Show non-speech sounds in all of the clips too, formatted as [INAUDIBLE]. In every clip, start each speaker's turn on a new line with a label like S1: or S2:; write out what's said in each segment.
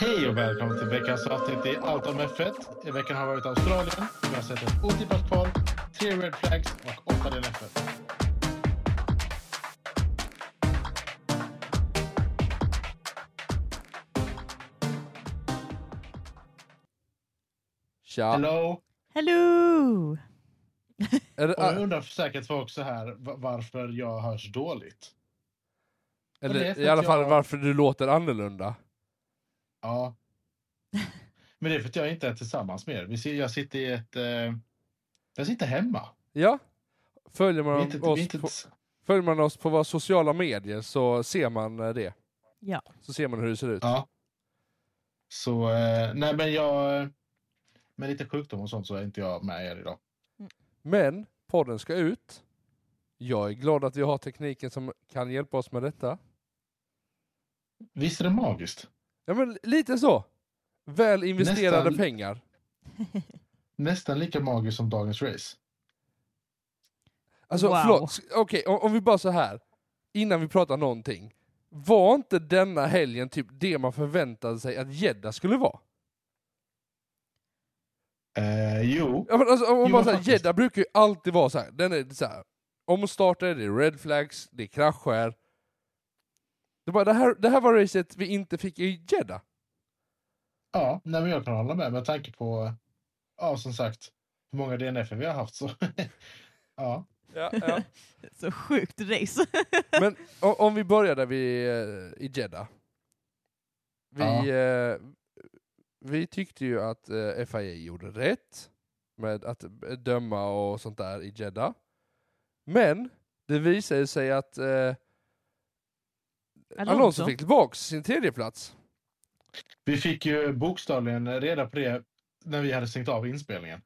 S1: Hej och välkommen till veckans avsnitt i Allt om F1. I veckan har vi varit i Australien. Vi har sett ett otippat kval, tre red flags och åtta del F1.
S2: Tja!
S1: Hello!
S3: Hello!
S2: Är det, ah,
S1: Och jag undrar för säkert var också här va- varför jag hörs dåligt. det är
S2: eller
S1: för
S2: i alla
S1: att
S2: fall
S1: jag-
S2: varför du låter annorlunda.
S1: Ja. Men det är för att jag inte är tillsammans med er. Vi ser- Jag sitter i ett... Eh, jag sitter hemma.
S2: Ja. Följer
S1: Vi
S2: man,
S1: är inte, vi är
S2: oss
S1: inte,
S2: på, följer man oss på våra sociala medier så ser man eh, det.
S3: Ja.
S2: Så ser man hur det ser ut.
S1: Ja. Så, eh, nej men jag... eh, Med lite sjukdom och sånt så är inte jag med er idag.
S2: Men podden ska ut. Jag är glad att vi har tekniken som kan hjälpa oss med detta.
S1: Visst är det magiskt?
S2: Ja men lite så. Väl investerade
S1: Nästan.
S2: pengar.
S1: Nästan lika magiskt som dagens race.
S2: Alltså
S3: Wow.
S2: förlåt, S- okej o- om vi bara så här. Innan vi pratar någonting. Var inte denna helgen typ det man förväntade sig att gädda skulle vara?
S1: Eh, jo,
S2: Ja, men alltså, om man
S1: Jo,
S2: bara
S1: men
S2: såhär,
S1: faktiskt.
S2: gädda brukar ju alltid vara såhär, den är såhär, omstarter, det är red flags, det är krascher. Det, är bara, det, här, det här var racet vi inte fick i gädda.
S1: ja, nej men jag kan hålla med med tanke på, eh, ja som sagt, hur många DNF vi har haft så. [LAUGHS] ja,
S3: Så sjukt race.
S2: [LAUGHS] Men o- om vi börjar där vi, eh, i Jeddah. Vi, eh, vi tyckte ju att eh, FIA gjorde rätt med att döma och sånt där i Jeddah. Men det visade sig att eh, Alonso fick tillbaka sin tredje plats.
S1: vi fick ju bokstavligen reda på det när vi hade stängt av inspelningen.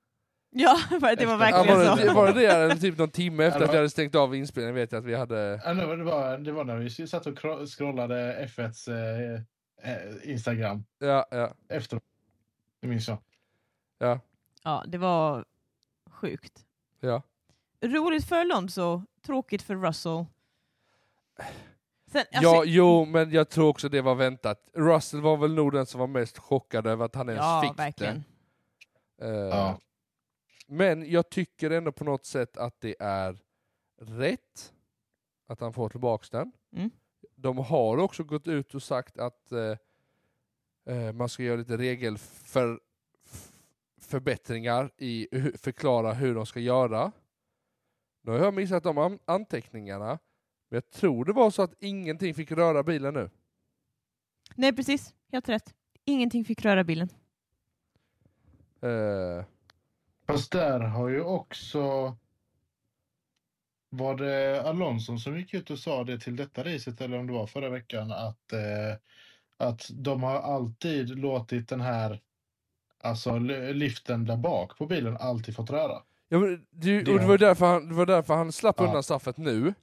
S3: Ja, [LAUGHS] för det var
S2: Ja,
S3: verkligen
S2: var, det,
S3: så.
S2: var det det eller typ någon timme efter
S1: Ja, det
S2: att
S1: var-
S2: vi hade stängt av inspelningen vet jag att vi hade...
S1: Ja, det var- det, var, det var när vi satt och kro- scrollade F1s eh, eh, Instagram
S2: Ja, ja,
S1: efteråt. Det minns jag.
S2: ja,
S3: Ja, det var sjukt.
S2: ja.
S3: Roligt för Alonso, tråkigt för Russell. Sen, alltså-
S2: ja, jo, men jag tror också det var väntat. Russell var väl nog den som var mest chockad över att han ens
S3: ja,
S2: fick
S3: verkligen.
S2: det. Eh,
S1: Ja.
S2: Men jag tycker ändå på något sätt att det är rätt att han får tillbaks den.
S3: Mm.
S2: De har också gått ut och sagt att eh, eh, man ska göra lite regelförbättringar för, förbättringar i hu- förklara hur de ska göra. Nu har jag missat de an- anteckningarna, men jag tror det var så att ingenting fick röra bilen nu.
S3: Nej, precis. Helt rätt. Ingenting fick röra bilen.
S2: Eh,
S1: Fast där har ju också... Var det Alonso som gick ut och sa det till detta racet eller om det var förra veckan att, eh, att de har alltid låtit den här alltså li- liften där bak på bilen alltid fått röra.
S2: Ja, men det,
S1: Det
S2: och det,
S1: har-
S2: var därför han, det var därför han slapp
S1: Ja.
S2: undan straffet nu.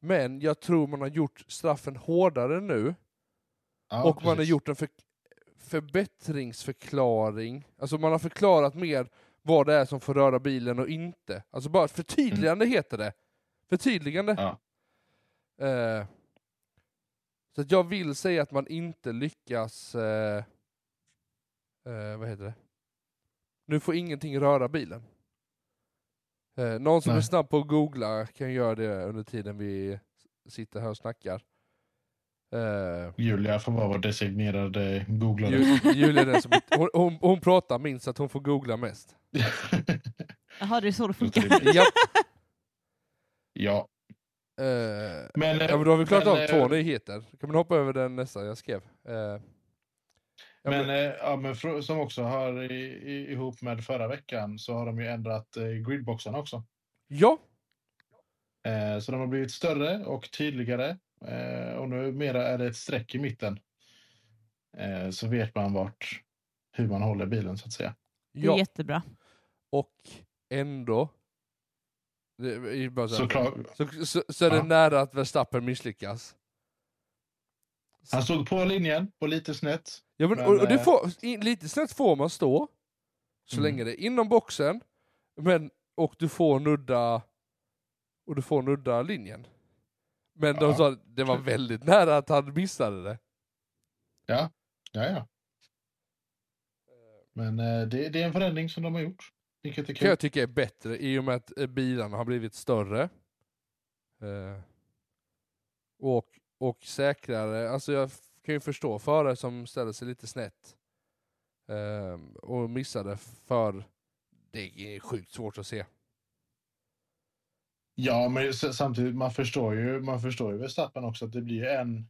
S2: Men jag tror man har gjort straffen hårdare nu
S1: Ja,
S2: och man har
S1: precis.
S2: gjort en för, förbättringsförklaring. Alltså man har förklarat mer vad det är som får röra bilen och inte. Alltså bara ett förtydligande heter det. Förtydligande.
S1: Mm. Ja.
S2: Eh, så att jag vill säga att man inte lyckas... Eh, eh, vad heter det? Nu får ingenting röra bilen. Eh, någon som
S1: Nej.
S2: är snabb på att googla kan göra det under tiden vi sitter här och snackar. Eh,
S1: Julia får vara vår designerade googlare. [LAUGHS]
S2: Ju- Julia är den som, hon, hon, hon pratar minst, så att hon får googla mest.
S3: Jaha, det är så det funkar.
S2: Japp.
S1: ja,
S2: Eh,
S1: men... eh,
S2: ja, men då har vi klarat
S1: men,
S2: av
S1: eh,
S2: två nyheter. Kan man hoppa över den nästa jag skrev? Eh, ja,
S1: Men, eh, ja, men fr- som också hör i, i, ihop med förra veckan så har de ju ändrat eh, gridboxarna också.
S2: ja,
S1: Eh, så de har blivit större och tydligare eh, och numera är det ett streck i mitten. Eh, så vet man vart, hur man håller bilen så att säga.
S3: Det är
S2: ja.
S3: jättebra.
S2: och ändå. Det är bara så, här-
S1: Såklart,
S2: så, så, så är det
S1: Ja.
S2: nära att Verstappen misslyckas.
S1: han stod på linjen och lite snett.
S2: Ja, men,
S1: Men,
S2: och, och det
S1: eh,
S2: får, i- lite snett får man stå, så
S1: Mm.
S2: länge det är inom boxen, men, och du får nudda och du får nudda linjen. Men de
S1: Ja.
S2: sa att det var väldigt nära att han missade det.
S1: Ja, ja. Men eh, det, det är en förändring som de har gjort. Vilket är
S2: kan
S1: kul.
S2: jag tycka är bättre i och med att eh, bilarna har blivit större. Eh, och, och säkrare. Alltså jag f- kan ju förstå förare som ställer sig lite snett eh, och missade för det är sjukt svårt att se.
S1: Ja, men s- samtidigt, man förstår ju, man förstår ju Verstappen också att det blir ju en,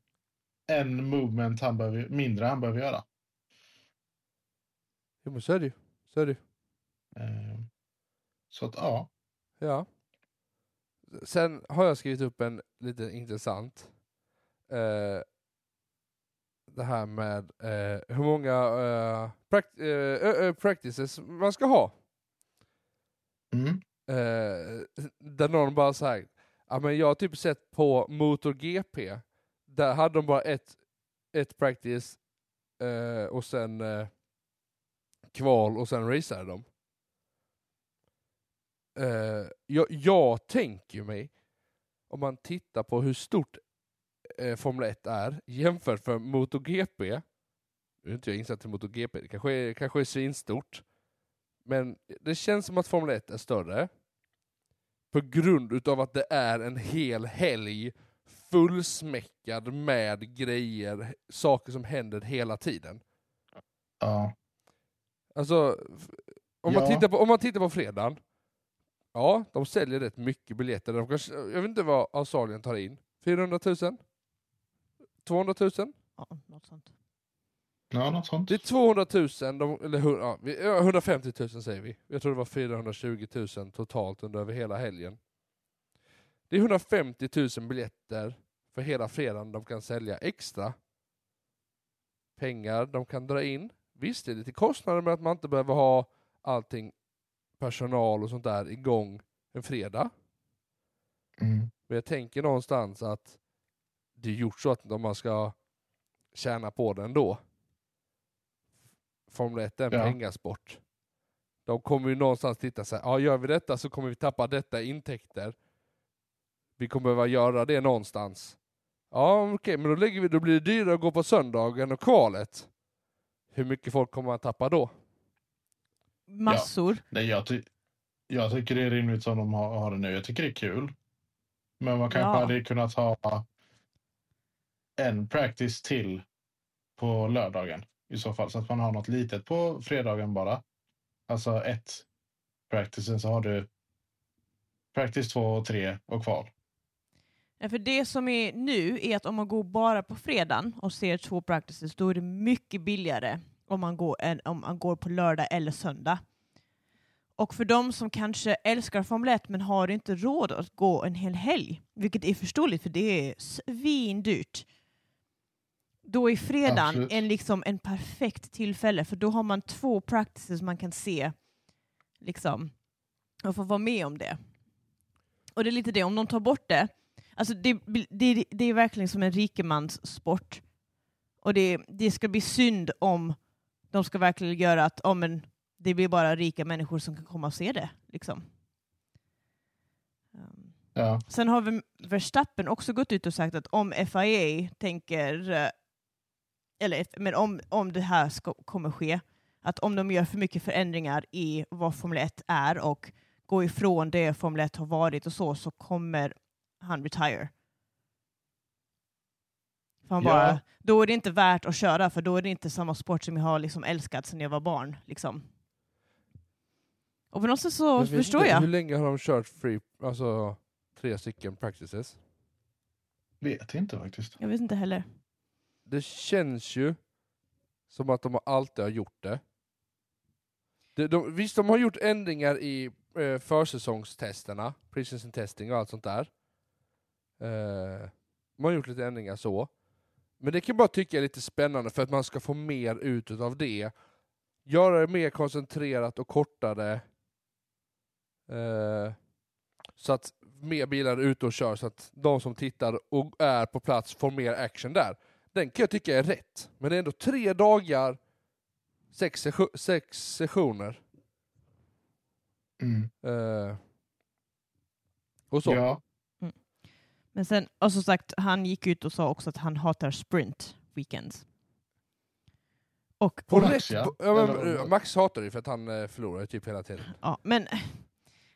S1: en movement han behöver, mindre han behöver göra.
S2: Jo men så är det ju. Så är det ju.
S1: Eh, Så att ja,
S2: Ja. Sen har jag skrivit upp en lite intressant. Eh, det här med eh, hur många eh, pract- eh, ö- ö, practices man ska ha.
S1: mm.
S2: Eh, där någon bara sagt, ja men jag har typ sett på MotorGP, där hade de bara ett, ett practice eh, och sen eh, kval och sen raceade de. Eh, jag, jag tänker mig, om man tittar på hur stort eh, Formel 1 är jämfört med MotoGP, nu är inte jag insatt i MotoGP, det kanske är, kanske är svinstort, men det känns som att Formel 1 är större på grund utav att det är en hel helg fullsmäckad med grejer, saker som händer hela tiden.
S1: ja,
S2: Alltså, f- om, man
S1: Ja.
S2: tittar på, om man tittar på fredagen, ja, de säljer rätt mycket biljetter. De kanske, jag vet inte vad Australien tar in. 400 000? 200 000?
S3: Ja, något sånt.
S1: ja, något sånt.
S2: Det är 200 000, de, eller hu- ja, vi- ja, 150 000 säger vi. Jag tror det var 420 000 totalt under över hela helgen. Det är 150 000 biljetter för hela fredagen de kan sälja extra. Pengar de kan dra in. Visst, det är lite kostnader med att man inte behöver ha allting personal och sånt där igång en fredag.
S1: Mm.
S2: Men jag tänker någonstans att det är gjort så att de- man ska tjäna på den då. Formel 1 är en
S1: Ja.
S2: pengasport. De kommer ju någonstans titta så här, ja gör vi detta så kommer vi tappa detta i intäkter. Vi kommer behöva göra det någonstans. Ja okej, men då, lägger vi, då blir det dyrare att gå på söndagen och kvalet. Hur mycket folk kommer man tappa då?
S3: Massor.
S1: Nej, jag, ty- jag tycker det är rimligt som de har, har det nu. Jag tycker det är kul. Men man kanske
S3: Ja.
S1: hade kunnat ha en practice till på lördagen i så fall. Så att man har något litet på fredagen bara. Alltså ett practice, sen så har du practice två och tre och kval.
S3: Ja, Eh, För det som är nu är att om man går bara på fredagen och ser två practices, då är det mycket billigare om man går, än om man går på lördag eller söndag. Och för de som kanske älskar Formel 1 men har inte råd att gå en hel helg, vilket är förståeligt för det är svindyrt, då är fredagen
S1: Absolut.
S3: en, liksom, en perfekt tillfälle för då har man två practices man kan se liksom, och få vara med om det. Och det är lite det, om de tar bort det, alltså det, det, det är verkligen som en rikemanssport. Och det, det ska bli synd om de ska verkligen göra att oh, men, det blir bara rika människor som kan komma och se det. Liksom. Ehm,
S1: Ja.
S3: Sen har vi Verstappen också gått ut och sagt att om FIA tänker, eh, eller F- men om, om det här ska, kommer ske, att om de gör för mycket förändringar i vad Formel 1 är och går ifrån det Formel 1 har varit och så, så kommer han retire. För han
S1: Ja.
S3: bara, då är det inte värt att köra, för då är det inte samma sport som jag har liksom älskat sedan jag var barn. Liksom. Och på något sätt så
S2: Jag vet
S3: förstår
S2: inte,
S3: jag.
S2: Hur länge har de kört free, alltså tre stycken practices?
S1: Vet inte faktiskt.
S3: Jag vet inte heller.
S2: det känns ju som att de alltid har gjort det. De, de, visst, de har gjort ändringar i eh, försäsongstesterna, preseason testing och allt sånt där. Eh, man har gjort lite ändringar så. Men det kan jag bara tycka är lite spännande för att man ska få mer ut av det. Göra det mer koncentrerat och kortare. Eh, så att mer bilar är ute och kör så att de som tittar och är på plats får mer action där. Den kan jag tycka är rätt. Men det är ändå tre dagar, sex, session- sex sessioner.
S1: Mm.
S2: Eh, och så.
S1: Ja.
S3: Mm. Men sen, och som sagt, han gick ut och sa också att han hatar sprint weekends. Och,
S2: På
S1: Och
S2: rätt,
S1: Max, ja.
S2: på- ja, men,
S1: Eller-
S2: eh, Max hatar ju för att han eh, förlorar ju typ hela tiden.
S3: ja, men,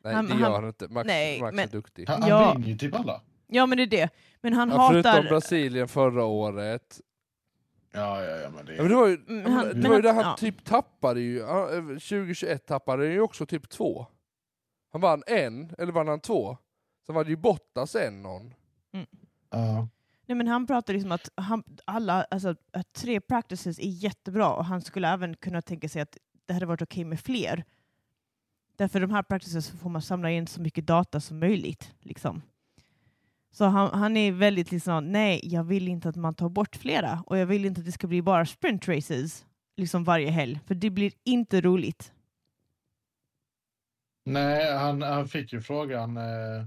S2: Nej
S3: Han-
S2: det gör
S3: han-
S2: han inte. Max,
S3: nej,
S2: Max
S3: men-
S2: är duktig.
S1: Han, han
S3: Ja.
S1: vinner ju typ alla.
S3: ja, men det är det. Men han
S2: Ja,
S3: hatar...
S2: Förutom Brasilien förra året.
S1: Ja, ja, ja, men det
S2: Ja, men det var ju,
S3: Mm,
S2: ja, men
S3: han-
S2: det
S3: men
S2: var ju
S3: han-
S2: där han
S3: ja.
S2: typ tappade ju. Ja, eh, 2021 tappade han ju också typ två. Han vann en, eller vann han två? Sen var det ju Bottas en någon.
S1: Ja.
S3: Nej, men han pratar liksom att han, alla, alltså, att tre practices är jättebra och han skulle även kunna tänka sig att det hade varit okej med fler. Därför de här practices får man samla in så mycket data som möjligt. Liksom. Så han, han är väldigt liksom, nej, jag vill inte att man tar bort flera och jag vill inte att det ska bli bara sprint races liksom varje helg, för det blir inte roligt.
S1: Nej, han, han fick ju frågan. Eh,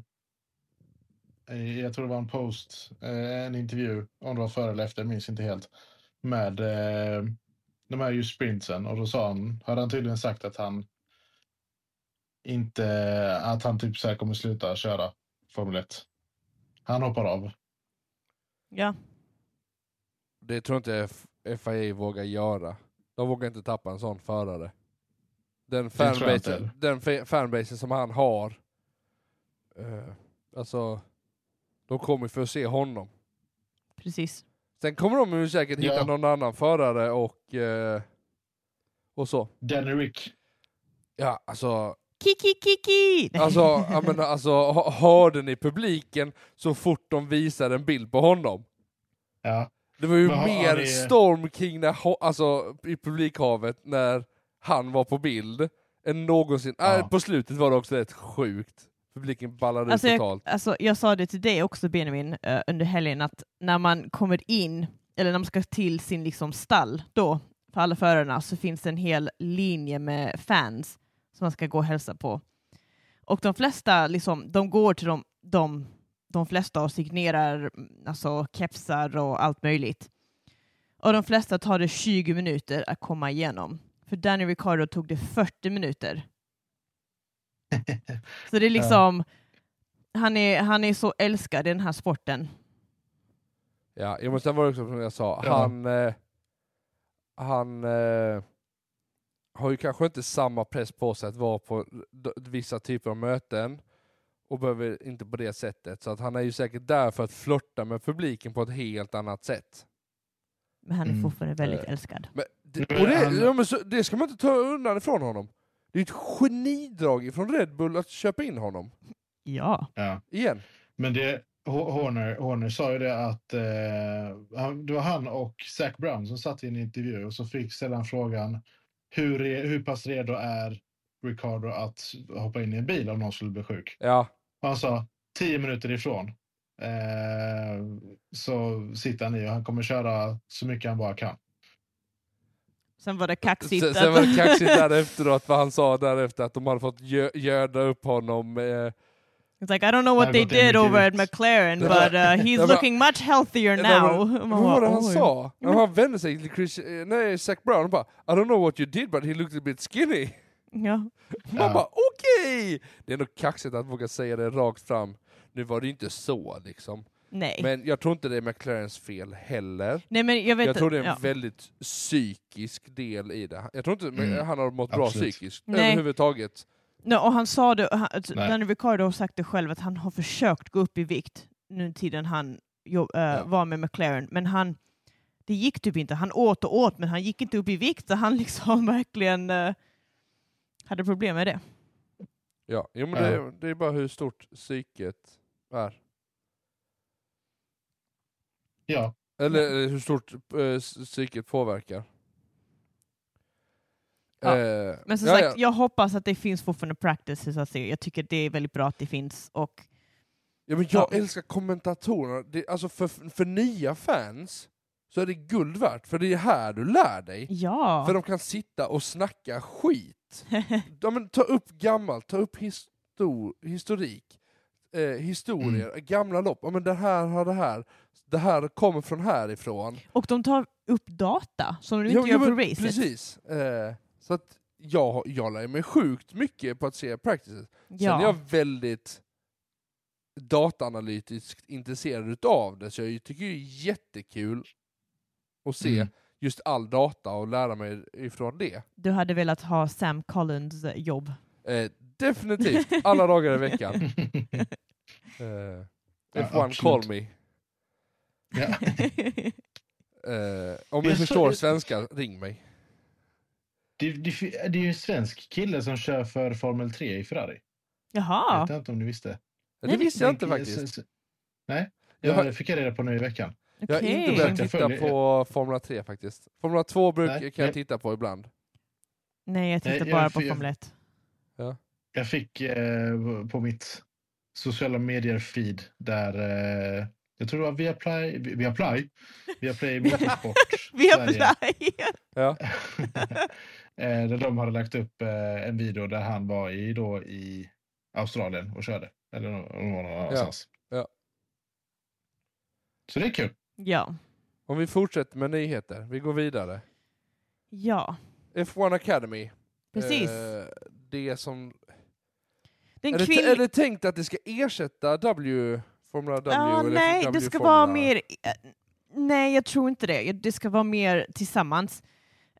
S1: i- jag tror det var en post, eh, en intervju, om det var före eller efter, jag minns inte helt. Med eh, de här ju sprintsen och då sa han, hade han tydligen sagt att han inte, att han typ så här kommer sluta köra Formel 1. Han hoppar av.
S3: Ja,
S2: Det tror jag inte F- FIA vågar göra. De vågar inte tappa en sån förare. Den
S1: tror jag inte
S2: fanbase,
S1: heller.
S2: den fa- fanbase som han har. Eh, alltså, de kommer för att se honom.
S3: precis.
S2: Sen kommer de ju säkert hitta
S1: Ja.
S2: någon annan förare och, eh, och så.
S1: Danny Rick.
S2: Ja, alltså,
S3: Kiki, kiki! Nej.
S2: alltså, jag menar, alltså ha- hörde ni publiken så fort de visade en bild på honom?
S1: Ja. [LAUGHS]
S2: Det var ju
S1: Men har-
S2: mer
S1: har det-
S2: storm kring när, ho- alltså, i publikhavet när han var på bild än någonsin.
S1: Ja.
S2: Äh, på slutet var det också rätt sjukt. Publiken ballade
S3: Alltså
S2: ut
S3: jag,
S2: totalt.
S3: alltså jag sa det till dig också Benjamin eh, under helgen att när man kommer in, eller när man ska till sin liksom stall då, för alla förarna, så finns det en hel linje med fans som man ska gå och hälsa på. Och de flesta liksom, de går till de, de, de flesta och signerar mm, alltså, kepsar och allt möjligt. Och de flesta tar det 20 minuter att komma igenom. För Danny Ricardo tog det 40 minuter. Så det är liksom, han, är, han är så älskad i den här sporten.
S2: Ja, jag måste vara också som jag sa,
S1: Ja.
S2: han, eh, han eh, har ju kanske inte samma press på sig att vara på d- vissa typer av möten och behöver inte på det sättet. Så att han är ju säkert där för att flörta med publiken på ett helt annat sätt.
S3: Men han är
S1: Mm.
S3: fortfarande väldigt
S2: Eh.
S3: älskad.
S2: Men, det,
S1: Men
S2: och det,
S1: han-
S2: ja, men så, det ska man inte ta undan ifrån honom. Det är ett genidrag från Red Bull att köpa in honom.
S3: Ja.
S1: ja.
S2: Igen.
S1: Men det, H- Horner, Horner sa ju det att eh, han, det var han och Zac Brown som satt i en intervju och så fick sällan frågan hur, re, hur pass redo är Ricardo att hoppa in i en bil om någon skulle bli sjuk?
S2: Ja,
S1: Och han sa 10 minuter ifrån eh, så sitter han i och han kommer köra så mycket han bara kan.
S3: Sen var det kaxigt.
S2: sen,
S3: att-
S2: sen var det kaxigt därefter då, att vad han sa därefter, att de hade fått gö- göda upp honom. Eh,
S3: [LAUGHS] It's like I don't know what
S1: Jag
S3: they
S1: har gått in
S3: did
S1: i
S3: over at
S1: gult.
S3: McLaren
S2: Det
S3: but
S2: var-
S3: uh,
S2: det var-
S3: he's looking much healthier
S2: det
S3: now. [LAUGHS]
S2: var-
S3: Man
S2: vad var det
S3: bara,
S2: han
S3: "Oj."
S2: sa?
S3: Ja, men-
S2: Han vände sig till Chris, eh, nej, Zac Brown och bara I don't know what you did but he looked a bit skinny.
S3: Ja.
S2: Man
S1: Ja.
S2: bara okej! Det är nog kaxigt att våga säga det rakt fram. Nu var det ju inte så liksom.
S3: Nej.
S2: Men jag tror inte det är McLarens fel heller.
S3: Nej, men jag vet
S2: Jag tror det är en
S3: ja.
S2: väldigt psykisk del i det. Jag tror inte men
S1: Mm.
S2: han har mått bra
S1: Absolut.
S2: psykiskt
S3: Nej.
S2: överhuvudtaget.
S3: Nej, och han sa det, han, att
S1: Nej.
S3: Danny Ricardo har sagt det själv, att han har försökt gå upp i vikt nu tiden han jobb, eh,
S2: Ja.
S3: var med McLaren, men han, det gick typ inte. Han åt och åt, men han gick inte upp i vikt, så han [LAUGHS] liksom verkligen eh, hade problem med det.
S2: Ja, jo, men
S1: Ja.
S2: Det, det är bara hur stort psyket är.
S1: Ja,
S2: Eller eh, hur stort eh, psyket påverkar.
S3: Ja.
S2: Eh,
S3: Men som
S2: ja,
S3: sagt,
S2: ja.
S3: jag hoppas att det finns fortfarande practices att se. Jag tycker det är väldigt bra att det finns. Och
S2: Ja, men jag
S3: Ja.
S2: älskar kommentatorerna. Det, alltså för, för nya fans så är det guld värt, för det är här du lär dig.
S3: ja,
S2: För de kan sitta och snacka skit. Ja, men ta upp gammalt, ta upp histor historik, eh, historier,
S3: Mm.
S2: gamla lopp. Ja, men det här har det här, det här kommer från härifrån.
S3: [LAUGHS] och de tar upp data som du
S2: Ja,
S3: inte
S2: ja,
S3: gör på
S2: men
S3: racet.
S2: Precis. Eh, så att jag, jag lär mig sjukt mycket på att se practices. Sen är
S3: Ja.
S2: jag väldigt dataanalytiskt intresserad utav det, så jag tycker det är jättekul att se
S1: Mm.
S2: just all data och lära mig ifrån det.
S3: Du hade velat ha Sam Collins eh, jobb.
S2: Eh,
S3: [LAUGHS]
S2: definitivt, alla dagar i veckan. Eh, if one
S1: absolut.
S2: call me.
S1: ja.
S2: Eh,
S1: Jag
S2: om ni
S1: såg-
S2: förstår svenska, ring mig.
S1: [LAUGHS] det, det, det är ju en svensk kille som kör för Formel 3 i Ferrari.
S3: [LAUGHS] Jaha,
S1: Vet jag inte om du visste.
S2: Det
S3: Nej, det-
S2: visste jag inte
S1: Den-
S2: faktiskt.
S1: s- s- Nej,
S2: Jag har-
S1: jag fick jag reda på nu i veckan.
S3: okej.
S2: Jag har inte börjat
S1: Jag
S2: titta
S1: följer-
S2: på Formula 3 faktiskt. Formula 2 bruk,
S1: Nej,
S2: kan jag
S1: jag-
S2: titta på ibland.
S3: Nej, jag tittar
S1: Nej,
S3: bara
S1: jag-
S3: på
S1: jag-
S3: Formel 1.
S1: Jag fick eh, på mitt sociala medier-feed där eh, jag tror det var Viaplay, Vi- Viaplay, Viaplay
S2: [LAUGHS]
S1: Motorsport
S3: Vi har
S1: Sverige.
S2: Ja.
S1: [LAUGHS] Eh, där de hade lagt upp eh, en video där han var i, då, i Australien och körde. Eller nå- om det var någon annanstans.
S2: ja.
S1: Så det är kul.
S3: [LAUGHS]
S1: [LAUGHS]
S3: Ja.
S2: Om vi fortsätter med nyheter, vi går vidare.
S3: Ja,
S2: F1 Academy.
S3: precis.
S2: Eh, det som...
S3: Den
S2: Är det,
S3: kvinn-
S2: är det tänkt att det ska ersätta W? Formula W?
S3: Ja,
S2: eller typ
S3: nej,
S2: w
S3: det ska vara
S2: Formula?
S3: mer... eh, Nej, jag tror inte det. Det ska vara mer tillsammans.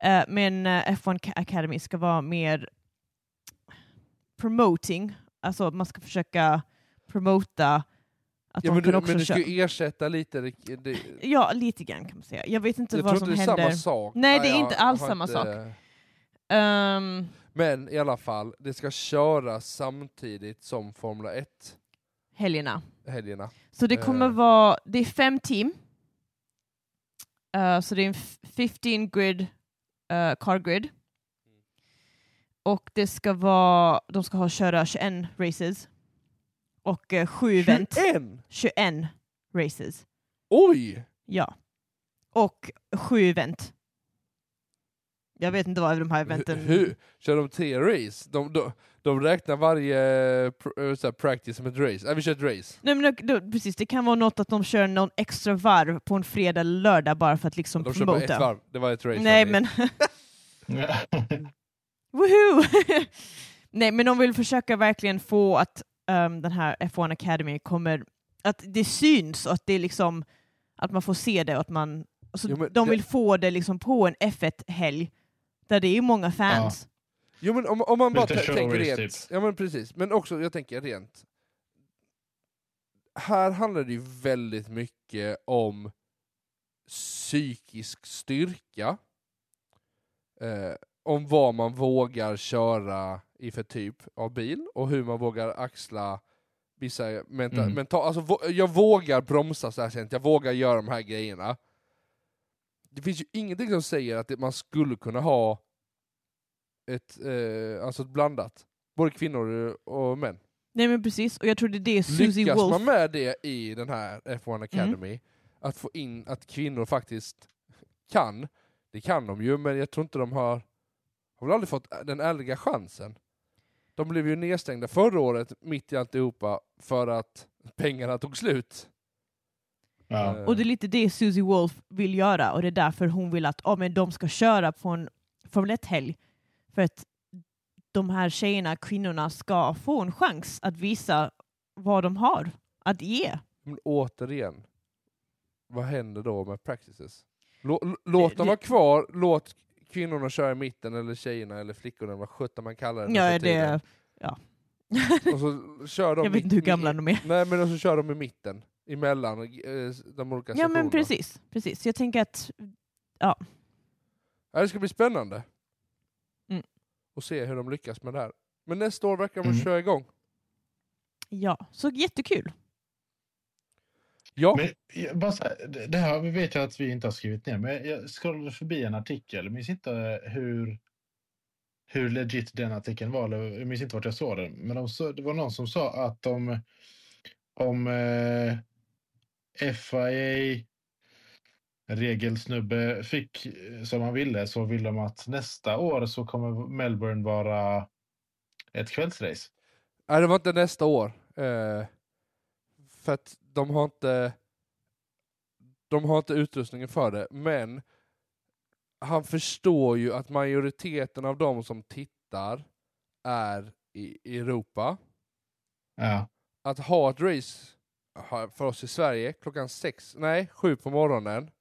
S3: Eh, Men eh, F1 Ca- Academy ska vara mer promoting. Alltså man ska försöka promota att
S2: Ja,
S3: de
S2: men
S3: kan
S2: du,
S3: också
S2: men du ska
S3: köra.
S2: ju ersätta lite... Det, det,
S3: Ja, lite grann kan man säga. Jag vet inte
S2: jag tror
S3: vad
S2: inte
S3: som
S2: det är
S3: händer.
S2: samma sak.
S3: Nej, det är
S2: jag
S3: inte alls
S2: har
S3: samma
S2: inte-
S3: sak. Ehm,
S2: Men i alla fall, det ska köras samtidigt som Formula 1
S3: helgerna.
S2: helgerna.
S3: Så det kommer
S2: Eh.
S3: vara, det är fem team. Eh, så det är en f- 15 grid, eh, car grid. Och det ska vara, de ska ha köra 21 races. Och uh, sju event,
S2: En!
S3: 21 races.
S2: Oj!
S3: Ja. Och sju event. Jag vet inte vad de här eventen...
S2: Hur, hur? Kör de tre race? De, de, de räknar varje pr- eh, så här, practice som ett race. Äh, vi kör ett race.
S3: Nej, men, då, precis, det kan vara något att de kör någon extra varv på en fredag eller lördag bara för att liksom
S2: De kör bara ett
S3: promota.
S2: varv. Det var ett race.
S3: Nej
S2: hörni.
S3: men
S2: Mm.
S3: Woohoo! [LAUGHS] Nej, men de vill försöka verkligen få att ehm, den här F1 Academy kommer... Att det syns och att det är liksom... Att man får se det och att man... Alltså,
S2: Jo, men
S3: de
S2: det-
S3: vill få det liksom på en F1-helg där det är många fans.
S2: Jo men om, om man bara
S1: Lite
S2: t-
S1: show
S2: tänker
S1: race,
S2: rent.
S1: typ.
S2: Ja men precis. Men också, jag tänker rent. Här handlar det ju väldigt mycket om psykisk styrka. Eh, om vad man vågar köra i för typ av bil och hur man vågar axla vissa menta-
S1: Mm.
S2: mental... Alltså vå- jag vågar bromsa så här sent, jag vågar göra de här grejerna. Det finns ju ingenting som säger att det, man skulle kunna ha ett, eh, alltså ett blandat. Både kvinnor och män.
S3: Nej men precis, och jag tror det är det Susie
S2: Lyckas
S3: Wolf... Mm.
S2: man med det i den här F1 Academy, att få in att kvinnor faktiskt kan, det kan de ju, men jag tror inte de har, har väl aldrig fått den ärliga chansen. De blev ju nedstängda förra året, mitt i alltihopa, för att pengarna tog slut.
S1: ja.
S2: Eh,
S3: Och det är lite det Susie Wolf vill göra och det är därför hon vill att oh, men de ska köra på en Formel 1-helg. För att de här tjejerna, kvinnorna, ska få en chans att visa vad de har att ge.
S2: Men återigen, vad händer då med practices? Lå- l- Låt
S3: Det-
S2: dem vara kvar, låt kvinnorna köra i mitten, eller tjejerna, eller flickorna, vad sjutton man kallar det nu
S3: Ja,
S2: för tiden.
S3: det, ja.
S2: Och så kör de
S3: [LAUGHS] Jag vet inte hur gamla de är.
S2: Nej men och så kör de i mitten, emellan eh, de olika
S3: Ja men
S2: sektionerna.
S3: precis, precis. Jag tänker att
S2: Ja, det ska bli spännande.
S3: Mm.
S2: Och se hur de lyckas med det här. Men nästa år verkar de
S1: Mm.
S2: köra igång.
S3: ja, så jättekul. [LAUGHS]
S2: Ja,
S1: Men, jag- bara så här, det- det här vet jag att vi inte har skrivit ner, men jag scrollade förbi en artikel. Minns inte hur, hur legit den artikeln var. Eller, jag minns inte vart jag såg den. Men de, sa- det var någon som sa att om, om eh, FIA regelsnubbe fick eh, som han ville så vill de att nästa år så kommer Melbourne vara ett kvällsrace.
S2: Nej, det var inte nästa år. Eh, för att de har inte de har inte utrustningen för det, men han förstår ju att majoriteten av de som tittar är i i Europa.
S1: Ja,
S2: att ha ett race ha- för oss i Sverige klockan sex, nej sju på morgonen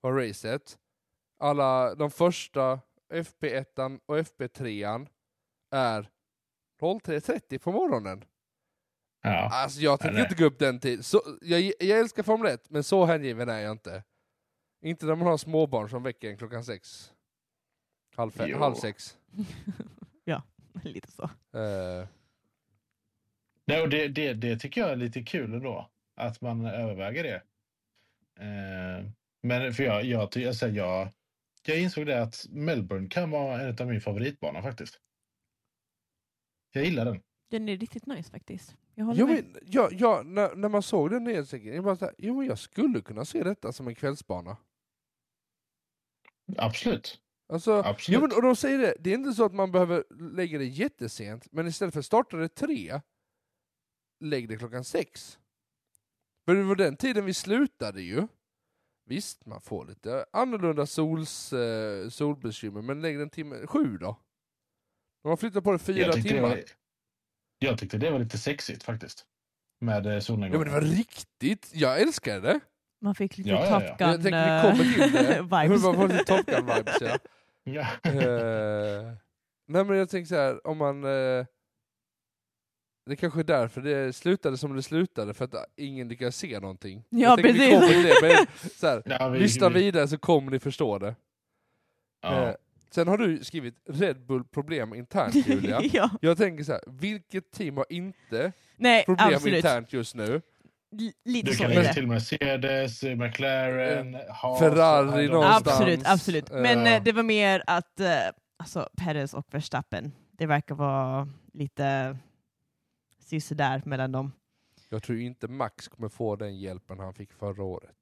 S2: var racet. Alla de första FP1 och FP3 är 03.30 på morgonen.
S1: Ja.
S2: Alltså jag tänker
S1: nej.
S2: inte gå upp den tid. Så, jag, jag älskar Formel 1, men så hängiven är jag inte. Inte när man har småbarn som väcker en klockan sex. Halv, fe-
S1: Jo.
S2: halv sex.
S3: Lite så.
S2: Eh,
S1: Nej, och det, det, det tycker jag är lite kul ändå. Att man överväger det. Eh, men för jag, jag, ty- alltså jag, jag insåg det att Melbourne kan vara en av min favoritbana faktiskt. Jag gillar den.
S3: Den är riktigt nice faktiskt. Jag håller
S2: jo,
S3: med.
S2: men, jag, jag, när, när man såg den nyhetsartikeln, jag bara såhär, jo men jag skulle kunna se detta som en kvällsbana.
S1: Absolut.
S2: Alltså,
S1: Absolut.
S2: jo, men, och de säger det, det är inte så att man behöver lägga det jättesent, men istället för att starta det tre, lägg det klockan sex. För det var den tiden vi slutade ju. Visst, man får lite annorlunda sols, eh, solbekymmer, men lägg den timme, sju då. De har flyttat på det fyra
S1: jag, tyckte det
S2: timmar.
S1: var, jag tyckte det var lite sexigt faktiskt. Med eh,
S2: Ja, men
S1: solnedgången.
S2: det var riktigt, jag älskade det.
S3: Man fick lite
S1: Ja, ja, ja.
S3: Top Gun eh,
S2: Jag tänker vi kommer till
S3: [LAUGHS]
S2: det. [LAUGHS]
S3: vibes.
S2: Man får lite Top Gun-vibes ja.
S1: Ja.
S2: Eh, nej men jag tänker så här, om man... eh, det kanske är därför det slutade som det slutade, för att ingen lyckades se någonting.
S3: Ja,
S2: jag tänker Vi
S3: precis.
S2: kommer till det, men, så här,
S1: [LAUGHS] [LAUGHS] Ja, vi-
S2: lyssna
S1: vi-
S2: vidare så kommer ni förstå det. Eh,
S1: Ja.
S2: sen har du skrivit Red Bull problem internt Julia.
S3: [LAUGHS] ja.
S2: Jag tänker så här, vilket team har inte
S3: Nej,
S2: problem
S3: Eh, absolut.
S2: internt just nu?
S3: L- Lite
S1: Du
S3: så
S1: kan typ
S3: är
S1: lägga
S3: det.
S1: till Mercedes, McLaren, Haas.
S2: Eh, Ferrari
S1: I don't-
S2: någonstans.
S3: Absolut, absolut. Men
S2: Eh.
S3: eh, det var mer att eh, alltså, Perez och Verstappen, det verkar vara lite sisådär mellan dem.
S2: Jag tror inte Max kommer få den hjälpen han fick förra året.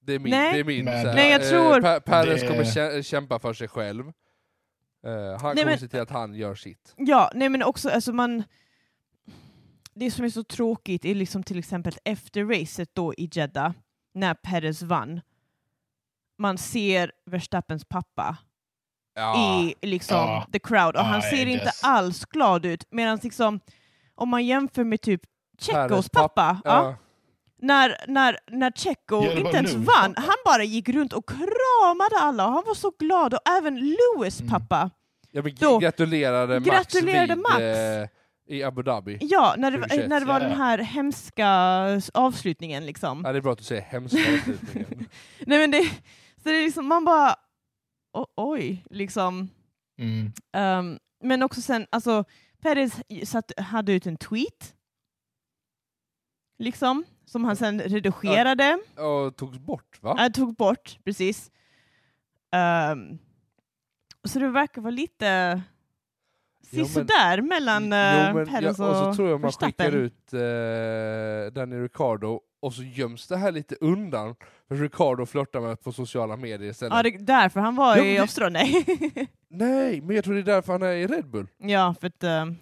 S2: Det är min...
S3: Nej.
S2: Det är min
S1: Men-
S2: så här,
S3: Nej, jag
S2: eh,
S3: tror-
S2: Per- Perez
S1: Det-
S2: kommer kä- kämpa för sig själv. Eh, han kommer
S3: men-
S2: se till att han gör sitt.
S3: Ja, nej men också alltså man... Det som är så tråkigt är liksom till exempel efter racet då i Jeddah, när Perez vann, man ser Verstappens pappa
S2: Ja.
S3: i liksom
S1: Ja.
S3: the crowd och han
S1: Ja,
S3: ser
S1: I
S3: inte
S1: guess.
S3: alls glad ut. Medan liksom, om man jämför med typ
S2: Perez
S3: Tjechos
S2: pappa,
S3: pappa, ja.
S2: ja.
S3: när, när, när Checo
S1: Ja, det var
S3: inte ens
S1: Lewis
S3: vann,
S1: pappa.
S3: han bara gick runt och kramade alla och han var så glad och även Lewis
S1: Mm.
S3: pappa,
S2: Jag vill
S3: Då-
S2: gratulerade Max
S3: Gratulerade
S2: vid,
S3: Max.
S2: eh, i Abu Dhabi.
S3: ja, när det, var-
S2: 26,
S3: när det var
S1: ja, ja.
S3: den här hemska avslutningen liksom.
S2: Ja, det är bra att du säger hemska
S3: [LAUGHS]
S2: avslutningen.
S3: Nej men det, så det är liksom, man bara, o- oj, liksom.
S1: Mm.
S3: Ehm, men också sen, alltså, Perez satt, hade ut en tweet, liksom, som han sen redigerade,
S2: Och togs bort va?
S3: äh, tog bort, precis. Ehm, så det verkar vara lite
S2: Jo, men-
S3: sisådär mellan
S2: Jo,
S3: uh,
S2: men
S3: Perez
S2: jag- och så tror jag man
S3: Verstappen.
S2: skickar ut eh, Danny Ricardo och så göms det här lite undan för Ricardo flörtar med på sociala medier istället.
S3: Ja, det är därför han var
S2: Jo, men
S3: i
S2: det-
S3: Australien. Nej. [LAUGHS]
S2: Nej, men jag tror det är därför han är i Red Bull.
S3: ja, för att ehm,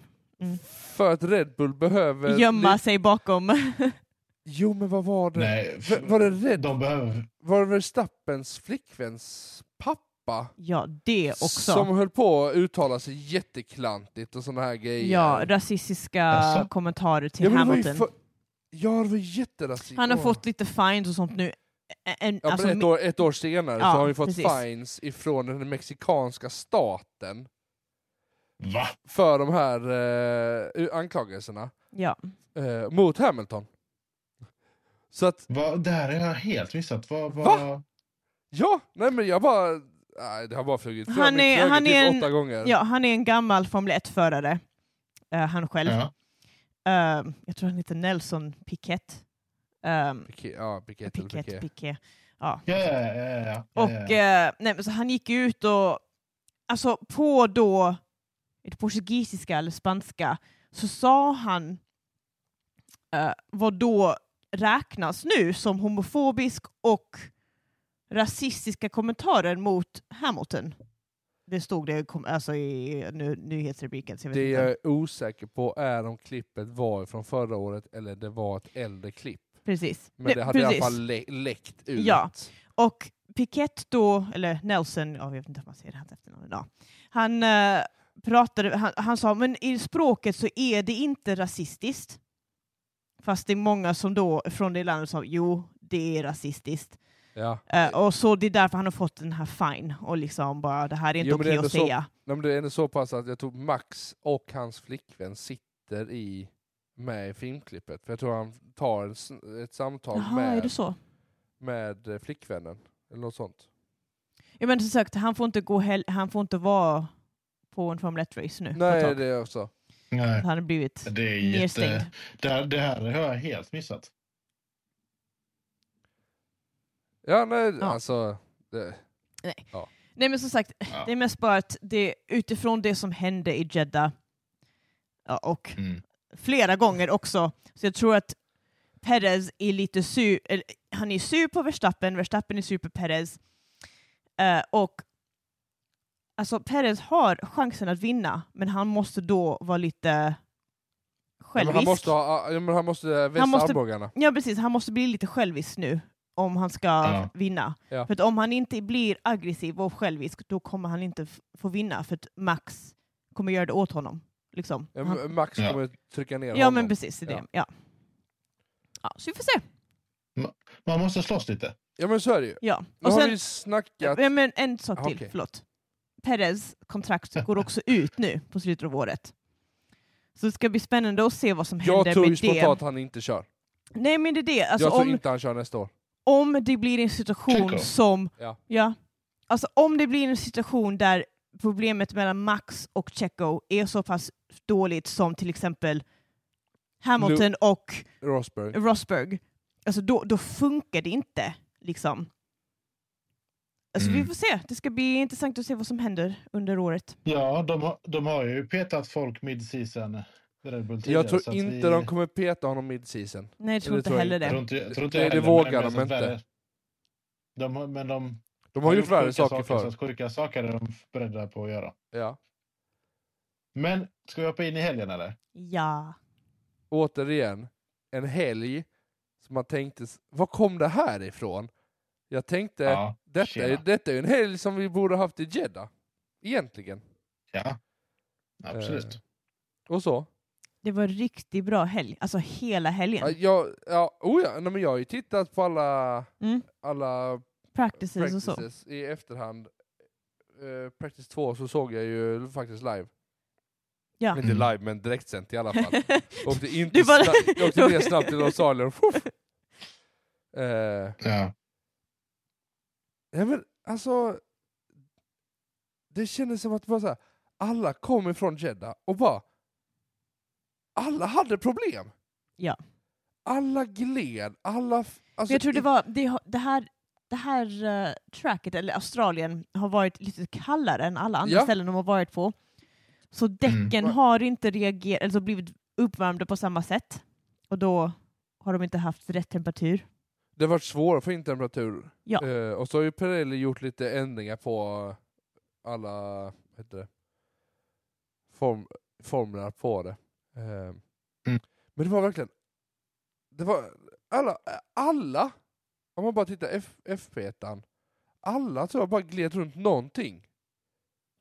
S2: För att Red Bull behöver...
S3: gömma
S2: li-
S3: sig bakom. [LAUGHS]
S2: Jo, men vad var det?
S1: Nej,
S2: V- var det Red...
S1: de behöver...
S2: Var det Verstappens flickväns pappa?
S3: ja, det också.
S2: Som höll på att uttala sig jätteklantigt och såna här grejer.
S3: Ja, rasistiska
S1: Alltså.
S3: kommentarer till
S2: Ja, men det var ju
S3: Hamilton.
S2: för- Ja, det var jätterasistiskt.
S3: Han har
S2: Åh.
S3: fått lite fines och sånt nu. Ä- En,
S2: Ja,
S3: alltså,
S2: men ett,
S3: mi-
S2: år, ett år senare så
S3: Ja,
S2: har han ju fått
S3: precis.
S2: fines ifrån den mexikanska staten
S1: Va?
S2: för de här eh, anklagelserna
S3: ja.
S2: eh, mot Hamilton. Så att,
S1: Va? Det här har jag helt missat. Vad? vad...
S2: Va? ja, nej men jag bara... Nej, det har bara flugit. Flög-
S3: Han är-
S2: flög
S3: han
S2: typ
S3: är en-
S2: åtta gånger.
S3: ja, han är en gammal Formel 1-förare, eh, han själv.
S1: Ja.
S3: Eh, jag tror han heter Nelson Piquet. Um,
S2: Piqué, ja, Piqué, eller
S3: Piquet,
S2: Piqué.
S3: Piquet. Ja.
S1: Ja, ja, ja, ja, ja.
S3: Och
S1: ja, ja.
S3: eh, nej, men så han gick ju ut och, alltså på då, är det portugisiska eller spanska, så sa han eh, vad då räknas nu som homofobisk och rasistiska kommentarer mot Hamilton. Det stod det kom, alltså i nu, nyhetsrubriken. Så jag vet
S2: Det
S3: inte.
S2: jag är osäker på är om klippet var från förra året eller det var ett äldre klipp.
S3: Precis.
S2: Men det, hade i alla
S3: precis.
S2: fall lä- läckt ut.
S3: Ja. Och Piquet då, eller Nelson, ja, jag vet inte om man säger hans efternamn idag, han eh, pratade, han, han sa men i språket så är det inte rasistiskt. Fast det är många som då från det landet sa jo, det är rasistiskt.
S2: Ja.
S3: Eh, och så det är därför han har fått den här fine och liksom bara det här är inte
S2: Jo, men det är
S3: okej
S2: ändå
S3: att
S2: så-
S3: säga.
S2: Nej, men det är ändå så pass att jag tror Max och hans flickvän sitter i med i filmklippet. För jag tror han tar en, s- ett samtal
S3: Jaha, är det
S2: med,
S3: så?
S2: med eh, flickvännen. Eller något sånt.
S3: Ja men som sagt, han får inte, gå hel- han får inte vara på en Formel 1-race
S1: Eh,
S3: nu. på ett
S2: Nej,
S3: tag.
S2: det är också.
S1: Nej,
S3: Han har blivit
S1: det är
S3: nedstängd.
S1: jätte... Det här, det här har jag helt missat.
S2: Ja, nej,
S3: Ja.
S2: alltså. Det,
S3: Nej men som sagt,
S1: Ja.
S3: det är mest bara att det utifrån det som hände i Jeddah ja, och
S1: Mm.
S3: flera gånger också, så jag tror att Perez är lite sur, eller, han är sur på Verstappen, Verstappen är sur på Perez. Eh, och alltså Perez har chansen att vinna, men han måste då vara lite
S2: ja,
S3: självisk.
S2: men han måste ha, ja, men han måste vässa
S3: måste-
S2: armbågarna.
S3: Ja precis, han måste bli lite självisk nu om han ska
S1: Ja.
S3: vinna.
S2: Ja.
S3: För att om han inte blir aggressiv och självisk, då kommer han inte f- få vinna, för att Max kommer göra det åt honom. Liksom.
S2: Ja,
S3: Han,
S2: men Max
S1: Ja.
S2: kommer trycka ner
S3: ja
S2: honom.
S3: men precis, det är det. Ja. Ja, så vi får se.
S1: Man måste slåss lite.
S2: Ja, men så är det ju.
S3: Ja.
S2: Nu
S3: Och
S2: har vi
S3: sen,
S2: ju snackat...
S3: ja, men en sak
S2: Ja,
S3: till,
S2: okej.
S3: förlåt. Perez kontrakt
S2: [LAUGHS]
S3: går också ut nu på slutet av året. Så det ska bli spännande att se vad som
S2: Jag
S3: händer
S2: tror ju
S3: med
S2: spontant
S3: det.
S2: att han inte kör.
S3: Nej men det är det, alltså
S2: jag tror
S3: om,
S2: inte han kör nästa år.
S3: om det blir en situation
S1: Checo.
S3: som...
S2: Ja.
S3: Alltså om det blir en situation där problemet mellan Max och Checo är så pass dåligt som till exempel Hamilton och
S2: Rosberg.
S3: Rosberg, alltså då, då funkar det inte. Liksom. Alltså
S1: Mm.
S3: vi får se. Det ska bli intressant att se vad som händer under året.
S1: Ja, de, har- de har ju petat folk mid-season. Red Bull tidigare,
S2: Jag tror
S1: så att
S2: inte
S1: vi-
S2: de kommer peta honom mid-season.
S3: Nej, jag tror
S2: Det
S3: inte
S2: tror jag
S3: heller
S1: Jag
S3: det.
S1: tror inte, jag tror inte
S2: Nej,
S1: jag
S2: det
S1: heller, men
S2: vågar
S1: jag
S2: de
S1: minns att
S2: inte.
S1: värre- De, har- men de
S2: De har gjort värre
S1: sjuka
S2: saker
S1: Så
S2: förr.
S1: att sjuka saker är de beredda på att göra.
S2: Ja.
S1: Men ska vi hoppa in i helgen
S2: Eh.
S1: eller?
S3: Ja.
S2: Återigen, en helg som man tänkte, s- var kom det här ifrån? Jag tänkte,
S1: ja.
S2: detta,
S1: tjena.
S2: är, detta är en helg som vi borde haft i Jeddah. Egentligen.
S1: ja. Absolut.
S2: Eh, och så.
S3: Det var en riktigt bra helg. Alltså hela
S2: Ja,
S3: helgen.
S2: jag, ja, oh ja, nej, men jag har ju tittat på alla,
S3: Mm.
S2: alla
S3: Practices och så.
S2: practices i efterhand. Eh, practice 2 så såg jag ju faktiskt live.
S3: Ja.
S2: Inte
S1: Mm.
S2: live, men direktsänt i alla fall.
S3: [LAUGHS]
S2: Jag åkte, inte
S3: Du bara-
S2: snabbt, jag åkte ner snabbt till
S3: [LAUGHS]
S2: Australien. Fuff. Eh,
S1: Ja.
S2: nej men alltså, det kändes som att bara så här, alla kom ifrån Jeddah och bara... Alla hade problem!
S3: Ja.
S2: Alla gled, alla... f- Alltså,
S3: Men jag tror det
S2: i-
S3: var, det, har- det här, det här eh, tracket, eller Australien, har varit lite kallare än alla andra
S2: Ja.
S3: ställen de har varit på. Så däcken
S2: Va-
S3: har inte reagerat, alltså blivit uppvärmda på samma sätt. Och då har de inte haft rätt temperatur.
S2: Det har varit svårt att få in temperatur.
S3: Ja.
S2: Eh, och så har ju Pirelli gjort lite ändringar på alla vad heter det, form, formler på det. Eh, Men det var verkligen... Det var alla, alla om man bara tittar F, FP1, alla tror jag bara gled runt någonting.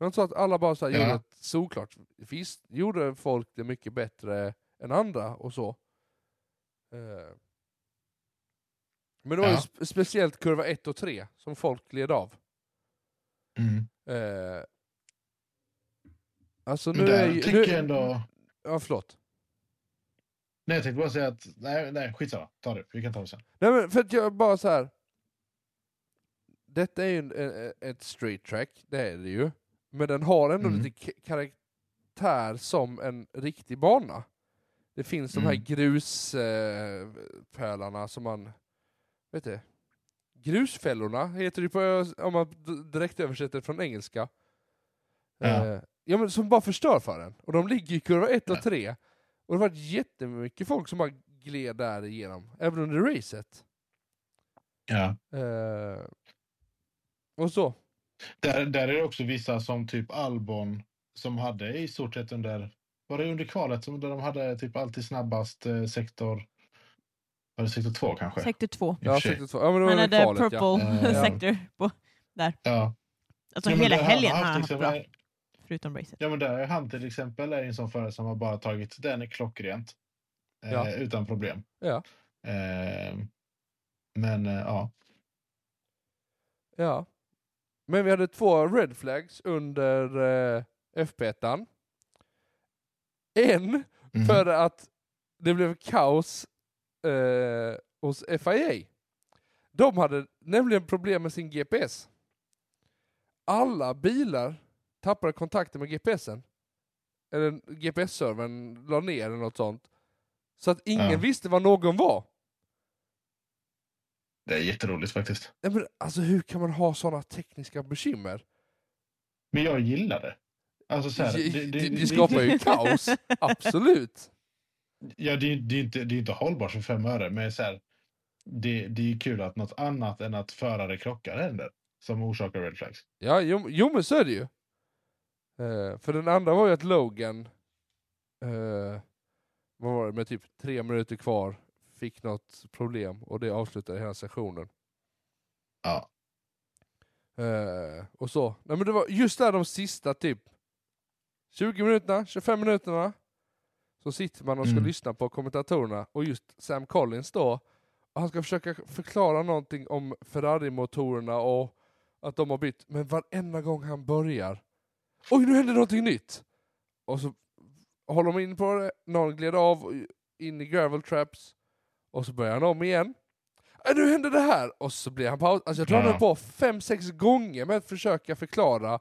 S2: Man sa att alla bara så här
S1: Ja.
S2: gjorde ett solklart. Visst gjorde folk det mycket bättre än andra och så. Eh, men det var ju
S1: Ja.
S2: spe- speciellt kurva 1 och 3 som folk gled av.
S1: Mm.
S2: Eh, alltså nu är
S1: Där
S2: ju...
S1: tycker
S2: Nu,
S1: jag ändå...
S2: Ja, förlåt.
S1: Nej, jag tänkte bara säga att... Nej, nej skitsamma. Ta det. Vi kan ta det sen.
S2: Nej men för att jag bara så här. Detta är ju en, en, ett straight track, det är det ju. Men den har ändå
S1: Mm.
S2: lite k- karaktär som en riktig bana. Det finns de här
S1: Mm.
S2: gruspölarna som man... Vet du? Grusfällorna heter det på, om man d- direkt översätter från engelska.
S1: Ja.
S2: Eh, ja men som bara förstör för en. Och de ligger i kurva 1
S1: Ja.
S2: och 3. Och det var jättemycket folk som bara gled där igenom, även under racet.
S1: Ja.
S2: Eh, och så.
S1: Där, där är det också vissa som typ Albon som hade i stort sett under... Var det under kvalet som där de hade typ alltid snabbast eh, sektor... Var det sektor två kanske?
S3: Sektor två.
S1: I och för
S2: Ja,
S1: sig.
S2: sektor två. Ja, men det var
S3: Han
S2: väl
S3: hade
S2: kvalet, ja.
S3: purple
S1: Ja.
S3: sektor. På.
S1: Ja.
S3: Alltså
S1: Ja, men
S3: hela
S1: där har
S3: helgen
S1: han
S3: har han haft
S1: liksom
S3: bra.
S1: en-
S3: förutom racet.
S1: Ja, men där är han till exempel är en sån förare som har bara tagit den är klockrent. Eh,
S2: Ja.
S1: Utan problem.
S2: Ja.
S1: Eh, men eh, ja,
S2: Ja. Men vi hade två red flags under eh, FP1. En
S1: Mhm.
S2: för att det blev kaos eh, hos FIA. De hade nämligen problem med sin GPS. Alla bilar tappade kontakten med GPSen. Eller GPS-servern la ner eller något sånt. Så att ingen
S1: Ja.
S2: visste var någon var.
S1: det är jätteroligt faktiskt.
S2: Nej, men alltså hur kan man ha sådana tekniska bekymmer?
S1: Men jag gillar det. Alltså, så här,
S2: det,
S1: det,
S2: det, skapar ju kaos, absolut.
S1: Ja, det, är- det, är inte, det är inte hållbart för fem öre, men så här, det, det är ju kul att något annat än att förare krockar händer som orsakar red flags.
S2: Ja, jo, jo men så är det ju. Eh, för den andra var ju att Logan, eh, vad var det, med typ tre minuter kvar, fick något problem och det avslutade hela sessionen.
S1: Ja.
S2: Eh, och så. Nej men det var just där de sista typ 20 minuterna, 25 minuterna, så sitter man och ska
S1: Mm.
S2: lyssna på kommentatorerna och just Sam Collins då, och han ska försöka förklara någonting om Ferrari-motorerna och att de har bytt, men varenda gång han börjar, oj nu händer någonting nytt! Och så håller de in på det, någon gled av och in i gravel traps, och så börjar han om igen. Äh, nu händer det här! Och så blir han paus. Alltså jag tror han
S1: Ja.
S2: höll på fem, sex gånger med att försöka förklara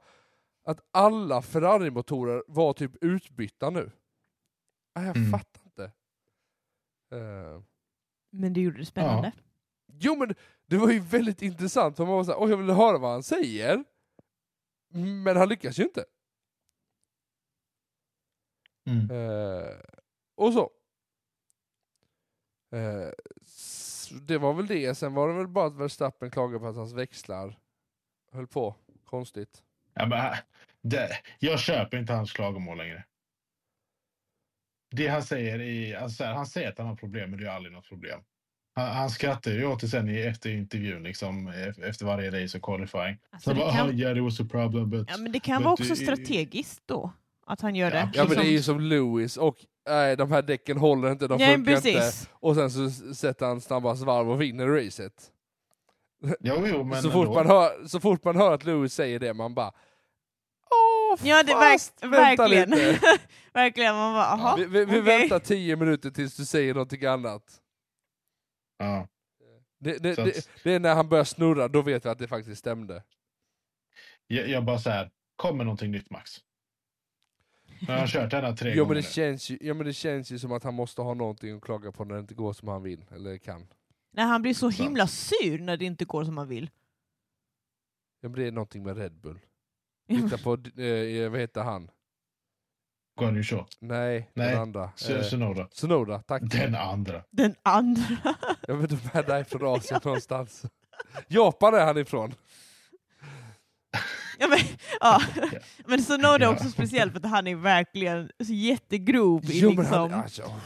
S2: att alla Ferrari-motorer var typ utbytta nu. Äh, jag
S1: Mm.
S2: fattar inte. Eh,
S3: [LAUGHS] Men det gjorde det spännande.
S2: Jo men det var ju väldigt intressant, för man var såhär, åh jag vill höra vad han säger. Men han lyckas ju inte.
S1: Mm.
S2: Eh, och så. Eh, s- det var väl det, sen var det väl bara att Verstappen klagade på att hans växlar höll på konstigt.
S1: Ja, men, äh, det, jag köper inte hans klagomål längre. Det han säger i, alltså så här, han säger att han har problem, men det är aldrig något problem. Han, han skrattar ju åt det sen i, efter intervjun, liksom, e- efter varje race och qualifying.
S3: Alltså,
S1: Så
S3: det
S1: bara,
S3: kan-
S1: "Oh, yeah, there was a problem, but...
S3: Ja, men det kan
S1: Men
S3: vara
S1: det
S3: också
S1: är-
S3: strategiskt då, att han gör
S1: Ja,
S3: det.
S2: Ja men det är ju
S3: Liksom-
S2: som Lewis och nej de här däcken håller inte, de
S3: Nej,
S2: funkar inte.
S3: precis.
S2: Och sen så s- sätter han snabbast varv och vinner racet.
S1: Jo, jo, men
S2: så, fort
S1: ändå.
S2: man hör, så fort man hör att Lewis säger det, man bara Åh,
S3: Ja, det verk,
S2: fast vänta
S3: verkligen.
S2: lite.
S3: [LAUGHS] verkligen. Man bara, aha,
S2: Vi, vi, vi
S3: okej.
S2: väntar tio minuter tills du säger någonting annat.
S1: Ja.
S2: Det, det,
S1: Så
S2: det,
S1: att-
S2: det är när han börjar snurra, då vet vi att det faktiskt stämde.
S1: Jag, jag bara så här, kommer någonting nytt Max? Jag har kört den här tre
S2: Jo men,
S1: gånger
S2: det
S1: nu.
S2: känns ju, ja men det känns ju som att han måste ha någonting att klaga på när det inte går som han vill, eller kan.
S3: När han blir så
S1: Sant.
S3: himla sur när det inte går som han vill.
S2: Ja, men Det blir någonting med Red Bull.
S3: Ja,
S2: Titta på, eh, vad heter han?
S1: Går nu så.
S2: Nej,
S1: Nej,
S2: den andra.
S1: Så,
S2: eh,
S1: så nog då.
S2: Sonoda, tack.
S1: [LAUGHS] Den andra.
S3: [LAUGHS] Den andra.
S2: Jag vet inte om de är från Asien någonstans. Japan är han ifrån.
S3: Ja, men, ja.
S1: Ja.
S3: men Sonoda är
S1: Ja.
S3: också speciell för att han är verkligen så jättegrov i,
S2: Jo, men
S3: liksom,
S2: han, alltså, åh,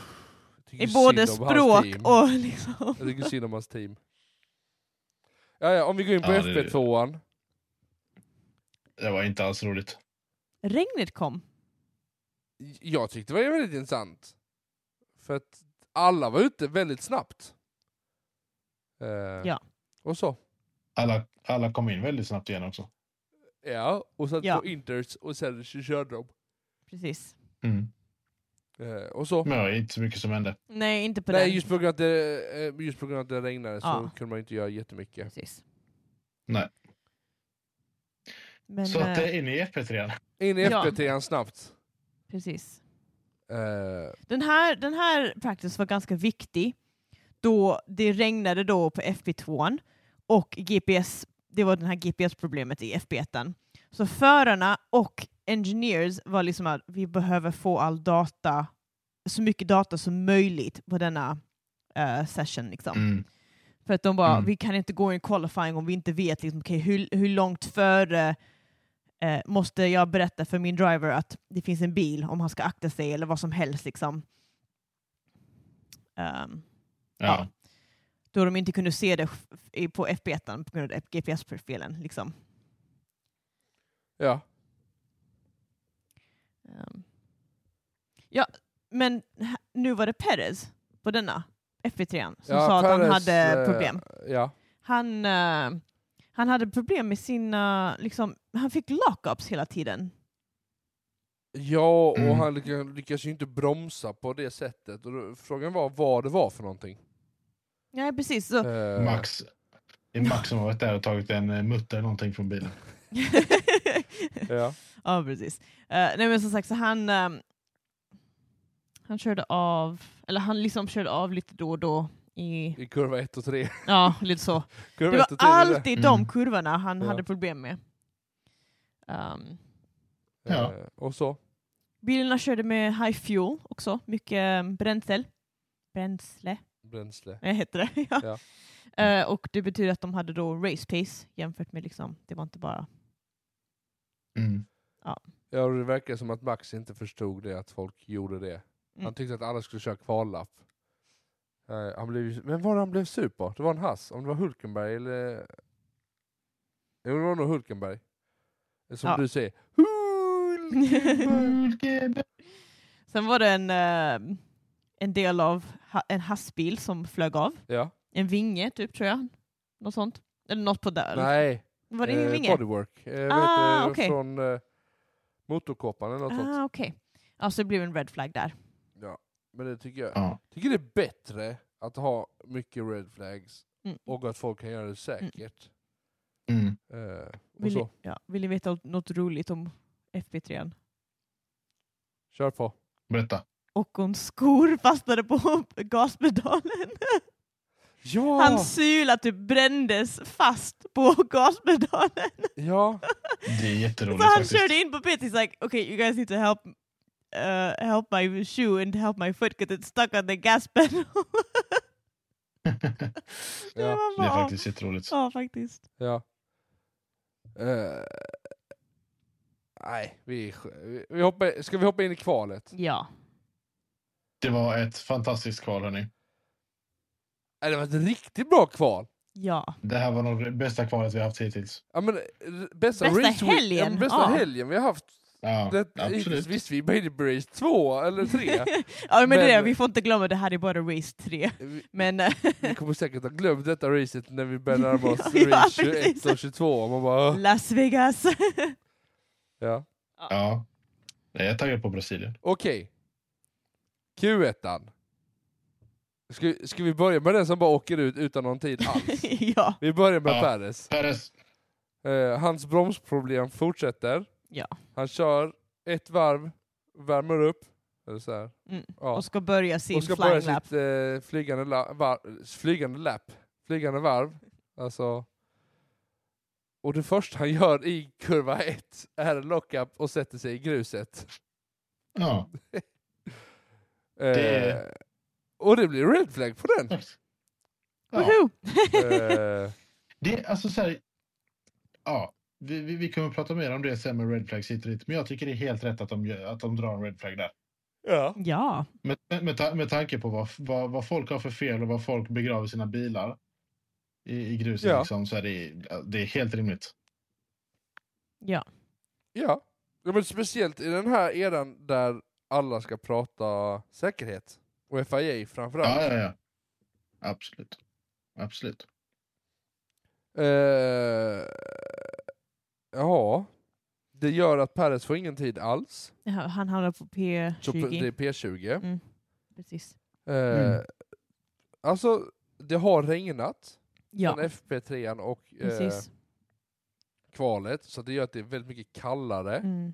S2: jag tycker
S3: i
S2: synd
S3: både
S2: om hans
S3: språk
S2: team.
S3: och [LAUGHS] liksom...
S2: Jag tycker synd om hans team. Ja, ja, om vi går in på
S1: Ja, det-
S2: FP2an.
S1: Det var inte alls roligt.
S3: Regnet kom.
S2: Jag tyckte det var väldigt intressant. För att alla var ute väldigt snabbt. Eh,
S3: Ja.
S2: Och så.
S1: Alla, alla kom in väldigt snabbt igen också.
S2: Ja, och sen
S3: Ja.
S2: på Inters och sen så körde de.
S3: Precis.
S1: Mm.
S2: Eh, och så.
S1: Men det var inte så mycket som hände.
S3: Nej, inte på
S2: Nej,
S3: den.
S2: just på grund av att det, eh, just på grund av att det regnade
S3: Ja.
S2: så kunde man inte göra jättemycket.
S3: Precis.
S1: Nej.
S3: Men,
S1: så att
S3: eh,
S1: det är in i E FP3.
S2: In i
S3: Ja.
S2: FP3 snabbt.
S3: precis.
S2: Eh,
S3: Den här, den här practice var ganska viktig då det regnade då på FP2 och GPS, det var det här GPS-problemet i FP1. Så förarna och engineers var liksom att vi behöver få all data, så mycket data som möjligt på denna eh, session. Liksom.
S1: Mm.
S3: För att de bara,
S1: Mm.
S3: vi kan inte gå in qualifying om vi inte vet liksom, okej, hur, hur långt före eh, måste jag berätta för min driver att det finns en bil om han ska akta sig eller vad som helst. Liksom. Ehm,
S1: Ja.
S3: då de inte kunde se det f- i- på FB1 på grund av GPS-profilen. Liksom.
S2: ja.
S3: Ehm. Ja, men h- nu var det Perez på denna FP3 som
S2: Ja,
S3: sa att han
S2: Perez,
S3: hade
S2: eh,
S3: problem.
S2: Ja,
S3: Han, eh, han hade problem med sina, liksom, han fick lockups hela tiden.
S2: ja och
S1: Mm.
S2: han lyck- lyckas ju inte bromsa på det sättet. Och då, frågan var vad det var för någonting.
S3: Nej
S2: [LAUGHS]
S3: precis, så
S2: Eh,
S1: Max. Det är Max som har varit där och tagit en eh, mutter eller någonting från bilen.
S2: Ja.
S3: ja, precis. Eh, nej men som sagt, så han, ehm, han körde av, eller han liksom körde av lite då och då i,
S2: I kurva 1 och 3.
S3: ja lite så.
S2: [LAUGHS] Kurva
S3: Det
S2: ett
S3: var
S2: och tre, det är det.
S3: alltid
S1: Mm.
S3: de kurvorna han
S2: Ja.
S3: hade problem med. Ehm,
S1: Ja.
S2: Eh, Och så.
S3: bilarna körde med high fuel också, mycket um, bränsle. Bränsle,
S2: Bränsle.
S3: eh, heter det. [LAUGHS] ja.
S2: Ja.
S3: Eh, och det betyder att de hade då race pace jämfört med liksom, det var inte bara...
S1: Mm.
S2: Ja, och det verkar som att Max inte förstod det, att folk gjorde det.
S3: Mm.
S2: Han tyckte att alla skulle köra kvallapp. Eh, han blev, ju- vem var det han blev sur på? Det var en hass. Om det var Hulkenberg eller... Jo, det var nog Hulkenberg. Eh, Som
S3: Ja.
S2: du säger.
S3: [LAUGHS]
S2: Hulkenberg!
S3: [LAUGHS] Mm. Sen var det en, eh, en del av ha- en hastbil som flög av.
S2: ja.
S3: En vinge typ tror jag. Något sånt. Eller något på där.
S2: Nej.
S3: Var det ingen
S2: eh,
S3: vinge?
S2: bodywork. Eh,
S3: Ah,
S2: vad heter det?
S3: okej.
S2: Från eh, Motorkåpan eller något sånt.
S3: Ah, okej. Ja, så det blev en red flag där.
S2: Ja. Men det tycker jag.
S1: Ja.
S2: tycker det är bättre att ha mycket red flags
S3: Mm.
S2: och att folk kan göra det säkert.
S1: Mm.
S2: Eh, och
S3: Vill, ni-
S2: så.
S3: ja, vill ni veta något roligt om FP3?
S2: Kör på.
S1: Berätta.
S3: Ockons skor fastnade på [LAUGHS] gaspedalen.
S2: Ja!
S3: Hans sula typ brändes fast på [LAUGHS] gaspedalen.
S2: Ja,
S1: Det är jätteroligt
S3: Så han
S1: faktiskt.
S3: körde in på pit. He's like, okay, you guys need to help, uh, help my shoe and help my foot because it's stuck on the gas pedal. [LAUGHS]
S2: Ja,
S3: det var
S1: [LAUGHS] Det är
S3: bara,
S1: faktiskt jätteroligt.
S3: ja, faktiskt.
S2: [LAUGHS] ja. Eh, nej, vi, vi- vi hoppar, ska vi hoppa in i kvalet?
S3: Ja.
S1: Det var ett fantastiskt kval hörni.
S2: Nej, Äh, det var ett riktigt bra kval.
S3: Ja.
S1: Det här var nog det bästa kvalet vi har haft hittills.
S2: Ja, men, eh, bästa
S3: Bästa
S2: race week-
S3: helgen,
S2: ja, men bästa
S3: ja.
S2: helgen vi har haft.
S1: Ja,
S2: Det, hittills
S1: absolut.
S2: visst, vi Baby Brace 2 eller 3.
S3: [LAUGHS] ja men, det är det,
S2: Men-
S3: vi får inte glömma det här är bara race 3.
S2: vi,
S3: Men eh,
S2: vi kommer säkert ha glömt detta racet när vi börjar närma oss
S3: [LAUGHS] Ja,
S2: race
S3: precis.
S2: 21 och 22. Man bara,
S3: Las Vegas. [LAUGHS]
S2: ja.
S1: Ja. Jag är taggad på Brasilien.
S2: Okej. Q1. Ska, ska vi börja med den som bara åker ut utan någon tid
S3: [LAUGHS]
S2: alls?
S3: ja.
S2: Vi börjar med
S1: Ja.
S2: Perez.
S1: Perez.
S2: Eh, hans bromsproblem fortsätter.
S3: Ja.
S2: Han kör ett varv, värmer upp. Eller så här.
S3: Mm.
S2: Ja.
S3: Och ska börja sin
S2: Och ska
S3: flying
S2: börja
S3: lap.
S2: sitt eh, flygande, la, var, flygande lap. Flygande varv. Alltså. Och det första han gör i kurva 1 är en lockup och sätter sig i gruset.
S1: Ja,
S2: Eh, och det blir red flag på
S1: [LAUGHS]
S2: den.
S1: tack. Ja.
S3: Woho!
S2: Eh,
S1: Det är alltså så här, ja, vi, vi, vi kommer prata mer om det sen med red flags hit och dit, men jag tycker det är helt rätt att de, gör- att de drar en red flag där.
S2: ja.
S3: ja.
S1: Med, med, ta- med tanke på vad, vad, vad folk har för fel och vad folk begraver sina bilar i, i gruset
S2: Ja.
S1: liksom, så är det, det är helt rimligt.
S3: Ja.
S2: Ja. ja, men speciellt i den här eran där alla ska prata säkerhet. Och FIA framförallt.
S1: Ja, ja, ja. Absolut. Absolut.
S2: Eh, ja, det gör att Perez får ingen tid alls.
S3: Ja, Han hamnar på
S2: Så p-
S3: P20.
S2: det är P20.
S3: Mm. Precis.
S2: Eh,
S1: Mm.
S2: Alltså, det har regnat
S3: Ja,
S2: från FP3 och eh,
S3: precis.
S2: kvalet, så det gör att det är väldigt mycket kallare.
S3: Mm.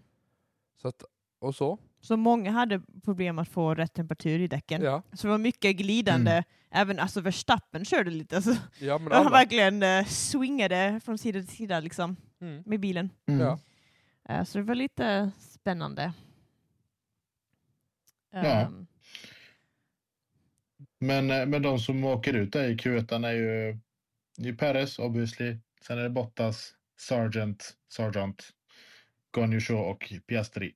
S2: Så att, och så.
S3: Så många hade problem att få rätt temperatur i däcken.
S2: Ja,
S3: Så det var mycket glidande. Även alltså Verstappen körde lite. Alltså,
S2: ja men
S3: [LAUGHS] han
S2: alla.
S3: verkligen eh, swingade från sida till sida liksom,
S2: Mm.
S3: med bilen.
S1: Mm.
S2: Ja.
S3: Eh, så det var lite spännande.
S1: Ja.
S3: Ehm,
S1: Men, eh, men de som åker ut där i Q1 är ju, det är ju Perez, obviously. Sen är det Bottas, Sargent, Sargent, Guanyusho och Piastri.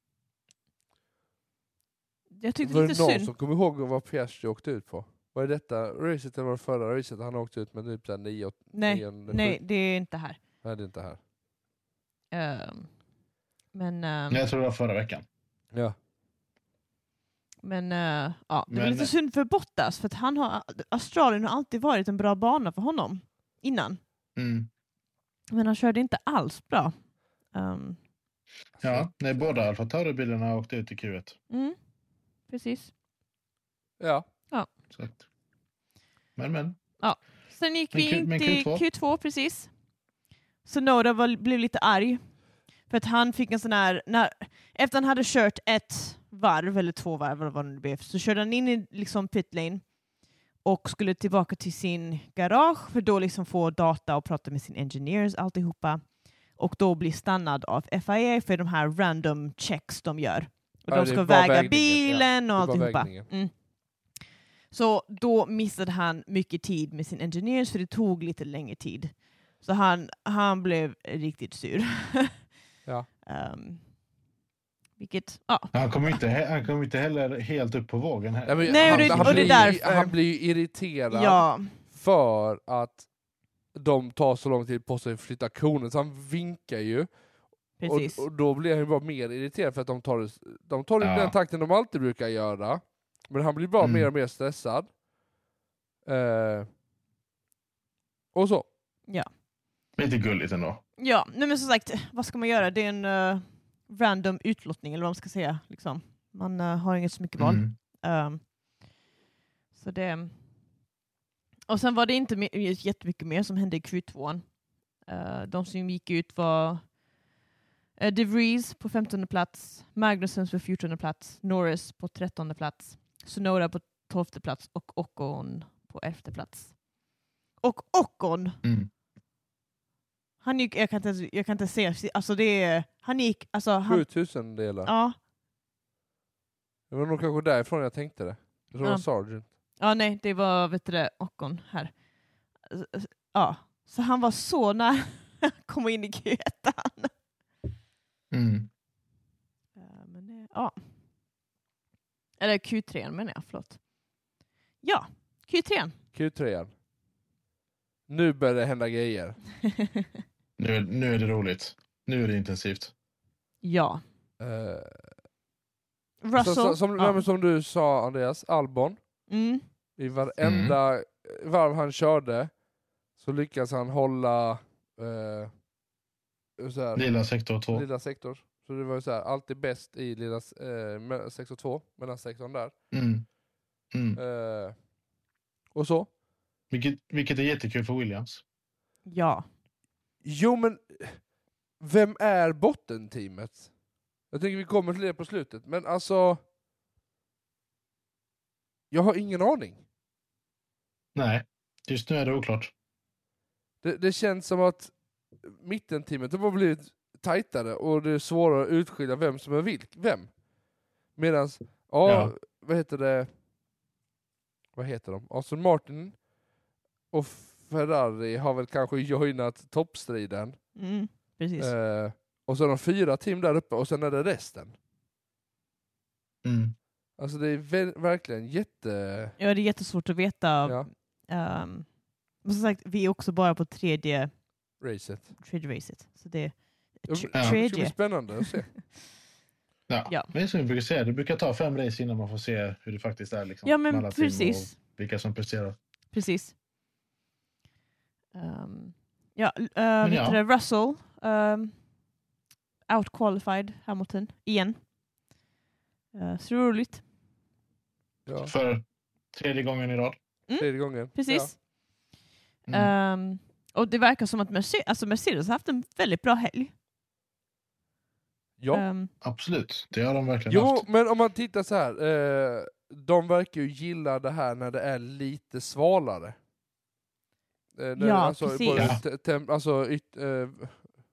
S3: jag tyckte
S2: Var
S3: det
S2: det
S3: lite
S2: någon
S3: synd.
S2: som kommer ihåg vad Piastri åkte ut på? Var det detta racet eller var det förra racet han åkte ut med typ 9
S3: Nej, nej, det är inte här.
S2: Nej, det är inte här.
S3: Ehm, men ehm, Mm.
S1: Jag tror det var förra veckan.
S2: Ja.
S3: Men eh, ja, det var
S1: Men-
S3: lite synd för Bottas, för att han har, Australien har alltid varit en bra bana för honom innan.
S1: Mm.
S3: Men han körde inte alls bra. Ehm,
S1: Ja, nej, båda Alfa Tauri-bilarna åkte ut i Q1.
S3: mm, precis.
S2: Ja.
S1: Så att. Men, men.
S3: Sen gick
S1: Men
S3: vi
S1: Q-
S3: in
S1: men
S3: till
S1: Q2.
S3: Q2. precis. Så Noda var, blev lite arg. För att han fick en sån här... När, efter han hade kört ett varv, eller två varv eller vad det nu blev, så körde han in i liksom pitlane och skulle tillbaka till sin garage för då liksom få data och prata med sin engineers alltihopa. Och då bli stannad av FIA för de här random checks de gör. Och
S2: Ja,
S3: de
S2: det
S3: ska
S2: var
S3: väga
S2: vägningen, ja.
S3: bilen och
S2: Det var
S3: alltihopa.
S2: vägningen.
S3: Mm. Så då missade han mycket tid med sin engineers för det tog lite längre tid. Så han, han blev riktigt sur.
S2: [LAUGHS] Ja.
S3: Ehm, vilket, ja.
S1: Han kom inte, he- han kom inte heller helt upp på vågen här.
S2: men
S3: Nej, och det- och det
S2: blir,
S3: är därför.
S2: han blir ju irriterad
S3: ja.
S2: för att de tar så lång tid på sig att flytta konen, så han vinkar ju.
S3: Precis.
S2: Och, och då blir han ju bara mer irriterad för att de tar, det- de tar det i
S1: Ja.
S2: den takten de alltid brukar göra. Men han blir bara
S1: Mm.
S2: mer och mer stressad. Eh, och så.
S1: Lite gulligt ändå.
S3: Ja, nej men som sagt, vad ska man göra? Det är en eh, random utlottning, eller vad man ska säga. Liksom. Man eh, har inget så mycket val.
S1: Mm.
S3: Ehm, så det... Och sen var det inte me- jättemycket mer som hände i Q2. Eh, de som gick ut var eh, De Vries på 15 plats, Magnussen på 14 plats, Norris på 13 plats, Sonoda på 12 plats och Ocon på 11 plats. Och Ocon
S1: Mm.
S3: han gick, jag kan inte, ens- jag kan inte se, alltså det är, han gick, alltså han,
S2: 7000 delar.
S3: ja,
S2: Det var nog kanske därifrån jag tänkte det. Jag tror det
S3: Ja.
S2: var Sargent.
S3: ja nej det var vet du det, Ocon här. Ja, så han var så nära att komma in i Q1.
S1: Mm.
S3: Ja, Men det, ja. Eller Q3 menar jag, förlåt. Ja, Q3.
S2: Q3. Nu börjar det hända grejer.
S1: Nu, nu är det roligt. Nu är det intensivt.
S3: ja,
S2: Eh,
S3: Russell.
S2: Så, så, som, nej,
S3: ja.
S2: men som du sa Andreas, Albon,
S3: mm,
S2: i varenda varv han körde så lyckas han hålla eh, så här,
S1: Lila sektor 2.
S2: lilla sektor. Så det var ju så här, alltid bäst i lilla eh, me- sektor 2, mellansektorn där.
S1: Mm. Mm.
S2: Eh, och så.
S1: Vilket, vilket är jättekul för Williams.
S3: ja,
S2: Jo men, vem är bottenteamet? Jag tänker vi kommer till det på slutet, men alltså... Jag har ingen aning.
S1: Nej, just nu är det oklart.
S2: Det, det känns som att mittenteamet har bara blivit tajtare och det är svårare att utskilja vem som är vilk, vem. Medan, ja,
S1: Ja.
S2: vad heter det? Vad heter de? Aston Martin och Ferrari har väl kanske joinat toppstriden.
S3: mm, precis.
S2: Eh, och så är de fyra team där uppe och sen är det resten.
S1: Mm.
S2: Alltså det är ver- verkligen jätte...
S3: Ja, det är jättesvårt att veta.
S2: Ja,
S3: ehm, men som sagt, vi är också bara på tredje
S2: racet.
S3: tredje racet. Så det
S2: Ja,
S3: tr-
S1: det ska
S2: Det ska bli
S3: tredje.
S2: spännande att se.
S1: Ja.
S3: Ja.
S1: Men som vi brukar säga, det brukar ta fem race innan man får se hur det faktiskt är. Liksom,
S3: Ja
S1: med
S3: men
S1: alla team
S3: precis.
S1: Och vilka som presterar.
S3: precis. Ehm, ja, uh,
S1: ja.
S3: Russell um, outqualified Hamilton igen. Uh, så roligt. Mm.
S2: Ja,
S1: För tredje gången i rad.
S2: tredje gången.
S3: Precis.
S1: Mm.
S3: Ehm, och det verkar som att Mercedes, alltså Mercedes har haft en väldigt bra helg.
S2: Ja. ja.
S3: Ehm,
S1: Absolut, det har de verkligen
S2: Jo,
S1: haft.
S2: men om man tittar så här. Eh, de verkar ju gilla det här när det är lite svalare. Eh, när,
S3: Ja,
S2: alltså,
S3: precis.
S2: både
S1: Ja.
S2: te- temp, alltså yt, eh,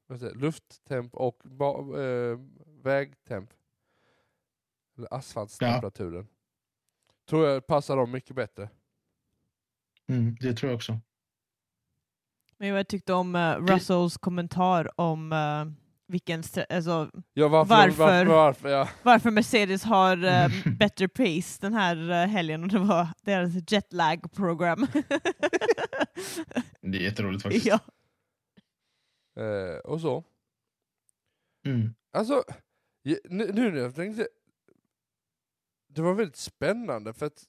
S2: vad säger, jag, lufttemp och ba, eh, vägtemp. Eller asfaltstemperaturen. Tror jag passar dem mycket bättre.
S1: Mm, det tror jag också.
S3: men jag tyckte om eh, Russells kommentar om eh, vilken, stre- alltså,
S2: Ja, varför? de-
S3: Varför?
S2: varför, varför ja.
S3: varför Mercedes har eh, better pace den här eh, helgen och det var deras jetlag program.
S1: Det är jätteroligt faktiskt.
S3: [LAUGHS] ja.
S2: Eh, och så.
S1: Mm.
S2: Alltså, je- nu, nu när jag tänkte, det var väldigt spännande för att...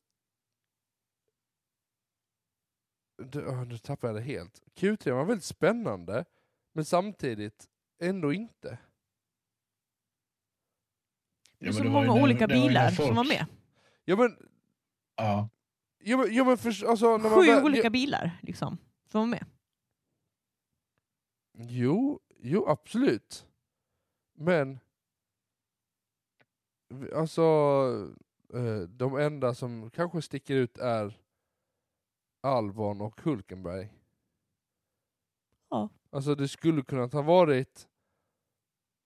S2: Du, åh, nu tappade jag det helt. Q3 var väldigt spännande, men samtidigt ändå inte.
S3: Det
S1: Ja, men
S3: var så
S1: det var ju
S3: Alltså, många
S1: när-
S3: olika
S1: det var ju när
S3: bilar
S1: folk-
S3: som var med.
S2: Ja men,
S1: Ja.
S2: ja, men, ja, men för, alltså... När man
S3: Sju
S2: väl-
S3: olika bilar liksom, som var med.
S2: Jo, jo absolut. Men v- alltså eh, de enda som kanske sticker ut är Alvan och Hulkenberg.
S3: Ja.
S2: Alltså det skulle kunna ha varit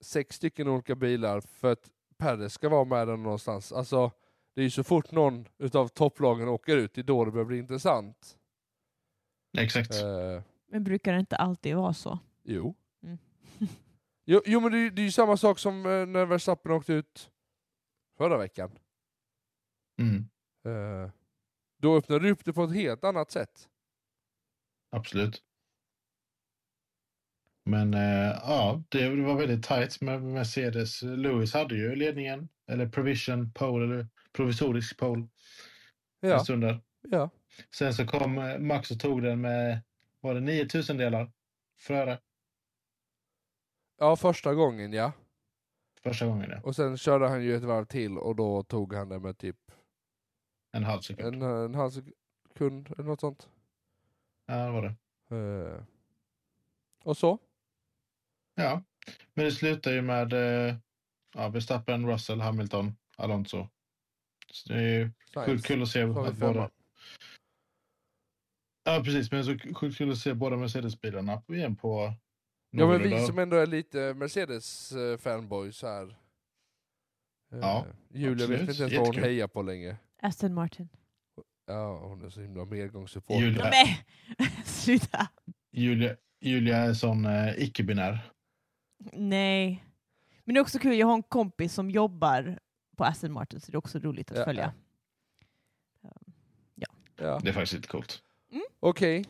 S2: sex stycken olika bilar för att Perre ska vara med den någonstans. Alltså det är ju så fort någon utav topplagen åker ut, det är då det börjar bli intressant.
S1: Exakt.
S2: Eh,
S3: Men brukar det inte alltid vara så?
S2: Jo.
S3: Mm.
S2: jo, jo men det, är ju- det är ju samma sak som eh, när Verstappen åkte ut förra veckan.
S1: Mm,
S2: Eh, Då öppnade du upp det på ett helt annat sätt.
S1: absolut. Men eh, ja, det var väldigt tajt med Mercedes. Lewis hade ju ledningen, eller provision pole, eller provisorisk pole, en
S2: Ja,
S1: stund där.
S2: Alltså, ja.
S1: Sen så kom eh, Max och tog den med, var det 9000 delar? Före
S2: ja, första gången ja.
S1: första gången, ja.
S2: Och sen körde han ju ett varv till och då tog han det med typ
S1: En halv sekund.
S2: en, en halv sekund eller något sånt.
S1: Ja, det var det.
S2: Eh, Och så.
S1: Ja, men det slutar ju med eh, ja, Verstappen, Russell, Hamilton, Alonso. Så det är ju sjukt kul att se
S2: Så har vi
S1: att båda...
S2: femma.
S1: Ja, precis. Men så sjukt kul att se båda Mercedes-bilarna på- igen på...
S2: Ja men vi
S1: någorlunda-
S2: som ändå är lite Mercedes-fanboys här. Eh,
S1: Ja,
S2: Julia vet
S1: absolut.
S2: inte ens vad hon
S1: Jättekul.
S2: hejar på längre.
S3: [LAUGHS] Aston Martin.
S2: Ja, hon är så himla medgångssupporter.
S1: Julia,
S3: Nej! [LAUGHS] Sluta!
S1: Julia, Julia är sån eh, icke-binär.
S3: Nej. Men det är också kul, jag har en kompis som jobbar på Aston Martin så det är också roligt att
S2: Ja,
S3: följa.
S2: ja. Ja.
S1: Det är faktiskt lite coolt.
S2: Okej,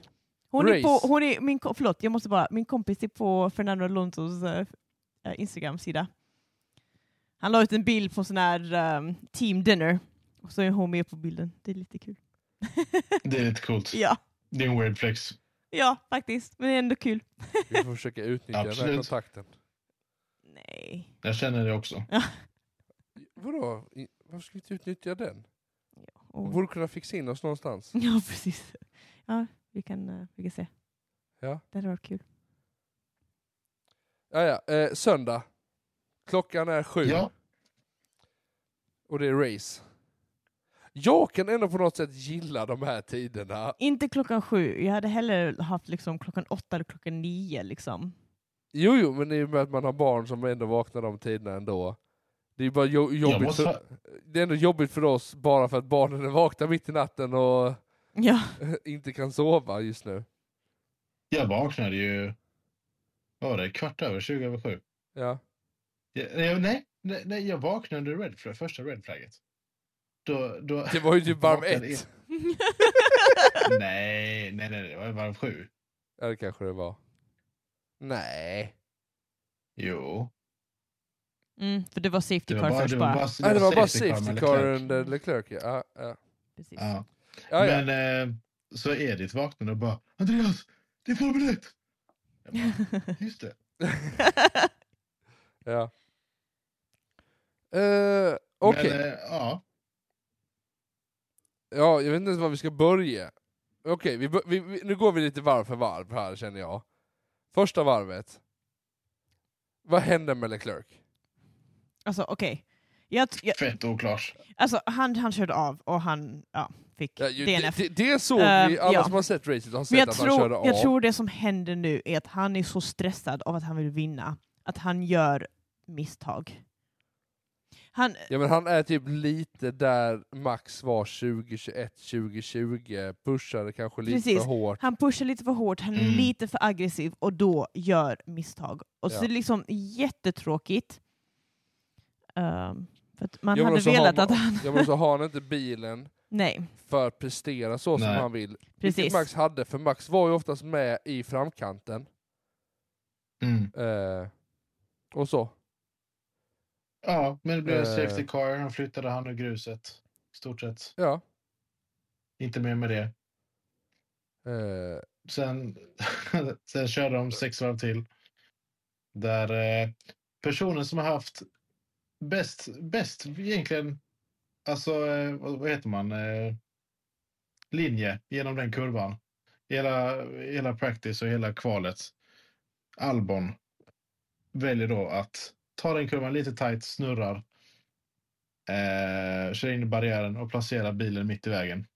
S3: Hon är på,
S2: Race.
S3: hon är, min, ko- förlåt, jag måste bara, min kompis är på Fernando Alonsos eh, eh, Instagram-sida. Han la ut en bild på sån här ehm, team dinner, och så är hon med på bilden. Det är lite kul.
S1: Det är lite coolt.
S3: [LAUGHS] ja,
S1: Det är en weird flex.
S3: ja, faktiskt. Men det är
S1: [LAUGHS]
S3: ändå kul.
S2: vi får försöka utnyttja den här
S1: Absolut.
S2: kontakten.
S3: Nej.
S1: Jag känner det också.
S2: Vadå? I- Varför ska vi inte utnyttja den? Hon
S3: Och,
S2: borde kunna fixa in oss någonstans.
S3: Oh. [LAUGHS] ja, precis. Ja, vi kan, eh, vi kan se.
S2: Ja.
S3: Det hade varit kul.
S2: Ja, ja. Eh, söndag. Klockan är sju
S1: Ja,
S2: och det är race. Jag kan ändå på något sätt gilla de här tiderna.
S3: Inte klockan sju. Jag hade hellre haft liksom klockan åtta eller klockan nio. Liksom.
S2: Jo, jo, men i och med att man har barn som ändå vaknar de tiderna ändå. Det är ju bara jo-
S1: jag
S2: jobbigt,
S1: måste...
S2: för, det är ändå jobbigt för oss bara för att barnen är vakna mitt i natten och [LAUGHS]
S1: [LAUGHS]
S3: Ja.
S2: inte kan sova just nu.
S1: Jag vaknade ju... Vad var det? Kvart över, 20 över sju.
S2: Ja.
S1: Ja, nej, nej, nej, nej, jag vaknade under red flag, första red flagget. Då, då... [LAUGHS]
S2: Det var ju typ varv
S1: Vaknade
S2: ett.
S1: Nej, nej, nej, det var varv sju.
S2: Ja, det kanske det var. Nej.
S1: Jo.
S3: Mm, för det var
S1: Det
S3: safety
S1: var
S3: car
S1: bara,
S3: först
S1: det
S3: bara.
S1: var bara,
S2: Nej, det var bara
S1: safety car
S2: safety
S1: med
S2: car
S1: Leclerc.
S2: under Leclerc. Ja, ja. ja,
S3: Precis.
S1: Ja.
S2: ja.
S1: Men eh, så Edith vaknade och bara Andreas, det är Formel 1! Jag
S3: [LAUGHS]
S1: bara, Just det.
S2: ja. Eh, Okej,
S1: Men, eh, ja,
S2: ja, jag vet inte ens var vi ska börja. Okej, vi, bör- vi, vi, nu går vi lite varv för varv här känner jag. Första varvet. Vad hände med Leclerc?
S3: [LAUGHS] alltså okej. Jag, t- jag,
S1: fett oklart.
S3: alltså, han, han körde av och han ja, fick
S2: Ja, ju, det,
S3: DNF.
S2: det, det såg
S3: Eh,
S2: vi, alla
S3: ja.
S2: som har sett racet har sett
S3: Men jag
S2: att han
S3: tror,
S2: körde av.
S3: jag tror det som händer nu är att han är så stressad av att han vill vinna att han gör misstag. Han,
S2: Ja men han är typ lite där Max var 2021, 2020, pushade kanske lite
S3: Precis.
S2: för hårt.
S3: Han pushar lite för hårt, han är
S1: Mm.
S3: lite för aggressiv och då gör misstag. Och
S2: Ja.
S3: så är det liksom jättetråkigt. Ehm, för att man
S2: Ja, men
S3: hade
S2: så har
S3: velat
S2: man-
S3: att han...
S2: Ja men så har han inte bilen
S3: [LAUGHS] Nej,
S2: för att prestera så som
S1: Nej.
S2: han vill. Vilket
S3: precis.
S2: Max hade, för Max var ju oftast med i framkanten.
S1: Mm.
S2: Eh, och så.
S1: Ja, men det blev en
S2: Eh.
S1: safety car. Han flyttade han ur gruset. I Stort sett.
S2: Ja.
S1: Inte mer med det.
S2: Eh,
S1: Sen, [LAUGHS] sen körde de sex varv till. Där eh, personen som har haft bäst, bäst egentligen, alltså eh, vad vad heter man, eh, linje genom den kurvan. Hela, hela practice och hela kvalet. Albon väljer då att ta den kurvan lite tajt, snurrar, eh, kör in i barriären och placerar bilen mitt i vägen.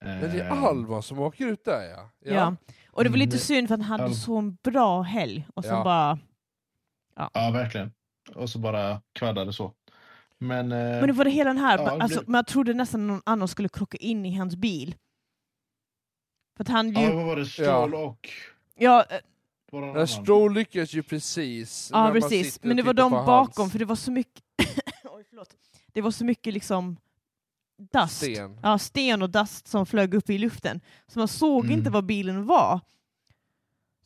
S2: men det är
S1: Eh,
S2: Alban som åker ut där ja.
S3: Ja. Och det var lite
S1: Mm.
S3: synd för att han hade
S1: Ja.
S3: så en bra helg och så
S2: Ja.
S3: bara...
S1: Ja, verkligen. Och så bara kvaddade så. Men, eh,
S3: Men det var det hela den här,
S1: Ja, det
S3: alltså,
S1: blev-
S3: man trodde nästan någon annan skulle krocka in i hans bil. För att han ju...
S1: ja, vad var det? Stål och...
S3: Ja, eh,
S1: Var det någon
S2: Den här
S1: annan?
S2: Stroll lyckas ju precis. när
S3: ja
S2: man
S3: precis.
S2: sitter och
S3: Men det var
S2: tittar
S3: de
S2: på hans-
S3: bakom, för det var så mycket... [LAUGHS] Oj, förlåt. Det var så mycket liksom... Dust.
S2: Sten.
S3: Ja, sten och dust som flög upp i luften. Så man såg
S1: Mm.
S3: inte vad bilen var.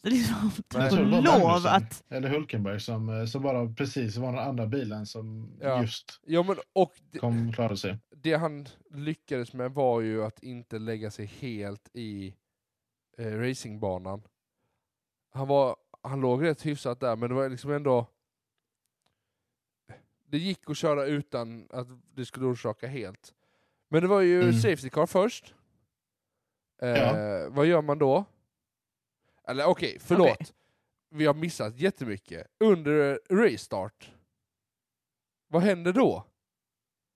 S3: Så liksom,
S1: Jag tror
S3: tack
S1: det
S3: och
S1: var
S3: lov
S1: Magnussen,
S3: att...
S1: Eller Hulkenberg som, eh, som bara precis var den andra bilen som
S2: Ja.
S1: just
S2: Ja, men, och det,
S1: kom klarade sig.
S2: det han lyckades med var ju att inte lägga sig helt i eh, racingbanan. Han, var, han låg rätt hyfsat där, men det var liksom ändå... Det gick att köra utan att det skulle orsaka helt. Men det var ju
S1: Mm.
S2: safety car först. Eh,
S1: Ja.
S2: Vad gör man då? Eller okej, förlåt.
S3: Okej.
S2: Vi har missat jättemycket. Under restart, vad händer då?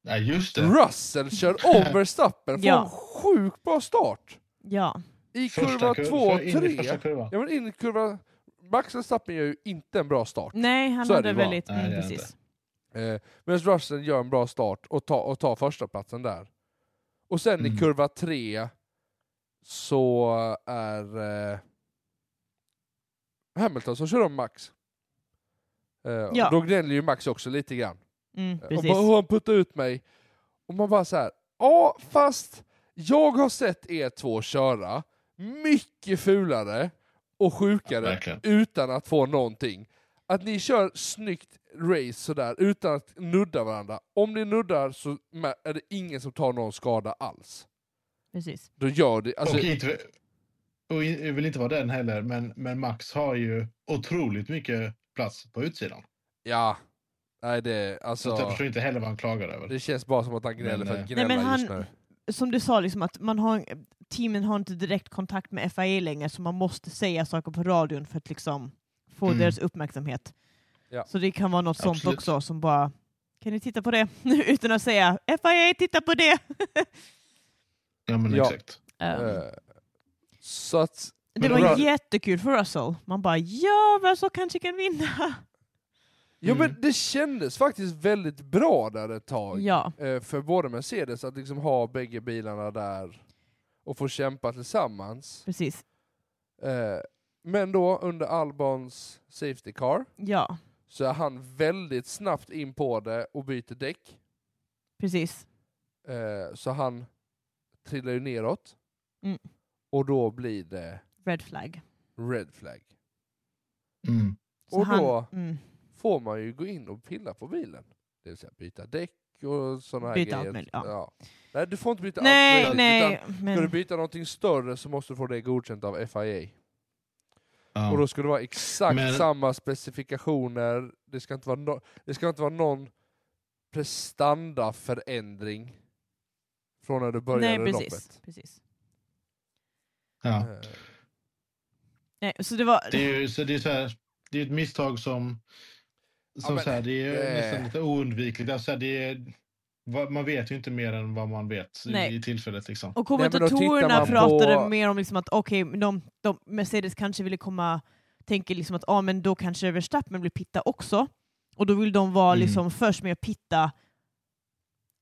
S1: Ja, just det. [LAUGHS]
S2: Russell kör om Verstappen, får
S3: Ja.
S2: en sjukt bra start.
S3: Ja.
S2: I
S1: Första
S2: kurva
S1: kur-
S2: 2 och
S1: för- in i första
S2: 3.
S1: kurvan.
S2: Ja men in i kurva... Max Verstappen gör ju inte en bra start.
S3: Nej, han
S2: Så är det
S3: hade
S2: ju bara.
S3: väldigt...
S1: Nej,
S3: mm,
S1: det är
S3: precis.
S2: Eh, medan Russell gör en bra start och tar, och tar första platsen där. Och sen i
S1: Mm.
S2: kurva 3 så är eh, Hamilton som kör om Max. Eh,
S3: Ja.
S2: och då gnäller ju Max också lite grann.
S3: Mm,
S2: Och
S3: precis.
S2: bara, hur han puttade ut mig. Och man bara så här. ja fast jag har sett er två köra mycket fulare och sjukare
S1: Verkligen.
S2: utan att få någonting. Att ni kör snyggt race sådär utan att nudda varandra. Om ni nuddar så mä- är det ingen som tar någon skada alls.
S3: precis.
S2: Då gör det, alltså,
S1: och inte, och in- jag vill inte vara den heller, men, men Max har ju otroligt mycket plats på utsidan.
S2: ja. Nej det,
S1: Så att jag
S2: alltså,
S1: förstår inte heller vad han klagar över.
S2: det känns bara som att han gnäller
S1: Men,
S2: för
S1: eh,
S2: att
S3: Nej, men
S2: gnälla just
S3: han-
S2: nu.
S3: Som du sa, liksom att man har, teamen har inte direkt kontakt med FIA längre, så man måste säga saker på radion för att liksom få
S1: Mm.
S3: deras uppmärksamhet.
S2: Ja.
S3: Så det kan vara något sånt
S1: Absolut.
S3: också som bara, kan ni titta på det? [LAUGHS] Utan att säga FIA, titta på det!
S1: Ja, men
S2: Ja.
S1: exakt.
S3: Um,
S2: Eh, Så att,
S3: det
S1: men
S3: var
S1: Russell-
S3: jättekul för Russell. Man bara, ja, Russell kanske kan vinna!
S2: ja
S1: Mm.
S2: men det kändes faktiskt väldigt bra där ett tag.
S3: Ja,
S2: eh, för både Mercedes att liksom ha bägge bilarna där och få kämpa tillsammans.
S3: precis.
S2: Eh, Men då under Albons Safety Car
S3: Ja,
S2: så är han väldigt snabbt in på det och byter däck.
S3: precis.
S2: Eh, Så han trillar ju neråt.
S3: Mm.
S2: Och då blir det
S3: Red flag.
S2: red flag.
S1: Mm.
S3: Så
S2: och
S3: han-
S2: då
S3: mm,
S2: får man ju gå in och pilla på bilen. Det vill säga byta däck och sådana här
S3: Byta
S2: grejer.
S3: allt möjligt, ja.
S2: Nej, du får inte byta
S3: nej,
S2: allt möjligt. utan
S3: nej.
S2: Ska du
S3: Men,
S2: byta någonting större så måste du få det godkänt av FIA.
S1: Ja.
S2: Och då ska det vara exakt
S1: Men-
S2: samma specifikationer, det ska inte vara, no- det ska inte vara någon prestandaförändring från när du började
S3: nej, precis.
S2: loppet.
S3: precis.
S1: ja.
S2: Eh,
S3: Nej, så det var...
S1: Det är ju så det är så här, det är ett misstag som, som
S2: men-
S1: så här, det är
S2: det-
S1: nästan lite oundvikligt. Alltså, det är, vad- man vet ju inte mer än vad man vet i-
S3: Nej.
S1: i tillfället. Liksom.
S3: Och
S2: men då tittar
S3: kommentatorerna
S2: man på-
S3: pratade mer om liksom att okej, de, de, Mercedes kanske ville komma, tänker liksom att ah, men då kanske Verstappen blir pitta också. Och då vill de vara
S1: Mm.
S3: liksom först med att pitta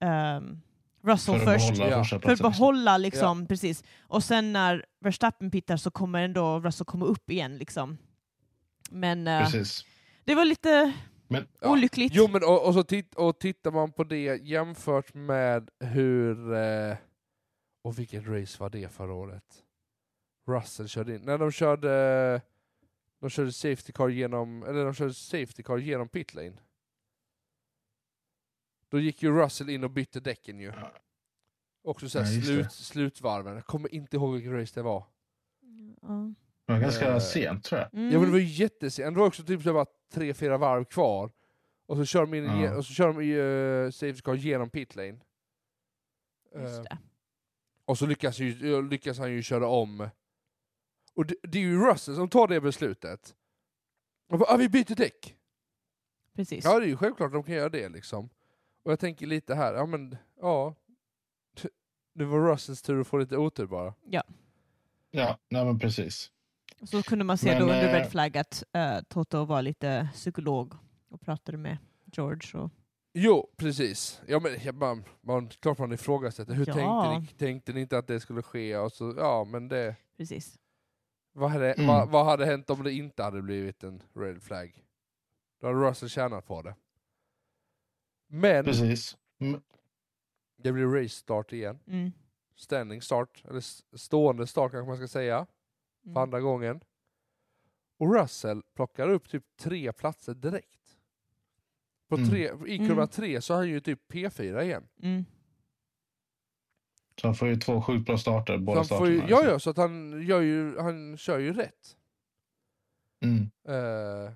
S3: ehm,
S1: För
S3: Russell
S1: att
S3: först.
S1: behålla
S2: Ja.
S1: första
S3: För att
S1: platsen, liksom.
S3: behålla liksom, precis. Och sen när Verstappen pittar så kommer ändå Russell komma upp igen liksom. Men eh,
S1: Precis.
S3: det var lite
S1: Men-
S2: Ja.
S3: olyckligt.
S2: Jo men och, och så titt, och tittar man på det jämfört med hur... Eh, och vilket race var det förra året? Russell körde in, när de körde... De körde safety car genom, eller de körde safety car genom pitlane. Då gick ju Russell in och bytte däcken ju.
S1: Ja.
S2: Också såhär
S1: Ja, just
S2: slut,
S1: det.
S2: slutvarven. Jag kommer inte ihåg vilken race det var.
S3: Ja.
S1: Det var ganska
S2: Eh,
S1: sent tror jag.
S3: Mm.
S2: Ja men det var ju jättesent. Det var också typ så här bara tre, fyra varv kvar. Och så kör de, in,
S1: Ja.
S2: och så kör de i uh, safety car genom pitlane. Eh,
S3: Just det.
S2: och så lyckas, ju, lyckas han ju köra om. Och det, det är ju Russell som tar det beslutet. Och bara, ah, vi byter däck.
S3: Precis.
S2: Ja, det är ju självklart de kan göra det liksom. Och jag tänker lite här, ja men, ja. [LAUGHS] T- Nu var Russells tur att få lite otur bara.
S1: Ja, nej men precis.
S3: Så kunde man se
S1: Men,
S3: då under
S1: eh,
S3: Red Flag att eh, Toto var lite psykolog och pratade med George. Och,
S2: Jo, precis. Ja, men jag bara, man, klart man ifrågasätter. Hur
S3: Ja.
S2: tänkte, ni, tänkte ni inte att det skulle ske? Och så, ja, men det,
S3: precis.
S2: vad, hade,
S1: Mm.
S2: vad, vad hade hänt om det inte hade blivit en red flag? Då hade Russell tjänat på det. Men
S1: Precis. Mm,
S2: det blir race start igen.
S3: Mm.
S2: Standing start, eller s- stående start kanske man ska säga, för
S3: Mm.
S2: andra gången. Och Russell plockar upp typ tre platser direkt. På
S1: Mm.
S2: tre, I kurva
S3: Mm.
S2: tre så är han ju typ P4 igen.
S3: Mm.
S1: Så han får ju två sjukt bra starter
S2: Så
S1: båda
S2: han får ju,
S1: starterna. liksom.
S2: ja, ja, så att han, gör ju, han kör ju rätt.
S1: Mm.
S2: Eh,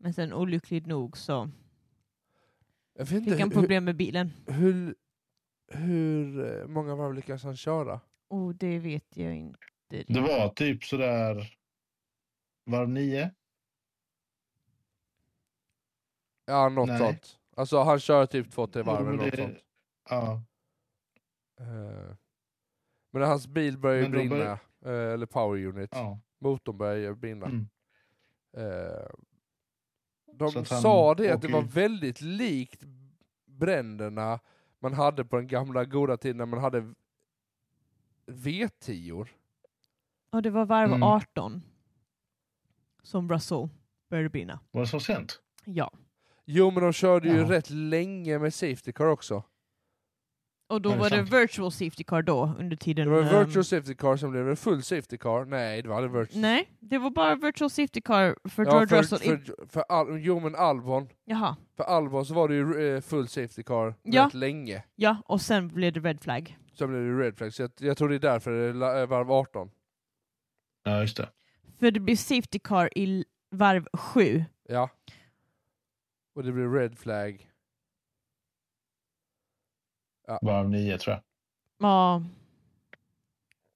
S3: Men sen olyckligt nog så
S2: jag vet inte
S3: fick han
S2: hur,
S3: problem med bilen.
S2: hur, hur eh, många varv lyckas han köra?
S3: Och Oh, det vet jag inte.
S2: Mm.
S1: Det var typ sådär varv nio.
S2: Ja, något
S1: Nej.
S2: sånt. Alltså han kör typ två, tre varv
S1: Jo,
S2: eller något
S1: det-
S2: sånt.
S1: Ja,
S2: Eh, men hans bil börjar ju
S1: Men då
S2: brinna, eh, eller power unit.
S1: ja.
S2: Motorn börjar ju brinna.
S1: Mm.
S2: Eh, de
S1: Så att han
S2: sa det att det
S1: åker
S2: var
S1: ju-
S2: väldigt likt bränderna man hade på den gamla goda tiden när man hade V10.
S3: Och det var varv
S1: Mm.
S3: 18 som Russell började brinna.
S1: Var det så sent?
S3: Ja.
S2: Jo men de körde ju
S1: Ja.
S2: rätt länge med Safety Car också.
S3: Och då
S1: Är det
S3: var det
S1: sant?
S3: virtual safety car då under tiden.
S2: Det var
S3: ehm,
S2: Virtual Safety Car som blev en full Safety Car. Nej det var aldrig Virtual
S3: Nej, det var bara virtual safety car för
S2: Ja,
S3: George
S2: för,
S3: Russell. i-
S2: för, för Al- Jo men Albon.
S3: Jaha.
S2: För Albon så var det ju eh, full Safety Car
S3: Ja.
S2: rätt länge.
S3: Ja, och sen blev det red flag.
S2: Sen blev det ju Red Flag. Så jag, jag tror det är därför det är la- eh, varv 18.
S1: Ja, just det.
S3: För det blev safety car i l- varv sju.
S2: Ja. Och det blir Red Flag.
S1: Varv nio tror jag.
S3: Ja.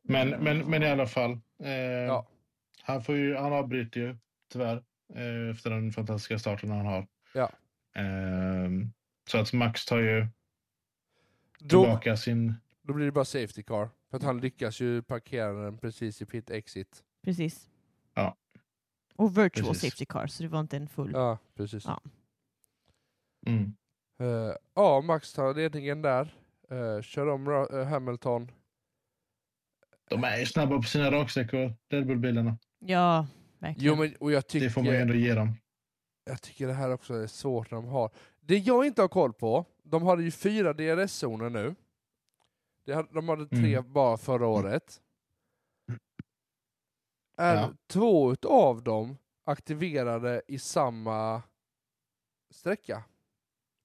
S1: Men, men, men i alla fall. Eh,
S3: Mm.
S2: Ja.
S1: Han, får ju, han avbryter ju tyvärr eh, efter den fantastiska starten han har.
S2: Ja.
S1: Ehm, så att Max tar ju
S2: Då,
S1: tillbaka sin...
S2: då blir det bara Safety Car. För att han lyckas ju parkera den precis i pit exit.
S3: Precis.
S1: Ja.
S3: Och virtual
S1: Precis.
S3: safety car, så det var inte en full.
S2: Ja, precis.
S3: Ja.
S1: Mm.
S2: Eh, ja, Max tar ledningen där. Eh, kör om Ra- eh, Hamilton.
S1: De är ju snabba på sina raksträckor, Red Bull-bilarna.
S3: Ja, verkligen.
S2: Jo, men, och jag
S1: Det får man ju
S2: tycker,
S1: ändå ge dem.
S2: jag tycker det här också är svårt när de har... Det jag inte har koll på, de hade ju fyra DRS-zoner nu. Det hade, de hade tre
S1: Mm.
S2: bara förra året. Är
S1: Ja.
S2: två utav dem aktiverade i samma sträcka?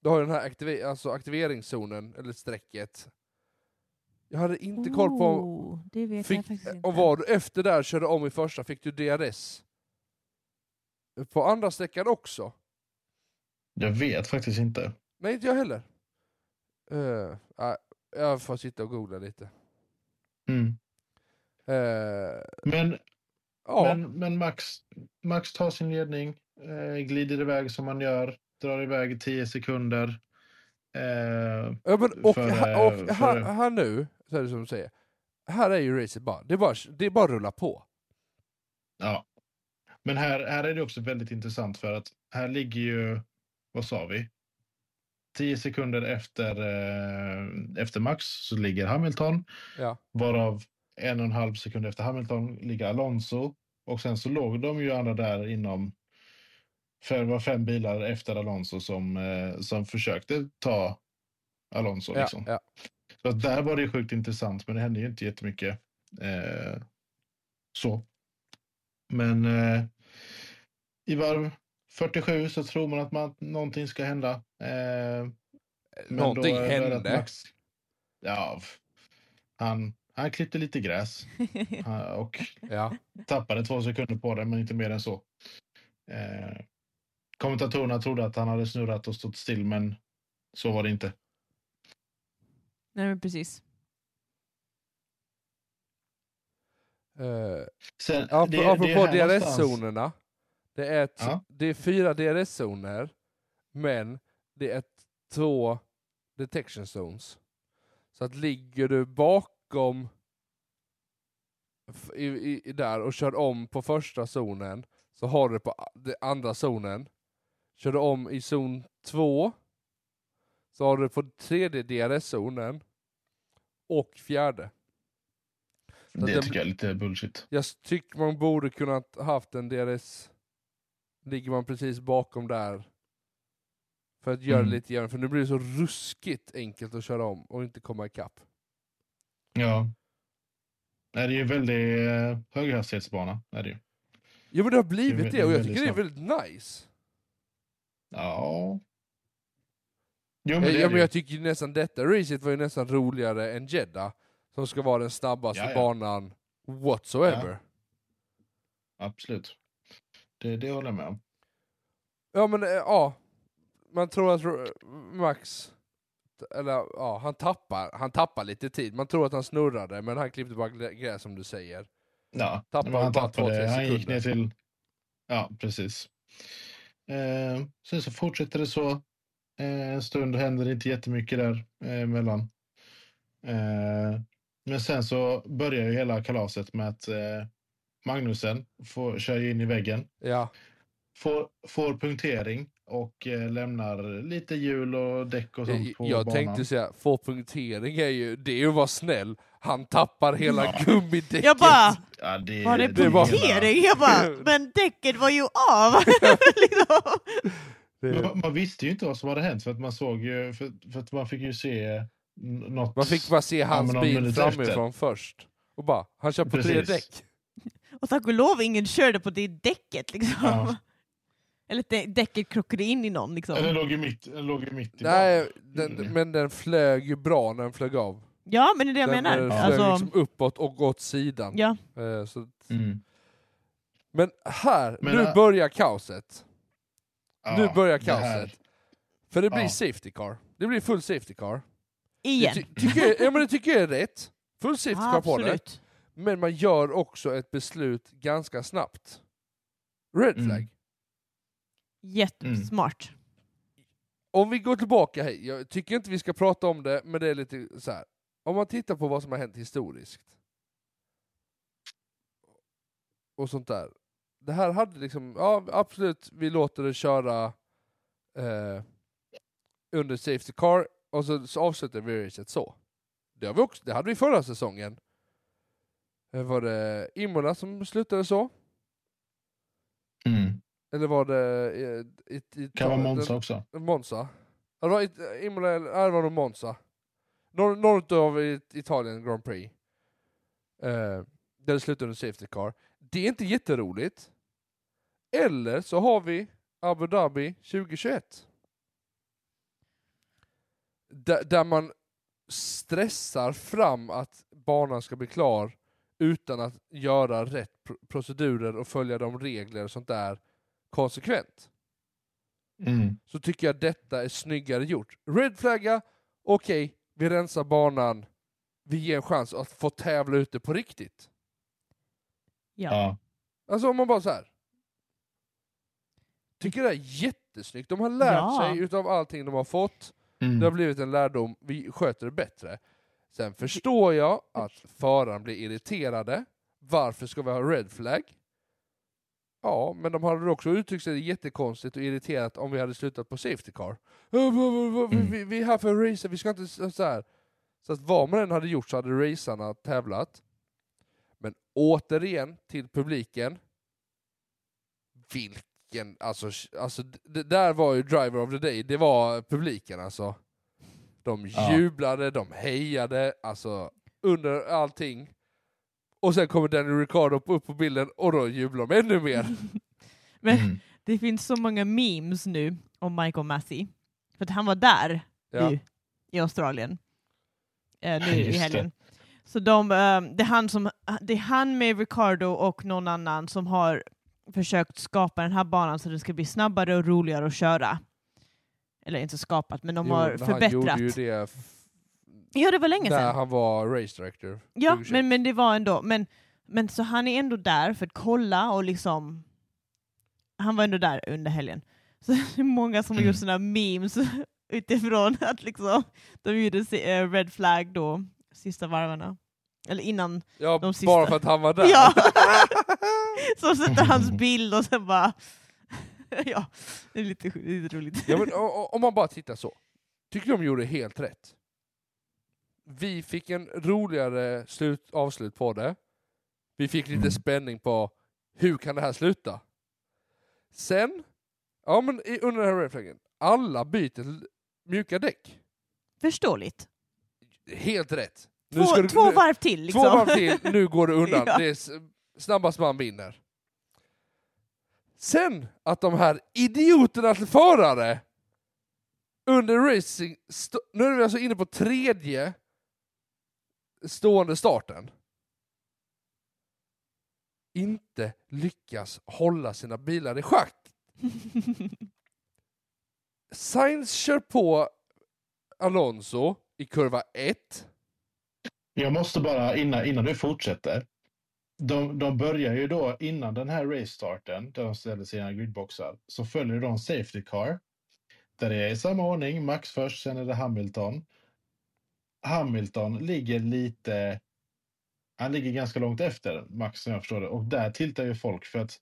S2: Du har ju den här aktive, alltså aktiveringszonen, eller strecket. Jag hade inte koll på
S3: Oh, det vet jag
S2: Fick,
S3: faktiskt inte.
S2: och
S3: [LAUGHS]
S2: var du efter där körde om i första fick du DRS. På andra sträckan också.
S1: Jag vet faktiskt inte.
S2: Nej, inte jag heller. Eh, nej, jag får sitta och googla lite.
S1: Mm.
S2: Eh,
S1: Men,
S2: ja,
S1: men, men Max, Max tar sin ledning, eh, glider iväg som man gör, drar iväg i 10 sekunder. Eh,
S2: ja, men, och,
S1: för,
S2: här-
S1: eh,
S2: och
S1: för-
S2: här, här nu, så är det som du säger. Här är ju racet bara, det är bara, det är bara att rulla på.
S1: Ja. Men här, här är det också väldigt intressant för att här ligger ju, vad sa vi? 10 sekunder efter, eh, efter Max så ligger Hamilton.
S2: Ja.
S1: Varav en och en halv sekund efter Hamilton ligger Alonso. Och sen så låg de ju andra där inom för det var fem bilar efter Alonso som, eh, som försökte ta Alonso.
S2: Ja,
S1: Liksom.
S2: ja.
S1: Så att där var det ju sjukt intressant men det hände ju inte jättemycket. Eh, så. Men eh, i varv 47 så tror man att man, någonting ska hända. Eh, men då
S2: Någonting
S1: är det att
S2: hände.
S1: Max, ja, f- han, han klippte lite gräs eh, och
S2: Ja.
S1: tappade två sekunder på det, men inte mer än så. Eh, kommentatorerna trodde att han hade snurrat och stått still, men så var det inte.
S3: Nej men precis.
S2: Eh,
S1: Sen,
S2: Ap-
S1: det- det är
S2: apropå
S1: här någonstans-
S2: DRS-zonerna. Det är, t-
S1: Ja.
S2: det är fyra DRS-zoner, men det är två detection zones. Så att ligger du bakom f- i, i, i där och kör om på första zonen, så har du det på a- det andra zonen. Kör du om i zon 2, så har du det på tredje DRS-zonen och fjärde. Så att
S1: Det
S2: den-
S1: tycker jag är lite bullshit.
S2: jag s- tycker man borde kunnat haft en DRS. Ligger man precis bakom där. För att göra
S1: Mm.
S2: det lite jämnt. För nu blir det så ruskigt enkelt att köra om och inte komma ikapp.
S1: Ja. Nej, det är ju en väldigt eh, höghastighetsbana. Är det ju.
S2: Jo men det har
S1: Det är
S2: blivit
S1: vä-
S2: det och jag
S1: väldigt
S2: tycker det är
S1: snabbt.
S2: väldigt nice.
S1: Ja. Jo, men det är
S2: Jag, Eh,
S1: det
S2: ja, men
S1: ju.
S2: jag tycker ju nästan detta racet var ju nästan roligare än Jeddah. Som ska vara den snabbaste
S1: Ja, ja.
S2: banan whatsoever.
S1: Absolut. Det, det håller jag med om.
S2: Ja, men eh, ja. Man tror att Ro- Max, eller ja, han tappar, han tappar lite tid. Man tror att han snurrade, men han klippte bara glä- gräs som du säger.
S1: Ja,
S2: Tappade
S1: men han
S2: bara två,
S1: tappade.
S2: tre
S1: han gick
S2: sekunder.
S1: ner till... Ja, precis. Eh, sen så fortsätter det så. Eh, en stund händer det inte jättemycket där eh, emellan. Eh, men sen så börjar ju hela kalaset med att eh, Magnusen får, kör ju in i väggen.
S2: Ja,
S1: får, får punktering och eh, lämnar lite hjul och däck och sånt
S2: jag,
S1: på
S2: Eh, jag
S1: banan.
S2: tänkte säga, få punktering är ju, det är ju att vara snäll. Han tappar hela
S1: Ja.
S2: gummidäcket.
S3: Jag bara,
S1: ja, det,
S3: var det
S2: det var-
S3: punktering? Jag bara, men däcket var ju av!
S2: [LAUGHS]
S3: liksom.
S2: Det-
S1: Man, man visste ju inte vad som hade hänt för att man såg ju, för, för att man fick ju se n- något.
S2: Man fick bara se hans
S1: men någon
S2: bil
S1: minut
S2: framifrån först. Och bara, han kör på tre
S1: Precis.
S2: däck.
S3: Och tack och lov ingen körde på det däcket liksom.
S1: Ja.
S3: Eller dä- däcket krockade in i någon liksom.
S1: Ja, Den låg ju mitt, den låg ju mitt i
S2: Nej,
S1: gjorde
S2: den,
S1: det.
S2: men den flög ju bra när den flög av.
S3: Ja men det är det
S2: den
S3: jag menar.
S2: eh,
S1: Ja.
S2: flög
S3: Alltså,
S2: liksom uppåt och åt sidan.
S3: ja.
S2: Eh, Så
S1: banan. Mm.
S2: Men här,
S1: Men,
S2: nu
S1: äh,
S2: börjar kaoset.
S1: Ja,
S2: nu börjar
S1: det här.
S2: kaoset. För det blir
S1: Ja.
S2: safety car. Det blir full safety car. Det,
S3: Igen.
S2: ty- tycker jag, ja, men det tycker jag är rätt. Full safety car på det.
S3: Absolut.
S2: Men man gör också ett beslut ganska snabbt. Red
S1: Mm.
S2: flag. Mm.
S3: Jättesmart.
S2: Om vi går tillbaka här, jag tycker inte vi ska prata om det, men det är lite så här. Om man tittar på vad som har hänt historiskt. Och sånt där. Det här hade liksom, ja absolut, vi låter det köra eh, under Safety Car, och så, så avslutar vi racet så. Det, har vi också, det hade vi förra säsongen. Eh, Var det Imola som slutade så?
S1: Mm.
S2: Eller var det... eh, I, i,
S1: Kan vara
S2: den-
S1: Monza också.
S2: Monza. Ja, Det var it- Imola, eller ja, det var nog Monza. Norr, norrut av it- Italien Grand Prix. Eh, där det slutade under Safety Car. Det är inte jätteroligt. Eller så har vi Abu Dhabi 2021. Där, där man stressar fram att banan ska bli klar utan att göra rätt pr- procedurer och följa de regler och sånt där konsekvent
S1: Mm.
S2: så tycker jag detta är snyggare gjort. Red flagga, okej, vi rensar banan, vi ger en chans att få tävla ute på riktigt.
S3: Ja.
S1: Ja.
S2: Alltså om man bara så här. Tycker det är jättesnyggt, de har lärt
S3: Ja.
S2: sig utav allting de har fått,
S1: Mm.
S2: det har blivit en lärdom, vi sköter det bättre. Sen förstår jag att föraren blir irriterade, varför ska vi ha red flag? Ja, men de hade också uttryckt sig jättekonstigt och irriterat om vi hade slutat på safety car. Eh, "Ja, va, va, va, vi-
S1: Mm.
S2: Vi, vi är här för att racea, vi ska inte s- så här. Så att vad man än hade gjort så hade racerna tävlat. Men återigen till publiken. Vilken, alltså, sh- alltså d- det där var ju driver of the day, det var publiken alltså. De
S1: Ja.
S2: jublade, de hejade, alltså under allting.
S3: [LAUGHS]
S2: Och sen kommer Danny Ricardo upp på bilden och då jublar de ännu mer.
S3: Men
S1: Mm.
S3: Det finns så många memes nu om Michael Massey. För att han var där
S2: Ja.
S3: nu i Australien.
S2: [LAUGHS]
S3: Eh, nu i
S1: Just
S3: helgen. Så de, eh, det, är han som, det är han med Ricardo och någon annan som har försökt skapa den här banan så den ska bli snabbare och roligare att köra. Eller inte skapat, men de
S2: Jo,
S3: har
S2: men Han
S3: förbättrat.
S2: gjorde ju det f-
S3: Ja, det var länge
S2: när
S3: sedan.
S2: han var race director.
S3: Ja,
S2: 2021.
S3: men, men det var ändå... Men, men så han är ändå där för att kolla och liksom... Han var ändå där under helgen. Så [LAUGHS] det är många som har gjort
S1: Mm.
S3: sådana memes [LAUGHS] utifrån att liksom, de gjorde se- eh, red flag då, sista varvarna. Eller innan.
S2: Ja,
S3: de sista.
S2: bara för att han var där. [LAUGHS]
S3: Ja! så sätter hans bild och sen bara... [LAUGHS] ja, det är lite, lite roligt.
S2: Ja, men, o- o- om man bara tittar så. Tycker de gjorde helt rätt. Vi fick en roligare slut, avslut på det. Vi fick lite
S1: Mm.
S2: spänning på hur kan det här sluta? Sen, ja men i- under den här red flaggen, alla byter l- mjuka däck.
S3: Förståeligt.
S2: Helt rätt. Nu
S3: Två,
S2: ska du-
S3: två
S2: nu-
S3: varv till liksom.
S2: Två varv
S3: [LAUGHS]
S2: till, nu går det undan.
S3: Ja.
S2: Det är s- snabbast man vinner. Sen att de här idioterna till förare under racing... St- nu är vi alltså inne på tredje stående starten. Inte lyckas hålla sina bilar i schack. Sainz kör på Alonso i kurva 1.
S1: Jag måste bara, innan, innan du fortsätter. De, de börjar ju då innan den här race-starten, där de ställer sina gridboxar, så följer de Safety Car. Där det är i samma ordning, Max först, sen är det Hamilton. Hamilton ligger lite... Han ligger ganska långt efter Max som jag förstår det. Och där tiltar ju folk för att...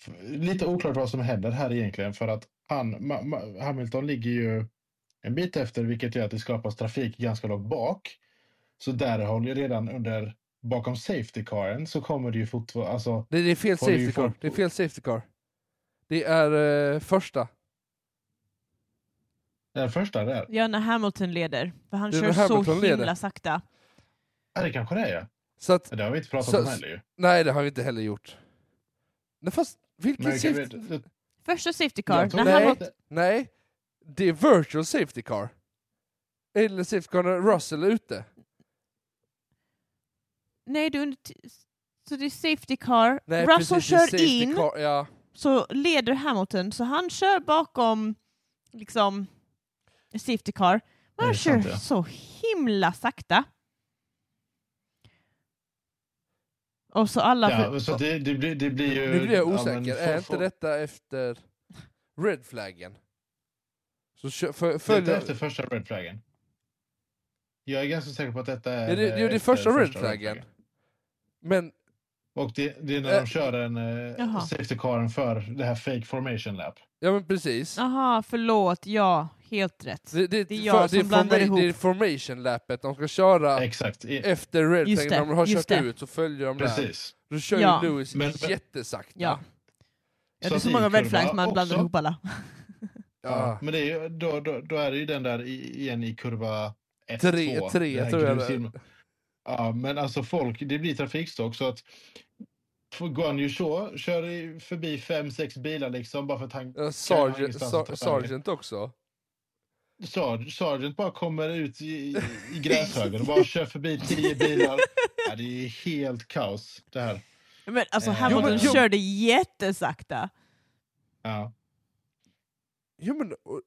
S1: för- Lite oklart vad som händer här egentligen för att han, Ma, Ma, Hamilton ligger ju en bit efter vilket gör att det skapas trafik ganska långt bak. Så där håller ju redan under bakom safety caren så kommer det ju fortfarande, alltså
S2: Det, det är fel
S1: Håller ju
S2: safety car.
S1: folk-
S2: Det är fel safety car. Det är eh, första.
S1: den första där.
S3: Ja, när Hamilton leder. För han
S2: Det är
S3: kör
S2: när
S3: så
S2: Hamilton
S3: himla
S2: leder.
S3: sakta.
S1: Ja, det kanske det är.
S2: Så att,
S1: ja. Det har vi inte pratat
S2: Så-
S1: om heller ju.
S2: nej det har vi inte heller gjort. Nej fast, vilken
S1: Men kan vi,
S2: safety...
S1: det,
S3: Första safety car,
S1: jag tror
S3: när
S2: Nej.
S1: det,
S3: Hamilton...
S1: det,
S2: Nej, det är virtual safety car. Eller safety car när Russell är ute.
S3: Nej, du... är inte- Så det är safety car.
S2: Nej,
S3: Russell
S2: precis, det är
S3: kör
S2: safety
S3: in,
S2: Car, ja.
S3: så leder Hamilton, så han kör bakom liksom safety car.
S1: Nej,
S3: Men han
S1: det är sant,
S3: kör
S1: ja.
S3: så himla sakta. Och så alla...
S1: ja, så det, det, blir, det blir ju...
S2: Nu blir
S1: ja,
S2: jag
S1: men
S2: osäker, är
S1: få-
S2: inte
S1: få-
S2: detta efter red flaggen? Så kö- för,
S1: Detta är
S2: följer...
S1: efter första red flaggen. Jag är ganska säker på att detta är...
S2: Ja, det, det,
S1: eh,
S2: det är
S1: efter
S2: första red
S1: red
S2: flaggen. Men
S1: Och det, det är när
S2: Eh,
S1: de kör en eh,
S3: jaha.
S1: safety caren för det här fake formation lap.
S2: Ja men precis.
S3: Aha, förlåt. Ja, helt rätt.
S2: Det, det,
S3: Det är jag
S2: det, är
S3: som blandar
S2: forma-
S3: ihop.
S2: det är formation lappet de ska köra
S1: Exakt, i,
S2: efter red
S3: Just
S2: flagen,
S3: det,
S2: när de har
S3: just
S2: kört
S3: det.
S2: ut så följer de där.
S1: precis.
S2: Då kör
S3: Ja.
S2: ju Lewis
S1: Men-
S2: jättesakta.
S3: Ja. Ja, det är
S1: att
S3: så
S1: i
S3: många red
S1: kurva
S3: flags man blandar
S1: också.
S3: ihop alla. [LAUGHS]
S1: Ja.
S2: Ja.
S1: Men det är ju, då, då, då är det ju den där i- igen i kurva 1,
S2: Tre-
S1: 2.
S2: tre, tror jag det är.
S1: Ja, men alltså folk, det blir trafikstock så att Guan Yu Shaw kör i- förbi fem sex bilar liksom bara för att han...
S2: Ja.
S1: Kan
S2: Sergeant,
S1: ingenstans att ta
S2: Sar-
S1: vägen.
S2: Sergeant också.
S1: Sar- Sargent bara kommer ut i, i,
S2: [LAUGHS]
S1: i gräshögen och bara kör förbi tio bilar. Ja, det är helt kaos det här.
S3: Men alltså,
S1: Eh, jo,
S3: Hamilton
S1: men- jo.
S3: körde jättesakta.
S1: Ja.
S2: Jo, men, och,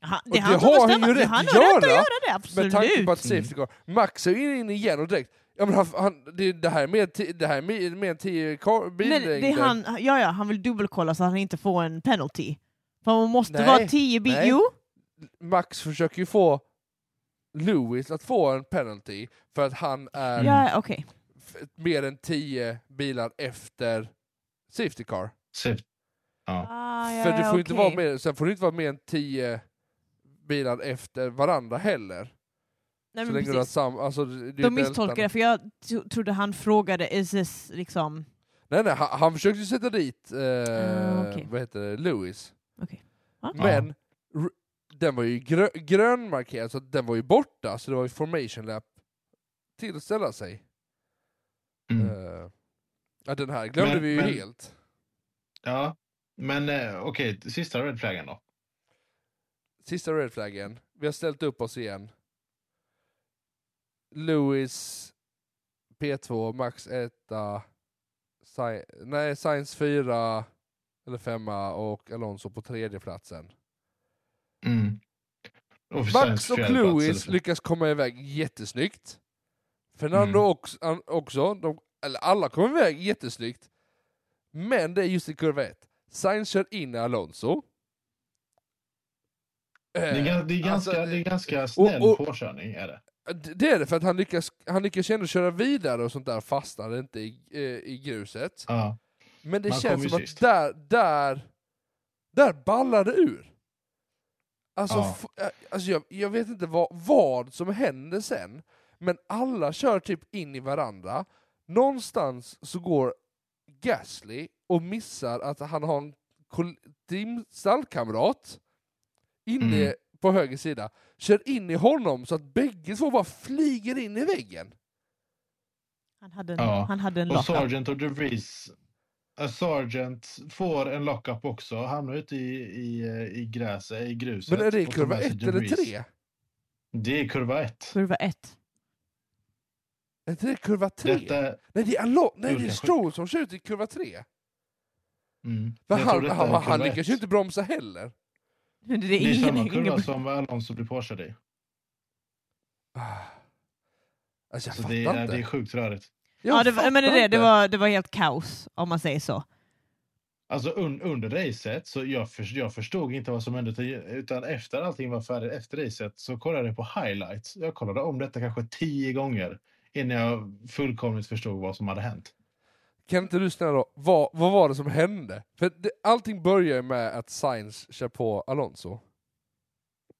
S3: Han,
S2: Och
S3: det, är han
S2: det
S3: som
S2: har han
S3: bestämmer.
S2: ju
S3: Det är
S2: rätt
S3: han
S2: att
S3: har rätt att
S2: göra,
S3: göra det,
S2: med
S3: absolut.
S2: tanke på att safety
S1: Mm.
S2: car, Max är ju in igen och direkt, ja, men han, han, det, det här är mer, ti- det här är mer, mer än 10 car-
S3: Nej,
S2: billängder.
S3: det är han, ja, ja, han vill dubbelkolla så att han inte får en penalty. För man måste
S2: Nej,
S3: vara tio bil.
S2: nej.
S3: Jo,
S2: Max försöker ju få Lewis att få en penalty för att han är
S3: ja,
S1: Mm.
S3: okej.
S2: f- mer än 10 bilar efter safety car.
S1: Så, Ja.
S3: Ah, ja,
S2: För du
S3: ja,
S2: får ju inte
S3: okej.
S2: vara med, sen får du inte vara med än 10 bilar efter varandra heller.
S3: Nej,
S2: så
S3: men
S2: länge du har
S3: precis.
S2: sam, alltså, det är ju
S3: De misstolkade det,
S2: deltan.
S3: för jag tro- trodde han frågade is this liksom...
S2: Nej nej, han, han försökte ju sätta dit, eh,
S3: Ah, okej.
S2: vad heter det, Lewis.
S3: Okej. Ah. Ja.
S2: Men r- den var ju grö, grönmarkerad, så den var ju borta, så det var ju formation lap till att ställa sig.
S1: Mm.
S2: Eh, ja, den här glömde
S1: Men-
S2: vi ju
S1: men-
S2: helt.
S1: Ja, Men eh, okej, sista red flaggen då.
S2: Sista red flaggen. Vi har ställt upp oss igen. Lewis P2, Max 1, Sci- nej, Science 4 eller 5 och Alonso på tredje platsen.
S1: Mm. Och för
S2: Max
S1: Sainz
S2: och
S1: fjärde plats,
S2: Lewis
S1: eller-
S2: lyckas komma iväg jättesnyggt. Fernando
S1: Mm.
S2: också, an- också de, eller alla kommer iväg jättesnyggt. Men det är just i kurva 1. Sainz kör in i Alonso.
S1: Det är, gan- det är
S2: Alltså,
S1: ganska, det är ganska snäll
S2: och-
S1: påkörning är det.
S2: D- Det är det, för att han lyckas, han lyckas ändå köra vidare och sånt där, fastnar inte i, eh, i gruset.
S1: Ja.
S2: Men det
S1: Man
S2: känns
S1: kommer ju
S2: som att
S1: sist.
S2: där, där, där ballar det ur. Alltså,
S1: Ja.
S2: f- eh, alltså jag, jag vet inte vad, vad som händer sen, men alla kör typ in i varandra. Någonstans så går Gasly och missar att han har en kol- team- stallkamrat inne
S1: Mm.
S2: på höger sida, kör in i honom så att bägge två bara flyger in i väggen.
S3: Han hade en,
S1: Ja.
S3: han hade en
S1: Och
S3: lockup.
S1: Sargent och DeVries. eh, Sargent får en lockup också. Hamnar ute i, i, eh, i gräset, i gruset.
S2: Men är det i
S1: och tar
S2: kurva
S1: med sig
S2: ett eller
S1: DeVries.
S2: tre?
S1: Det är kurva ett.
S3: Kurva ett. [LAUGHS]
S2: Är inte det kurva tre?
S1: Detta, mm.
S2: Nej, det är, Allo- Nej, det är
S1: Olika
S2: Stroll som kör ut i kurva 3.
S1: mm,
S2: Men
S1: Jag tror
S2: han,
S1: detta
S2: han,
S1: är
S2: han,
S1: kurva ett.
S2: lyckas ju inte bromsa heller.
S3: Det är,
S1: Det är
S3: ingen,
S1: samma
S3: ingen-
S1: kurva som Alonso blir påkörd i.
S2: Ah. Alltså jag
S1: Så
S2: fattar
S1: det, är,
S2: inte.
S1: det är sjukt rörigt.
S2: Jag
S3: Ja, det var,
S2: fattar
S3: men det, är det, det,
S2: inte.
S3: var, det var helt kaos, om man säger så.
S1: Alltså un, under racet, så jag, för, jag förstod inte vad som hände. till- Utan efter allting var färdigt, efter racet, så kollade jag på highlights. Jag kollade om detta kanske tio gånger innan jag fullkomligt förstod vad som hade hänt.
S2: Kan inte du snälla då, vad, vad var det som hände? För det, allting börjar ju med att Sainz kör på Alonso.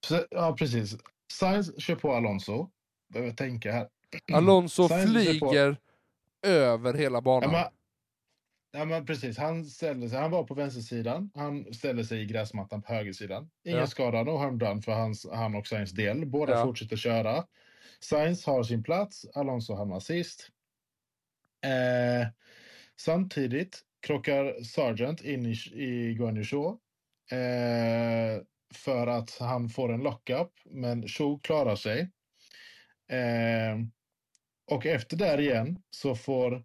S1: Så, ja, precis. Sainz kör på Alonso. Behöver tänka här.
S2: Alonso
S1: Mm. Sainz kör på-
S2: flyger över hela
S1: Ja,
S2: banan.
S1: men, ja, men precis. Han, ställde sig, han var på vänstersidan. Han ställde sig i gräsmattan på högersidan. Ingen
S2: Ja.
S1: skada, no harm done för hans, han och Sainz del. Båda
S2: Ja.
S1: fortsätter köra. Sainz har sin plats, Alonso hamnar sist. Eh, samtidigt krockar Sargent in i, i Guan Yu Zhou, eh, för att han får en lockup, men Cho klarar sig. Eh, och efter där igen så får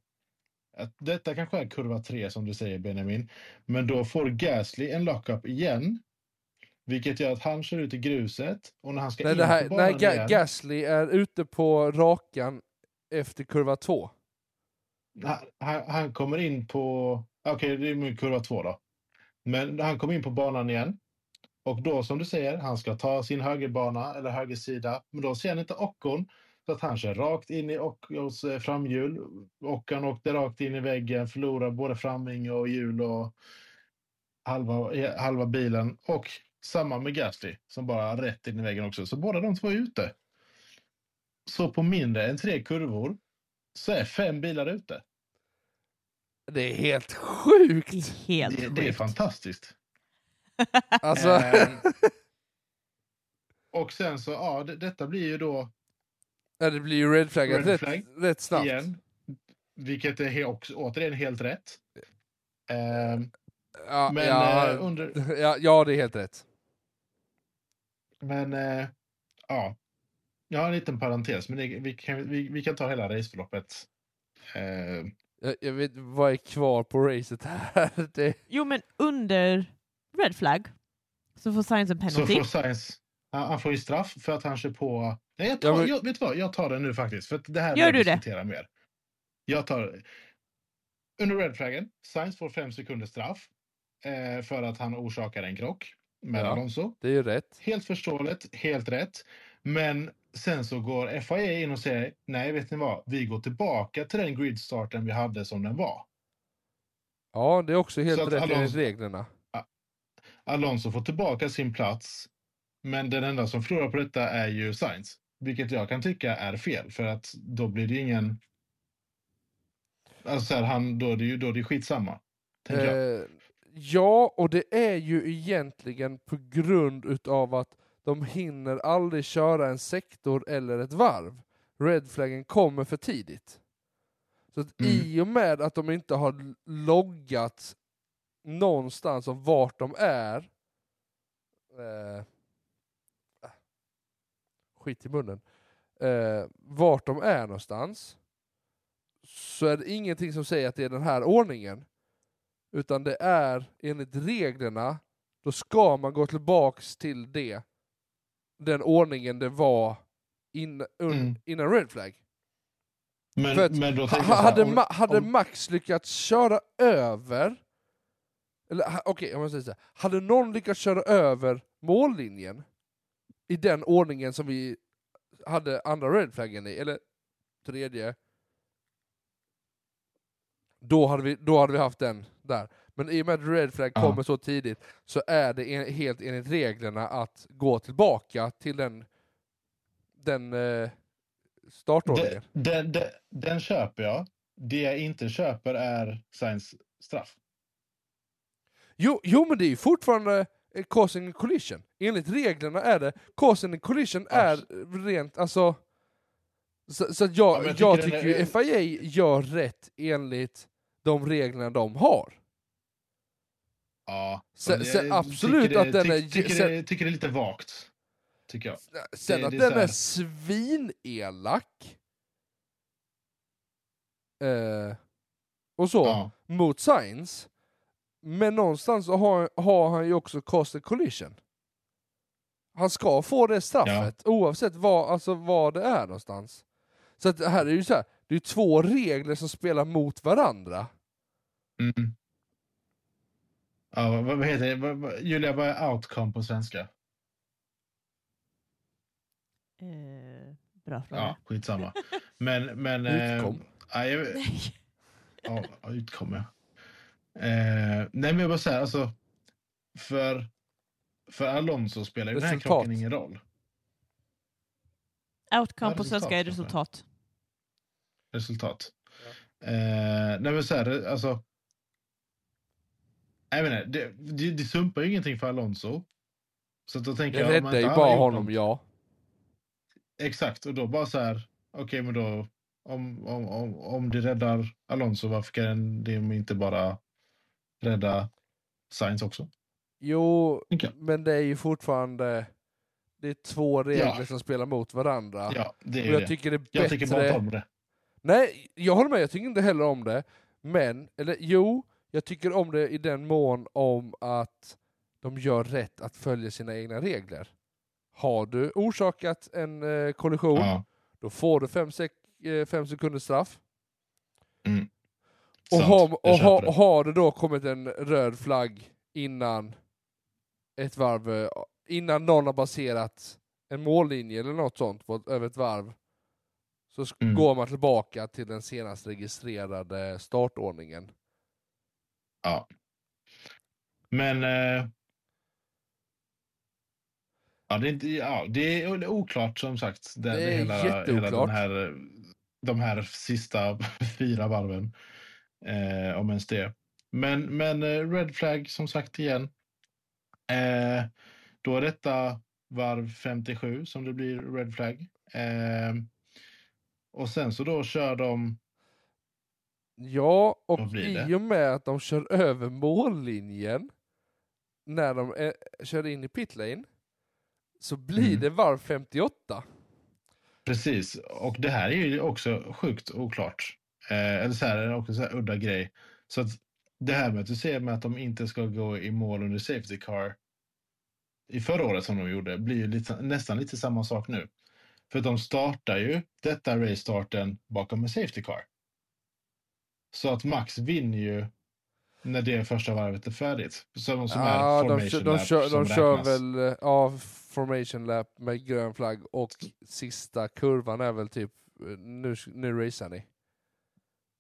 S1: att detta kanske är kurva 3 som du säger Benjamin. Men då får Gasly en lockup igen. Vilket gör att han kör ut i gruset. Och när han ska
S2: nej,
S1: in
S2: det här,
S1: på banan
S2: nej Ga-
S1: igen.
S2: Gasly är ute på rakan efter kurva 2.
S1: han, han- han kommer in på... Okej, det är med kurva två då. Men han kommer in på banan igen. Och då som du säger, han ska ta sin högerbana eller högersida. Men då ser han inte Ockon. Så att han kör rakt in i Ockons eh, framhjul. Och han åkte rakt in i väggen, förlorar både framvinge och hjul och halva, eh, halva bilen. Och samma med Gasly som bara rätt in i väggen också. Så båda de två är ute. Så på mindre än tre kurvor så är fem bilar ute.
S2: Det är helt sjukt!
S3: Det [LAUGHS] är helt
S1: Det, det är
S3: sjukt.
S1: fantastiskt.
S2: Alltså,
S1: Ehm, och sen så, ja, det, detta blir ju då
S2: nej, det blir ju red flaggat
S1: Red
S2: rätt,
S1: flag.
S2: rätt snabbt.
S1: igen, vilket är he, också, återigen helt rätt. Ehm,
S2: Ja,
S1: men,
S2: ja,
S1: eh, under,
S2: [LAUGHS] ja, ja, det är helt rätt.
S1: men eh, ja, jag har en liten parentes, men det, vi, kan, vi, vi kan ta hela raceförloppet. Ehm,
S2: Jag, jag vet vad är kvar på racet här. [LAUGHS] Det,
S3: Jo, men under red flag så får Science en
S1: så
S3: penalty.
S1: får Sainz, han, han får ju straff för att han kör på... Nej, jag tar,
S2: Ja, men-
S1: jag, vet du vad? Jag tar den nu faktiskt. För att det här
S3: Gör
S1: vill jag
S3: du det?
S1: diskutera mer. Jag tar... Under red flaggen, Sainz får fem sekunders straff eh, för att han orsakar en krock med
S2: Ja.
S1: Alonso.
S2: det är ju rätt.
S1: Helt förståeligt, helt rätt. Men sen så går FIA in och säger nej, vet ni vad? Vi går tillbaka till den gridstarten vi hade som den var.
S2: Ja, det är också helt
S1: att
S2: rätt
S1: Alonso-
S2: enligt reglerna.
S1: Alonso får tillbaka sin plats, men den enda som förlorar på detta är ju Sainz. Vilket jag kan tycka är fel, för att då blir det ingen... Alltså så här, han, då, är det ju, då är det skitsamma. Tänker jag.
S2: Eh, ja, och det är ju egentligen på grund utav att de hinner aldrig köra en sektor eller ett varv. Red flaggen kommer för tidigt. Så att
S1: Mm.
S2: i och med att de inte har loggat någonstans om vart de är. Eh, äh, skit i munnen. Eh, vart de är någonstans. Så är det ingenting som säger att det är den här ordningen. Utan det är enligt reglerna, då ska man gå tillbaks till det. Den ordningen det var in, un,
S1: Mm.
S2: innan Red Flag.
S1: Men,
S2: För att
S1: men då
S2: Ha,
S1: tänker jag så här,
S2: hade,
S1: om-
S2: Ma- hade
S1: om-
S2: Max lyckats köra över, eller ha- okej om jag säger så här. hade någon lyckats köra över mållinjen i den ordningen som vi hade andra red flaggen i, eller tredje, då hade vi, då hade vi haft den där. Men i och med att red flag
S1: Ja.
S2: kommer så tidigt så är det en, helt enligt reglerna att gå tillbaka till den, den eh, startordningen.
S1: Den, den, den, den köper jag. Det jag inte köper är Sainz straff.
S2: Jo, jo men det är ju fortfarande eh, causing a collision. Enligt reglerna är det, causing a collision är eh, rent, alltså... Så, så att jag,
S1: Ja, men jag
S2: jag, tycker,
S1: tycker den är-
S2: ju FIA gör rätt enligt de reglerna de har.
S1: Ja.
S2: Sen-
S1: Men jag
S2: sen absolut
S1: tycker det,
S2: att den är-
S1: tyck- Tycker,
S2: sen-
S1: det, tycker det är lite vagt. Tycker jag.
S2: Sen
S1: Det-
S2: att
S1: det är
S2: den
S1: så här.
S2: är svinelak. Eh, och så.
S1: Ja.
S2: mot Sainz. Men någonstans så har, har han ju också cost a collision. Han ska få det straffet oavsett vad, alltså vad det är någonstans. Så att det här är ju så här, det är två regler som spelar mot varandra.
S1: Mm. Ja, vad, vad heter det? Vad, vad, Julia, vad är outcome på svenska?
S3: Eh, bra
S1: Ja,
S3: fråga.
S1: skitsamma. Men, men... eh,
S2: Utkom.
S1: ja, jag-
S3: Nej.
S1: Ja, ja, utkom ja. Eh, nej, men jag bara säger alltså. För, för Alonso spelar ju den här
S2: Resultat.
S1: krocken ingen roll.
S3: [LAUGHS]
S1: Ja,
S3: Outcome på
S1: resultat
S3: svenska är
S1: kanske.
S3: resultat.
S1: Resultat. Eh, nej, men så här, det- alltså. Jag menar, det, det, det sumpar ju ingenting för Alonso. Så att då tänker
S2: Det
S1: jag... om man
S2: räddar ju
S1: inte hade
S2: bara
S1: gjort
S2: honom,
S1: något-
S2: ja.
S1: Exakt, och då bara så här. Okej, men då. Om, om, om, om det räddar Alonso, varför kan det inte bara rädda Sainz också?
S2: Jo,
S1: Okej.
S2: men det är ju fortfarande, det är två regler
S1: Ja.
S2: som spelar mot varandra.
S1: Ja, det är
S2: Och
S1: ju
S2: jag
S1: det.
S2: tycker det är bättre...
S1: Jag tycker bara inte om det.
S2: Nej, jag håller med. Jag tycker inte heller om det. Men, eller jo, jag tycker om det i den mån om att de gör rätt att följa sina egna regler. Har du orsakat en eh, kollision,
S1: Ja,
S2: då får du fem, sek- eh, fem sekunders straff. Och,
S1: sant.
S2: har,
S1: Jag
S2: och,
S1: köper
S2: har,
S1: det.
S2: har det då kommit en röd flagg innan ett varv, eh, innan någon har passerat en mållinje eller något sånt på ett, över ett varv, så sk-
S1: Mm.
S2: går man tillbaka till den senast registrerade startordningen.
S1: Men... Eh, ja, det är, inte, ja, det är oklart som sagt. Den,
S2: Det är
S1: hela, Hela
S2: jätteoklart.
S1: den här, de här sista [LAUGHS] fyra varven. Eh, om ens det. Men, men eh, Red Flag som sagt igen. Eh, då är detta varv 57 som det blir Red Flag. Eh, och sen så då kör de...
S2: Ja, och
S1: Vad blir det?
S2: i och med att de kör över mållinjen när de eh, kör in i pitlane, så blir
S1: Mm.
S2: det varv 58.
S1: Precis, och det här är ju också sjukt oklart. Eh, eller så här är det också så här udda grej. Så att det här med att du ser med att de inte ska gå i mål under Safety Car i förra året som de gjorde blir ju lite, nästan lite samma sak nu. För de startar ju detta race-starten bakom en Safety Car. Så att Max vinner ju när det första varvet är färdigt. Som, som är
S2: Ja,
S1: formation
S2: de, kö- de,
S1: lap
S2: kör,
S1: som
S2: de kör
S1: räknas.
S2: väl eh, ja, formation lap med grön flagg och sista kurvan är väl typ eh, nu, nu racear ni.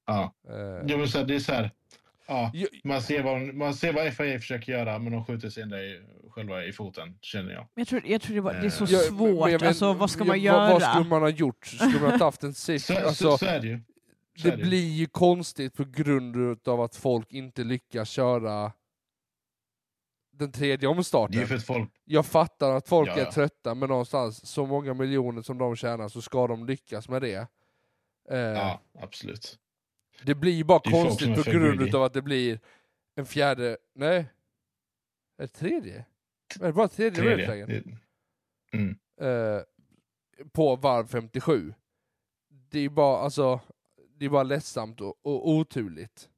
S1: Ja.
S2: Eh,
S1: Jo, men så här, det är så här. Ja,
S2: ju-
S1: Man ser, vad, man ser vad FIA försöker göra, men de skjuter sig in där i, själva i foten, känner jag.
S3: Jag tror, jag tror det, var, det är så
S1: Ja,
S2: jag- Eh, men jag
S3: svårt.
S2: vet-
S3: alltså, vad ska man
S2: jag-
S3: göra?
S2: Vad, vad skulle man ha gjort? Skulle man ha haft en
S1: Så,
S2: safety?
S1: så,
S2: Alltså,
S1: så är det ju. Så
S2: det
S1: är det ju.
S2: blir ju konstigt på grund av att folk inte lyckas köra den tredje
S1: Det är ju
S2: omstarten.
S1: för att folk...
S2: Jag fattar att folk
S1: Ja,
S2: är
S1: ja.
S2: trötta, men någonstans, så många miljoner som de tjänar så ska de lyckas med det. Eh,
S1: Ja, absolut.
S2: Det blir ju bara
S1: Det är folk
S2: konstigt
S1: som är
S2: på
S1: för
S2: grund
S1: greedy.
S2: utav att det blir en fjärde, nej, en tredje? Är det bara tredje, red
S1: Tredje.
S2: flaggen?
S1: Det-
S2: eh, på varv 57. Det är bara, alltså, det är bara ledsamt och, och oturligt.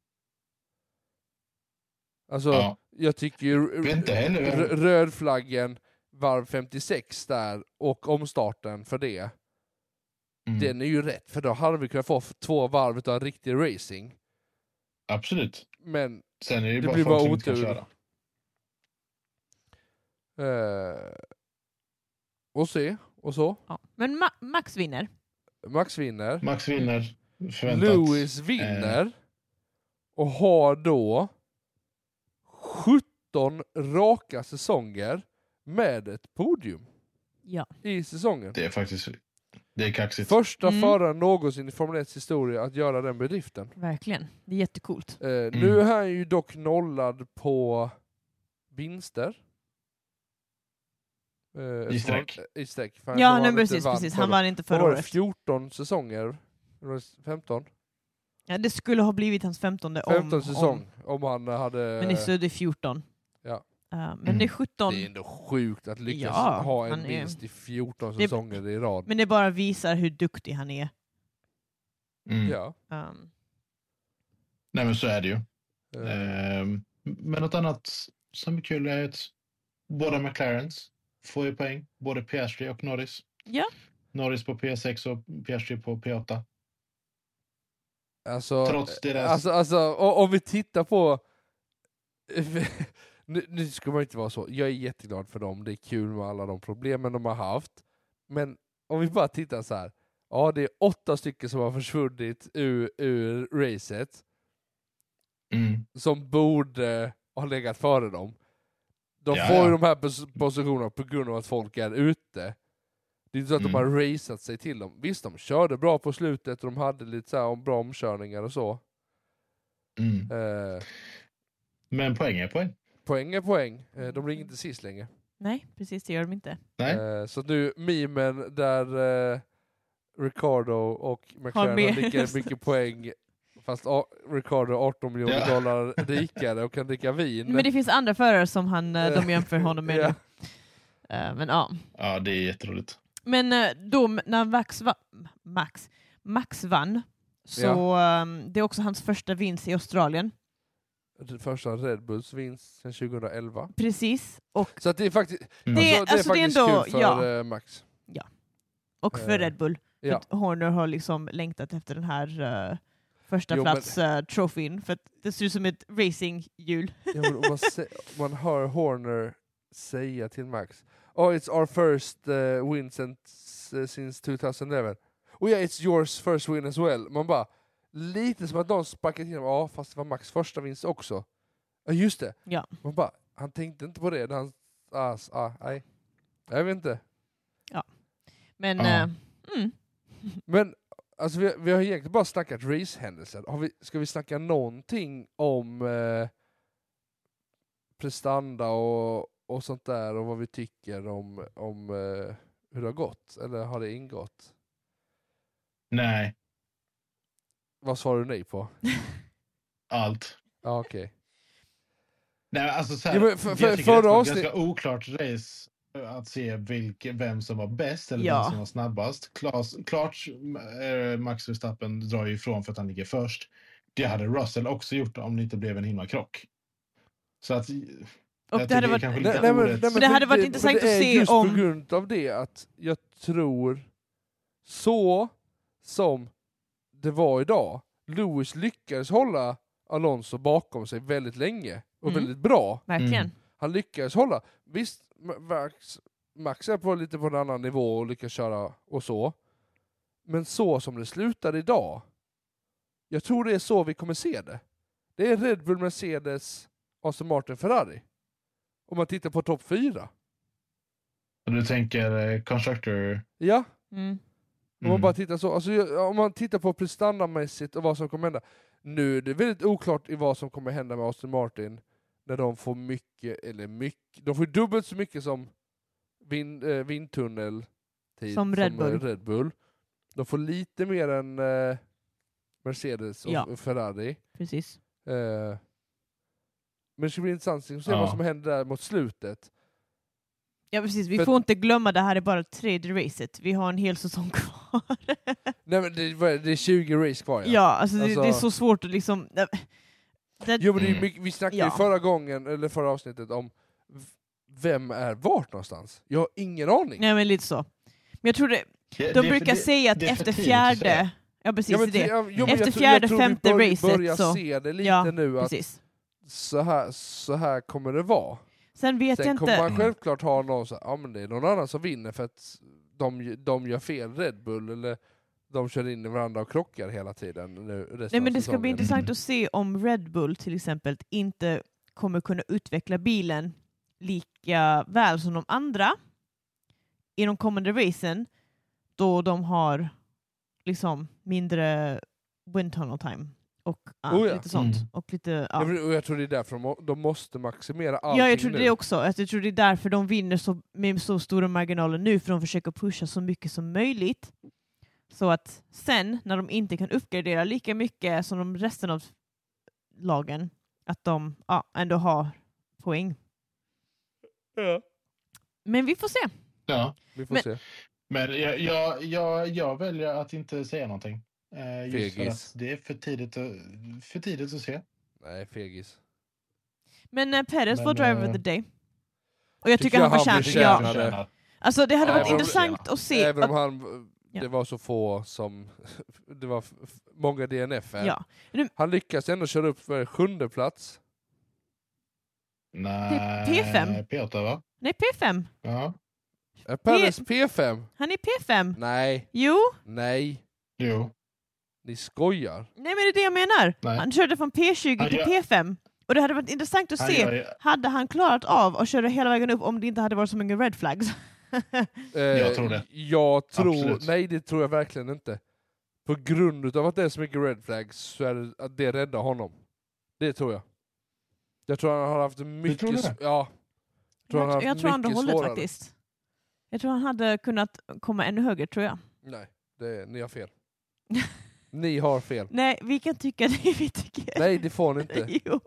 S2: Alltså,
S1: Ja.
S2: jag tycker ju
S1: Vet inte heller vem-
S2: r- röd flaggen, varv 56 där och omstarten för det,
S1: Mm.
S2: den är ju rätt för då hade vi kunnat få f- två varv utan riktig racing.
S1: Absolut.
S2: Men
S1: Sen är det, ju
S2: Det
S1: bara
S2: blir
S1: folk
S2: bara
S1: som inte kan
S2: otur.
S1: köra.
S2: eh, och se, och så.
S3: Ja. Men Ma- Max vinner.
S2: Max vinner.
S1: Max vinner. Förväntat.
S2: Lewis vinner och har då 17 raka säsonger med ett podium
S3: Ja.
S2: i säsongen.
S1: Det är faktiskt det är kaxigt.
S2: Första
S3: Mm.
S2: föraren någonsin i Formel 1 historia att göra den bedriften.
S3: Verkligen. Det är jättecoolt.
S2: Eh, Nu är han ju dock nollad på vinster. Eh, eftersom
S1: sträck.
S2: Han, I sträck. för
S3: Ja,
S2: han
S3: nej,
S2: inte
S3: precis,
S2: vann
S3: precis.
S2: förra-
S3: Han vann inte
S2: vad
S3: förra
S2: var det,
S3: året.
S2: 14 säsonger? Eller 15?
S3: Ja, det skulle ha blivit hans femtonde om...
S2: 15
S3: om.
S2: säsong om han hade...
S3: Men i Sud är 14.
S2: Ja.
S3: Eh, men
S1: Mm.
S3: det är 17.
S2: Det är ändå sjukt att lyckas
S3: Ja,
S2: ha en
S3: han är-
S2: vinst i 14
S3: Det-
S2: säsonger i rad.
S3: Men det bara visar hur duktig han är.
S1: Mm.
S2: Ja.
S3: Ehm,
S1: Nej men så är det ju.
S2: eh,
S1: Ehm, men något annat som är kul är att båda McLarens får ju poäng. Både Piastri och Norris.
S3: Ja.
S1: Norris på P6 och Piastri på P8.
S2: Alltså,
S1: Trots deras-
S2: alltså, alltså o- om vi tittar på... [LAUGHS] nu, nu ska man inte vara så. Jag är jätteglad för dem. Det är kul med alla de problemen de har haft. Men om vi bara tittar så här. Ja, det är åtta stycken som har försvunnit ur, ur racet.
S1: Mm.
S2: som borde ha legat före dem. De
S1: Ja,
S2: får
S1: ja.
S2: ju de här pos- positionerna på grund av att folk är ute. Det är inte så att de
S1: Mm.
S2: har raceat sig till dem. Visst, de körde bra på slutet och de hade lite så här om bra omkörningar och så.
S1: Mm.
S2: Eh,
S1: Men poäng är poäng.
S2: poäng är poäng. Eh, de
S3: Mm.
S2: ligger inte sist längre.
S3: nej, precis det gör de inte.
S1: Nej.
S2: Eh, så nu memen där eh, Ricardo och McLaren har
S3: mer.
S2: lika mycket poäng fast A- Ricardo är 18 miljoner
S1: Ja.
S2: dollar rikare och kan dricka vin.
S3: Men det finns andra förare som han, eh,
S2: [LAUGHS]
S3: de jämför honom med.
S2: Ja.
S3: Eh, men ja.
S1: Ja, det är jätteroligt.
S3: Men eh, då m- när Max, va- Max, Max vann, så ehm, det är också hans första vinst i Australien.
S2: Den första Red Bulls vinst sedan 2011.
S3: Precis. Och,
S2: Så att det är faktiskt,
S1: Mm.
S2: alltså,
S3: Det-
S2: det, är
S3: alltså, det är
S2: faktiskt
S3: ändå-
S2: kul för
S3: ja.
S2: eh, Max.
S3: och för
S2: Eh,
S3: Red Bull. För
S2: ja.
S3: att Horner har liksom längtat efter den här eh, första
S2: Jo, men-
S3: plats eh, trofin för att det ser ut som ett racinghjul.
S2: Ja, men om
S3: [LAUGHS]
S2: man, se, om man hör Horner säga till Max Oh it's our first uh, win since, eh, since 2011. Oh yeah it's yours first win as well. Man bara, lite som att någon sparkade till honom, ja fast det var Max första vinst också. Ja just det.
S3: Ja.
S2: Man bara, han tänkte inte på det. när Han, ah, ah, nej. Jag vet inte.
S3: Men
S1: Ja.
S3: eh, mm,
S2: Men alltså, vi, vi har egentligen bara snackat racehändelser. Har vi, ska vi snacka någonting om eh, prestanda och, och sånt där och vad vi tycker om, om eh, hur det har gått? Eller har det ingått?
S1: Nej,
S2: Vad svarar du nej på?
S1: allt.
S2: Ja, okej.
S1: Nej, alltså så här,
S2: Ja, men för-
S1: jag
S2: för-
S1: tycker det är
S2: förra
S1: ett
S2: avsnitt-
S1: ganska oklart race att se vilke, vem som var bäst eller
S3: Ja.
S1: vem som var snabbast. Klas, klart eh, Max Verstappen drar ju ifrån för att han ligger först. Det hade Russell också gjort om det inte blev en himla krock. Så att...
S3: och
S1: Jag
S3: det
S1: tycker
S3: hade varit, Mm.
S1: kanske lite- orättvist.
S3: Men det
S2: för
S3: hade varit
S2: men
S3: intressant
S2: det
S3: att
S2: är
S3: se
S2: just
S3: om-
S2: på grund av det att jag tror så som det var idag, Lewis lyckades hålla Alonso bakom sig väldigt länge och
S3: Mm.
S2: väldigt bra.
S3: verkligen.
S2: Han lyckades hålla. Visst, Ma- Max, Max är på lite på en annan nivå och lyckas köra och så. Men så som det slutar idag, jag tror det är så vi kommer se det. Det är Red Bull, Mercedes, Aston Martin, Ferrari. Om man tittar på topp fyra.
S1: Och Du tänker eh, Constructor...
S2: Ja,
S3: Mm.
S2: om man bara tittar så. Alltså, jag- om man tittar på prestandamässigt och vad som kommer hända. Nu är det väldigt oklart i vad som kommer hända med Aston Martin när de får mycket, eller mycket, de får dubbelt så mycket som vind, eh, vindtunnel eh,
S3: Som Red Bull.
S2: Red Bull. De får lite mer än eh, Mercedes och
S3: Ja.
S2: och Ferrari.
S3: Precis.
S2: Eh, Men det ska bli intressant att se
S1: Ja.
S2: vad som händer där mot slutet.
S3: Ja precis, vi
S2: För-
S3: får inte glömma det här är bara tredje racet. Vi har en hel säsong kvar. [LAUGHS]
S2: Nej men det, vad är det? det är 20 race kvar
S3: Ja, alltså,
S2: Alltså-
S3: Det, det är så svårt att liksom... Det,
S2: Jo, men det är ju
S1: Mm.
S2: mycket, vi snackade
S3: Ja.
S2: ju förra gången, eller förra avsnittet, om v- vem är vart någonstans? Jag har ingen aning.
S3: nej men lite så. Men jag tror det,
S1: Det-
S3: de
S1: det-
S3: brukar
S1: det-
S3: säga att
S1: det är för
S3: efter
S1: tidigt att säga.
S3: fjärde... Ja precis,
S2: Ja, men
S3: det.
S2: t- ja, jo, men
S3: Efter
S2: jag tror-
S3: fjärde,
S2: jag tror vi
S3: femte
S2: bör-
S3: racet
S2: börjar
S3: så-
S2: se det lite
S3: Ja,
S2: nu, att
S3: precis.
S2: så här, så här kommer det vara.
S3: Sen vet jag
S2: Sen kommer
S3: inte...
S2: man självklart ha någon så här, ja men det är någon annan som vinner för att de, ju- de gör fel Red Bull, eller de kör in i varandra och krockar hela tiden nu resten
S3: Nej,
S2: av
S3: men det ska bli
S2: säsongen. Mm.
S3: intressant att se om Red Bull till exempel inte kommer kunna utveckla bilen lika väl som de andra i de kommande racen då de har liksom mindre wind tunnel time och ja,
S2: Oh ja.
S3: lite sånt.
S1: Mm.
S3: Och lite,
S2: Jag,
S3: ja.
S2: tror- och jag tror det är därför de, må- de måste maximera allting
S3: ja, jag tror
S2: nu.
S3: det också. Att jag tror det är därför de vinner så, med så stora marginaler nu, för de försöker pusha så mycket som möjligt. Så att sen, när de inte kan uppgradera lika mycket som de resten av lagen, att de ja, ändå har poäng.
S2: Ja.
S3: Men vi får se.
S1: Ja.
S2: Vi får
S3: Men-
S2: se.
S1: Men jag, jag, jag, jag väljer att inte säga någonting. Eh, just för
S2: Fegis.
S1: att det är för tidigt att, för tidigt att se.
S2: Nej, fegis.
S3: Men eh, Perez
S1: Men,
S3: var driver
S1: eh,
S3: of the day. Och jag tycker,
S2: tycker jag
S3: han
S2: han
S3: förtjänar
S1: Tycker
S3: det.
S1: jag
S2: förtjänar
S3: Ja.
S2: det.
S1: förtjänar.
S3: Alltså, det hade
S2: Ja,
S3: varit
S2: jag-
S3: intressant att se.
S2: Även
S3: Att,
S2: om han,
S3: Ja.
S2: det var så få som, [LAUGHS] det var f- f- många DNF -er.
S3: ja.
S2: Han lyckas ändå köra upp för sjunde plats.
S1: Nej,
S3: P5.
S1: P8 va?
S3: Nej, P5.
S1: Ja.
S2: Är Perez P5?
S3: Han är P5.
S2: Nej,
S3: Jo,
S2: nej,
S1: Jo.
S2: ni skojar.
S3: nej men det är det jag menar.
S1: Nej.
S3: Han körde från P20
S1: Han
S3: till
S1: gör-
S3: P5. Och det hade varit intressant att
S1: Han
S3: se
S1: gör ju-
S3: Hade han klarat av att köra hela vägen upp om det inte hade varit så många red flags?
S2: Eh,
S1: Jag tror det.
S2: Jag tror,
S1: Absolut.
S2: nej det tror jag verkligen inte. På grund av att det är så mycket red flags så är det, att det räddar honom. Det tror jag. Jag tror han har haft mycket...
S1: tror det?
S2: sv- Ja. [LAUGHS] Tror han har haft
S3: jag, jag tror han hade
S2: mycket
S3: hållit
S2: svårare.
S3: faktiskt. Jag tror han hade kunnat komma ännu högre, tror jag.
S2: Nej, det, ni har
S3: [LAUGHS]
S2: fel. ni har fel.
S3: Nej, vi kan tycka [LAUGHS] det vi tycker.
S2: Nej, det får ni inte.
S3: [LAUGHS] Jo.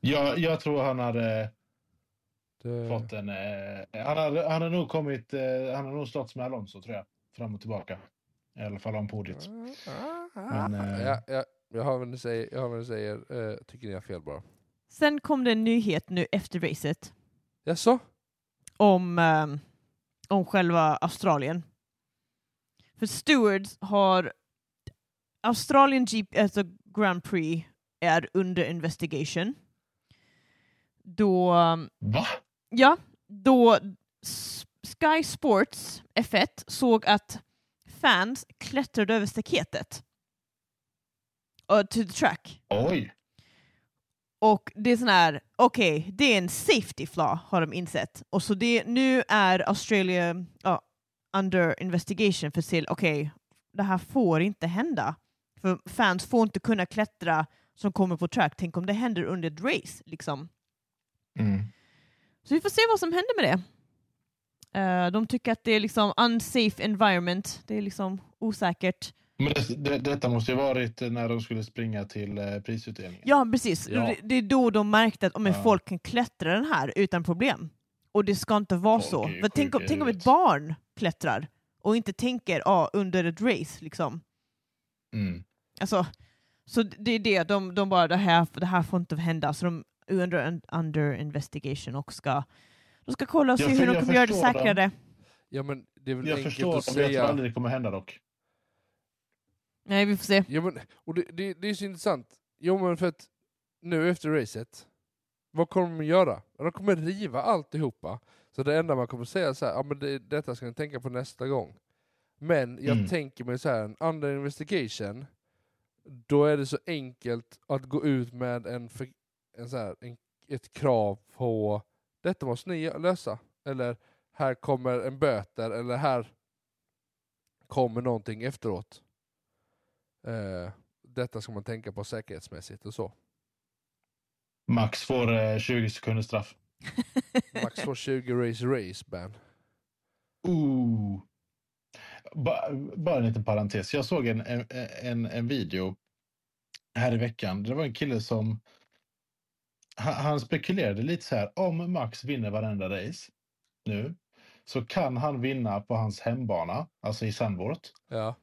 S1: Jag, jag tror han hade
S2: Det-
S1: fått en... Eh, han, hade, han hade nog kommit... Eh, han hade nog slått med Alonso tror jag. Fram och tillbaka. I alla fall om podiet. Men, eh,
S2: ja, ja, jag hör vad ni säger, jag hör vad ni säger. Eh, tycker ni har fel bara.
S3: Sen kom det en nyhet nu efter racet
S2: Jaså?
S3: om, eh, om själva Australien. För Stewards har... Australien GP, alltså Grand Prix är under investigation. Då...
S1: Va?
S3: Ja, då S- Sky Sports F1 såg att fans klättrade över staketet. Uh, to the track.
S1: Oj.
S3: Och det är sån här, okej, det är en safety flaw har de insett. Och så det, nu är Australien ja, under investigation för att se, okej, det här får inte hända. För fans får inte kunna klättra som kommer på track. Tänk om det händer under ett race, liksom.
S1: Mm.
S3: Så vi får se vad som händer med det. Eh, de tycker att det är liksom unsafe environment, det är liksom osäkert.
S1: Men det, det, detta måste ju varit när de skulle springa till eh, prisutdelningen.
S3: Ja, precis.
S2: Ja.
S3: Det- Det är då de märkte att oh, men
S1: Ja.
S3: folk kan klättra den här utan problem. Och det ska inte vara
S1: Folk
S3: så.
S1: är ju
S3: För tänk, om,
S1: sjuka i
S3: tänk om ett
S1: huvudet.
S3: barn klättrar och inte tänker ah, under ett race. Liksom.
S1: Mm.
S3: Alltså, så det är det, de, de bara det här, det här får inte hända. Så de är under, under investigation och ska, de ska kolla och se
S1: Jag för-
S3: hur de
S1: jag
S3: kommer göra det
S1: förstår dem.
S3: säkrare.
S2: Ja men det är väl
S1: Jag
S2: enkelt
S1: förstår
S2: att
S1: om jag tror
S2: säga...
S1: aldrig det kommer hända dock.
S3: Nej, vi får se.
S2: Ja, men, och det, det, det är så intressant. Jo men för att nu efter racet, vad kommer de att göra? De kommer riva alltihopa. Så det enda man kommer säga är så här, ja men det, detta ska ni tänka på nästa gång. Men jag
S1: Mm.
S2: tänker mig så här, en under investigation, då är det så enkelt att gå ut med en, för, en, så här, en ett krav på detta måste ni lösa. Eller här kommer en böter eller här kommer någonting efteråt. Eh, detta ska man tänka på säkerhetsmässigt och så.
S1: Max får eh, 20 sekunders straff.
S2: Max får 20 race race ban.
S1: Ooh. Ba, bara en liten parentes. Jag såg en, en, en, en video här i veckan. Det var en kille som han, han spekulerade lite så här, om Max vinner varenda race nu så kan han vinna på hans hembana, alltså i Sandvort.
S2: Ja.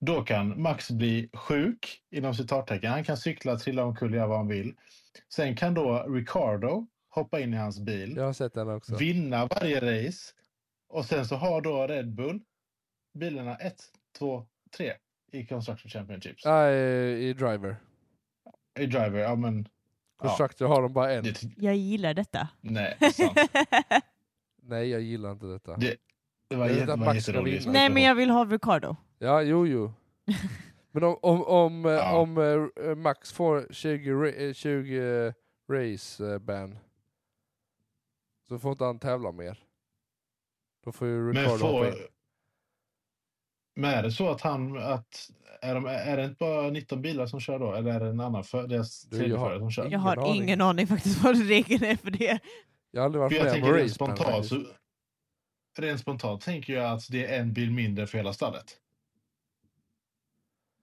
S1: Då kan Max bli sjuk, inom citattecken. Han kan cykla, trilla omkull, göra vad han vill. Sen kan då Ricardo hoppa in i hans bil,
S2: Jag har sett den också.
S1: vinna varje race och sen så har då Red Bull bilarna 1, 2, 3 i Construction Championships.
S2: Nej, Ah, i Driver.
S1: I Driver, ja men... Ja,
S2: Constructor har de bara en.
S1: det,
S3: [LAUGHS] Jag gillar detta.
S1: nej, sant.
S2: Nej, jag gillar inte detta.
S1: Det- Det
S2: [LAUGHS]
S1: var,
S2: Jag vet
S1: jätte,
S2: att
S1: var
S2: Max ska
S1: jätteroligt. Liksom.
S2: vinna.
S3: [LAUGHS] Nej, men jag vill ha Ricardo.
S2: Ja, jo, jo. Men om, om, om, eh,
S1: Ja.
S2: om eh, Max får 20, ra- eh, 20 eh, race eh, ban så får inte han tävla mer. Då får ju
S1: Men
S2: Ricardo hoppa
S1: får...
S2: in.
S1: Men är det så att han... Att, är, de, är det inte bara 19 bilar som kör då? Eller är det en annan för, deras
S2: Du,
S1: tredje
S2: jag har
S1: förare som kör?
S2: ingen
S3: Jag har
S2: aning.
S3: ingen aning faktiskt vad regeln är för det.
S2: Jag har
S1: För
S2: aldrig varit
S1: jag
S2: med
S1: tänker
S2: om
S1: rent
S2: race ban.
S1: spontant
S2: faktiskt.
S1: så... Rent spontant tänker jag att det är en bil mindre för hela stallet.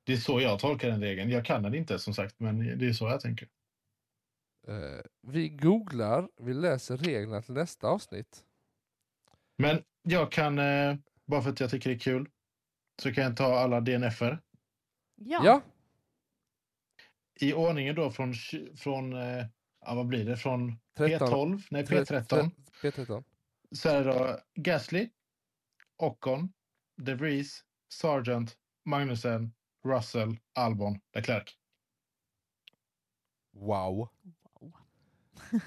S1: Det är så jag tolkar den regeln. Jag kan den inte som sagt, men det är så jag tänker.
S2: Eh, vi googlar, vi läser reglerna till nästa avsnitt.
S1: Men jag kan, eh, bara för att jag tycker det är kul, så kan jag ta alla DNF-er.
S3: Ja.
S2: ja.
S1: I ordningen då från, tj- från eh, ja, vad blir det, från
S2: 13.
S1: P12, nej
S2: Tre-
S1: P13.
S2: tre- P13.
S1: Så är det då Gasly, Ocon, De Vries, Sargent, Magnussen, Russell, Albon, Leclerc.
S2: Wow.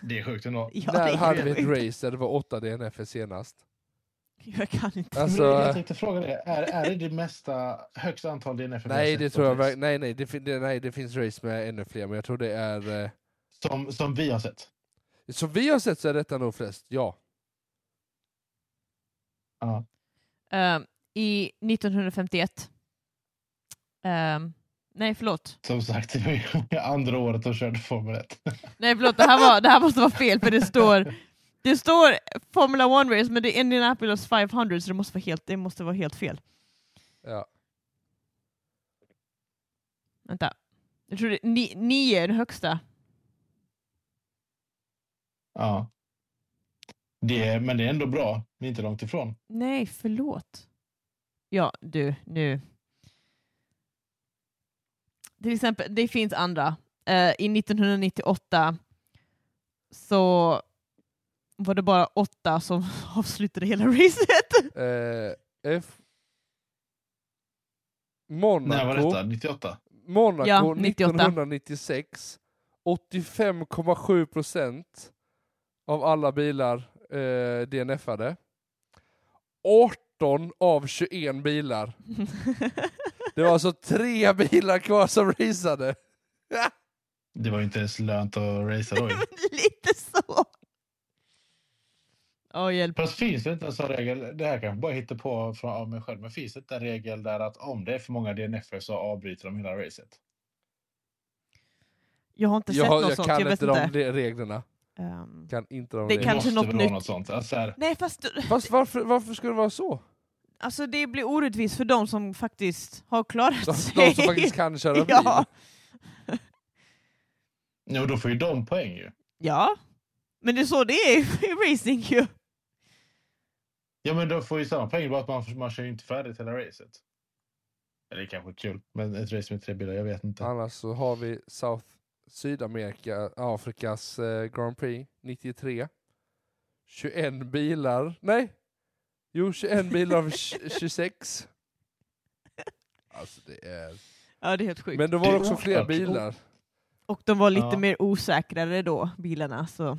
S1: Det är sjukt ändå.
S3: Ja, det
S2: Där
S3: är
S2: hade vi
S3: sjukt.
S2: ett race där det var åtta DNF senast.
S3: Jag kan inte.
S2: Alltså,
S1: Men jag tänkte fråga det, är, är det det mesta, högsta antal DNF vi har
S2: Nej,
S1: sett
S2: det
S1: på
S2: tror jag
S1: ett race?
S2: verkligen. Nej, nej det, fin- det, nej, det finns race med ännu fler, men jag tror det är... Eh,
S1: Som, som vi har sett.
S2: som vi har sett så är detta nog flest, ja.
S1: Ja.
S3: Ehm, I 1951. Ehm, nej, förlåt.
S1: Som sagt, [LAUGHS] det var ju andra året de körde Formel 1.
S3: Nej, förlåt. Det här, var, det här måste vara fel, för det står... Det står Formula One Race, men det är Indianapolis 500, så det måste vara helt, det måste vara helt fel.
S2: ja.
S3: Vänta. Jag tror det ni, nio är den högsta.
S1: [LAUGHS] Ja. Det, är- men det är ändå bra, ni är inte långt ifrån.
S3: Nej, förlåt. Ja, du, nu. Till exempel, det finns andra. Eh, I 1998 så var det bara åtta som [LAUGHS] avslutade hela racet.
S2: Eh, F...
S1: När var detta?
S2: Monaco,
S1: 98?
S2: Monaco
S3: Ja, 98.
S2: 1996. 85,7 procent av alla bilar eh, DNF-ade. 18 av 21 bilar. Det var alltså tre bilar kvar som raceade.
S1: Det var ju inte ens lönt att
S3: [LAUGHS]
S1: racea då. ju.
S3: Lite så. Åh,
S1: [LAUGHS]
S3: hjälp.
S1: Fast finns det inte en sån regel, det här kanske bara hittar på från av mig själv, men finns det inte en regel där att om det är för många DNF-er så avbryter de hela racet?
S3: Jag har inte sett
S2: har-
S3: något
S2: jag
S3: sånt,
S2: kan
S3: jag vet
S2: inte
S3: inte.
S2: de re- reglerna.
S3: Ehm,
S2: Kan inte de
S3: Det
S1: Det
S2: reglerna.
S3: Kanske
S1: måste
S3: något
S1: väl vara
S3: nytt.
S1: något sånt. Alltså, så här,
S3: nej, fast
S2: Fast varför, varför skulle det vara
S3: [LAUGHS]
S2: så?
S3: alltså, det blir orättvist för de som faktiskt har
S2: De,
S3: klarat sig.
S2: de som faktiskt
S3: [LAUGHS]
S2: kan köra bil.
S3: ja.
S1: ja, och då får ju de poäng ju.
S3: Ja, men det är så det är i [LAUGHS] racing ju.
S1: Ja, men de får ju samma poäng, bara att man, man kör ju inte färdigt hela racet. Eller det kanske är kul, men ett race med tre bilar, jag vet inte.
S2: Annars så har vi South, Sydamerika, Afrikas eh, Grand Prix 93. 21 bilar, nej! Jo, 21 bilar av
S3: [LAUGHS]
S2: tj- 26. Alltså det är...
S3: Ja, det är helt sjukt.
S2: Men då var det
S1: Det är
S2: också fler
S1: oklart.
S2: [LAUGHS] bilar.
S3: Och de var lite
S1: Ja.
S3: mer osäkrare då, bilarna. Så.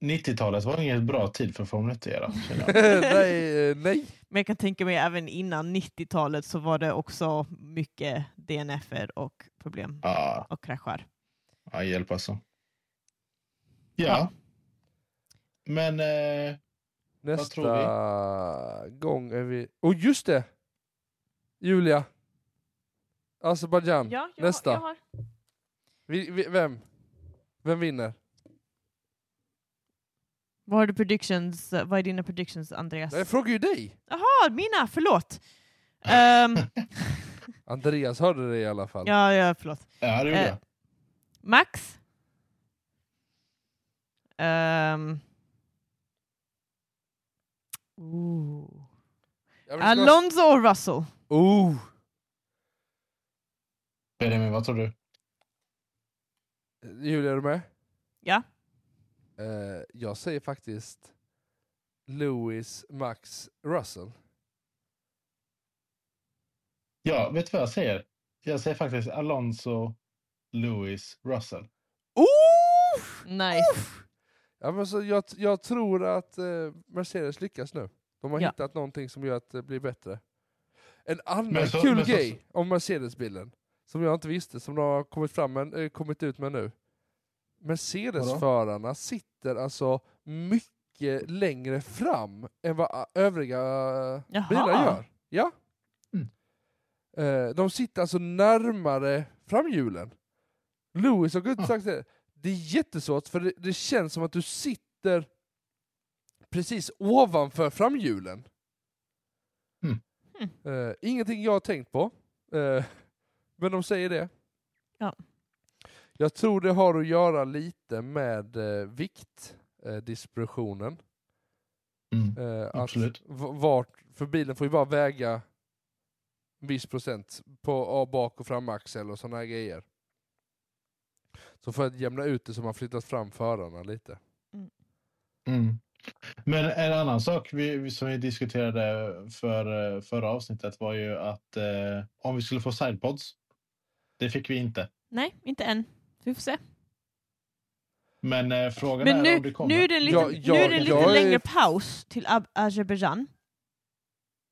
S1: 90-talet var inget bra tid för Formel 1 era.
S2: [LAUGHS] nej, eh, nej!
S3: Men jag kan tänka mig även innan 90-talet så var det också mycket DNF-er och problem
S1: Ja,
S3: och kraschar.
S1: ja, hjälp alltså. Ja.
S3: Ja.
S1: Men... Eh, tror
S2: Nästa gång är vi... Åh oh, just det! Julia! Azerbajdzjan.
S3: Ja,
S2: Mm. Nästa. Vi, vi, vem? Vem vinner?
S3: Vad, har du predictions, vad är dina predictions, Andreas?
S2: Jag frågar ju dig!
S3: Jaha, mina! Förlåt! Ehm,
S2: Andreas hörde det i alla fall.
S3: ja, ja, förlåt.
S1: ja, det gjorde
S3: Eh,
S1: jag.
S3: Max? Ehm. Ooh.
S2: Ja, men det ska vara-
S3: Alonso och Russell.
S2: Oh!
S1: Benjamin, vad tror du?
S2: Julia, är du med?
S3: Ja.
S2: Eh, jag säger faktiskt Lewis, Max, Russell.
S1: Ja, vet du vad jag säger? Jag säger faktiskt Alonso, Lewis, Russell.
S2: Oh!
S3: Nice.
S2: Ja, men så jag, jag tror att eh, Mercedes lyckas nu. De har
S3: Ja.
S2: hittat någonting som gör att det blir bättre. En annan
S1: Men så-
S2: kul
S1: men så-
S2: grej om Mercedes-bilen, som jag inte visste, som de har kommit, fram med, eh, kommit ut med nu. Mercedes-förarna sitter alltså mycket längre fram än vad ä, övriga eh,
S3: Jaha.
S2: bilar gör. Ja.
S1: Mm.
S2: Eh, de sitter alltså närmare framhjulen. Lewis har gått
S1: Ah.
S2: och sagt det. Det är jättesvårt för det, det känns som att du sitter precis ovanför framhjulen.
S1: Mm.
S2: Eh, ingenting jag har tänkt på. Eh, men de säger det.
S3: Ja.
S2: Jag tror det har att göra lite med eh, vikt, eh, distributionen.
S1: Mm.
S2: Eh, att
S1: Absolut.
S2: v- vart, för bilen får ju bara väga en viss procent på av bak och framaxel och sådana grejer. Så för att jämna ut det så har man flyttat fram förarna lite.
S1: Mm. Men en annan sak vi, vi- som vi diskuterade för, eh, förra avsnittet var ju att eh, om vi skulle få sidepods. Det fick vi inte.
S3: Nej, inte än. Vi får se.
S1: Men eh, frågan
S3: Men
S1: är
S3: nu,
S1: om det kommer.
S3: nu är det en lite,
S2: Jag-
S3: nu är
S2: jag-
S3: det en
S2: jag
S3: lite
S2: är-
S3: längre paus till Ab- Azerbaijan.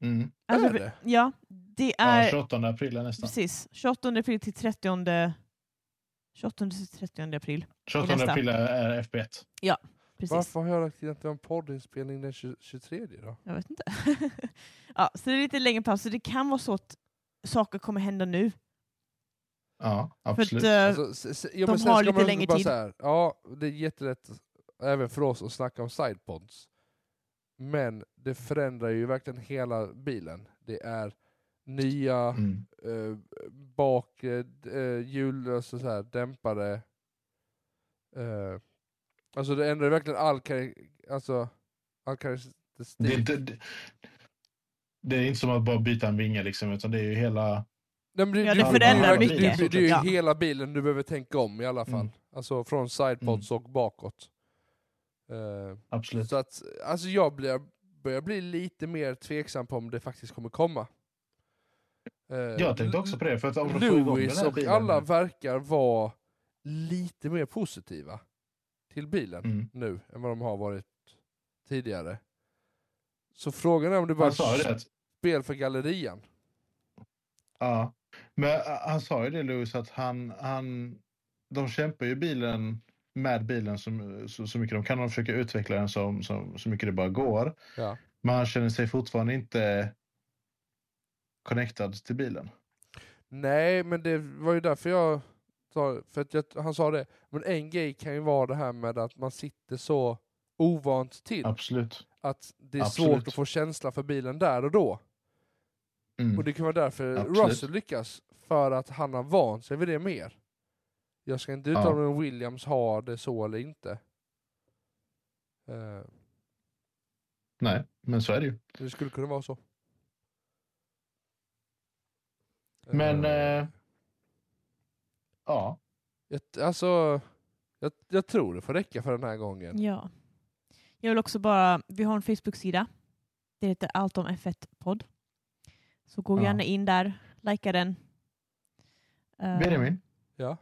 S1: Mm.
S2: Är
S3: Azerbaj-
S2: det?
S3: Ja, det
S1: Ja,
S3: är
S1: 28 april är nästan.
S3: precis 28 april till 30 28 till 30 april.
S1: 28
S3: nästa.
S1: april är- är FB1.
S3: Precis.
S2: Varför har jag lagt in att vi har en poddinspelning den 20 23 då?
S3: Jag vet inte. [LAUGHS] ja, så det är lite längre paus, så det kan vara så att saker kommer hända nu.
S1: Ja,
S3: För att,
S1: absolut.
S3: eh,
S2: Alltså, s- s- ja,
S3: de
S2: men sen
S3: har
S2: ska
S3: lite
S2: man
S3: längre
S2: bara
S3: tid.
S2: så här, ja, det är jättelätt även för oss att snacka om sidepods. Men det förändrar ju verkligen hela bilen. Det är nya
S1: Mm.
S2: eh, bak, eh, hjul, alltså så här, dämpare. Eh, alltså det ändrar verkligen all, kar- alltså, all karaktäristik.
S1: Det, är inte, det, det är inte som att bara byta en vinge liksom, utan det är ju hela...
S2: Nej, men det,
S3: Ja,
S2: du-
S1: det förändrar
S2: du-
S1: mycket.
S2: Du, du, det är ju
S3: Ja.
S2: hela bilen du behöver tänka om i alla fall.
S1: Mm.
S2: Alltså från sidepods och bakåt. Eh,
S1: Absolut.
S2: så att, alltså jag blir, börjar bli lite mer tveksam på om det faktiskt kommer komma. Eh,
S1: Jag tänkte också på det, för att om de får igång den
S2: Lewis
S1: här
S2: och
S1: bilen...
S2: alla verkar vara lite mer positiva till bilen
S1: Mm.
S2: nu än vad de har varit tidigare. Så frågan är om det bara
S1: Han sa ju
S2: är
S1: det.
S2: ett
S1: att-
S2: spel för gallerian.
S1: Ja. Men eh, han sa ju det, Lewis, att han... han de kämpar ju bilen med bilen som, så, så mycket de kan. De försöker utveckla den så, så, så mycket det bara går.
S2: Ja.
S1: Men han känner sig fortfarande inte connectad till bilen.
S2: Nej, men det var ju därför jag sa för att jag, han sa det. Men en grej kan ju vara det här med att man sitter så ovant till.
S1: Absolut.
S2: Att det är svårt
S1: Absolut.
S2: att få känsla för bilen där och då.
S1: Mm.
S2: Och det kan vara därför
S1: Absolut.
S2: Russell lyckas, för att han har vant sig vid det mer. Jag ska inte uttala
S1: Ja.
S2: mig om Williams har det så eller inte. Eh,
S1: Nej, men så är det ju.
S2: det skulle kunna vara så.
S1: Men,
S2: Eh,
S1: eh, Ja.
S2: jag, alltså, jag, jag tror det får räcka för den här gången.
S3: Ja. Jag vill också bara, vi har en Facebook-sida. Det heter Allt om F1-podd. Så gå
S1: Ja.
S3: gärna in där, likea den. Eh,
S1: Benjamin,
S2: Ja.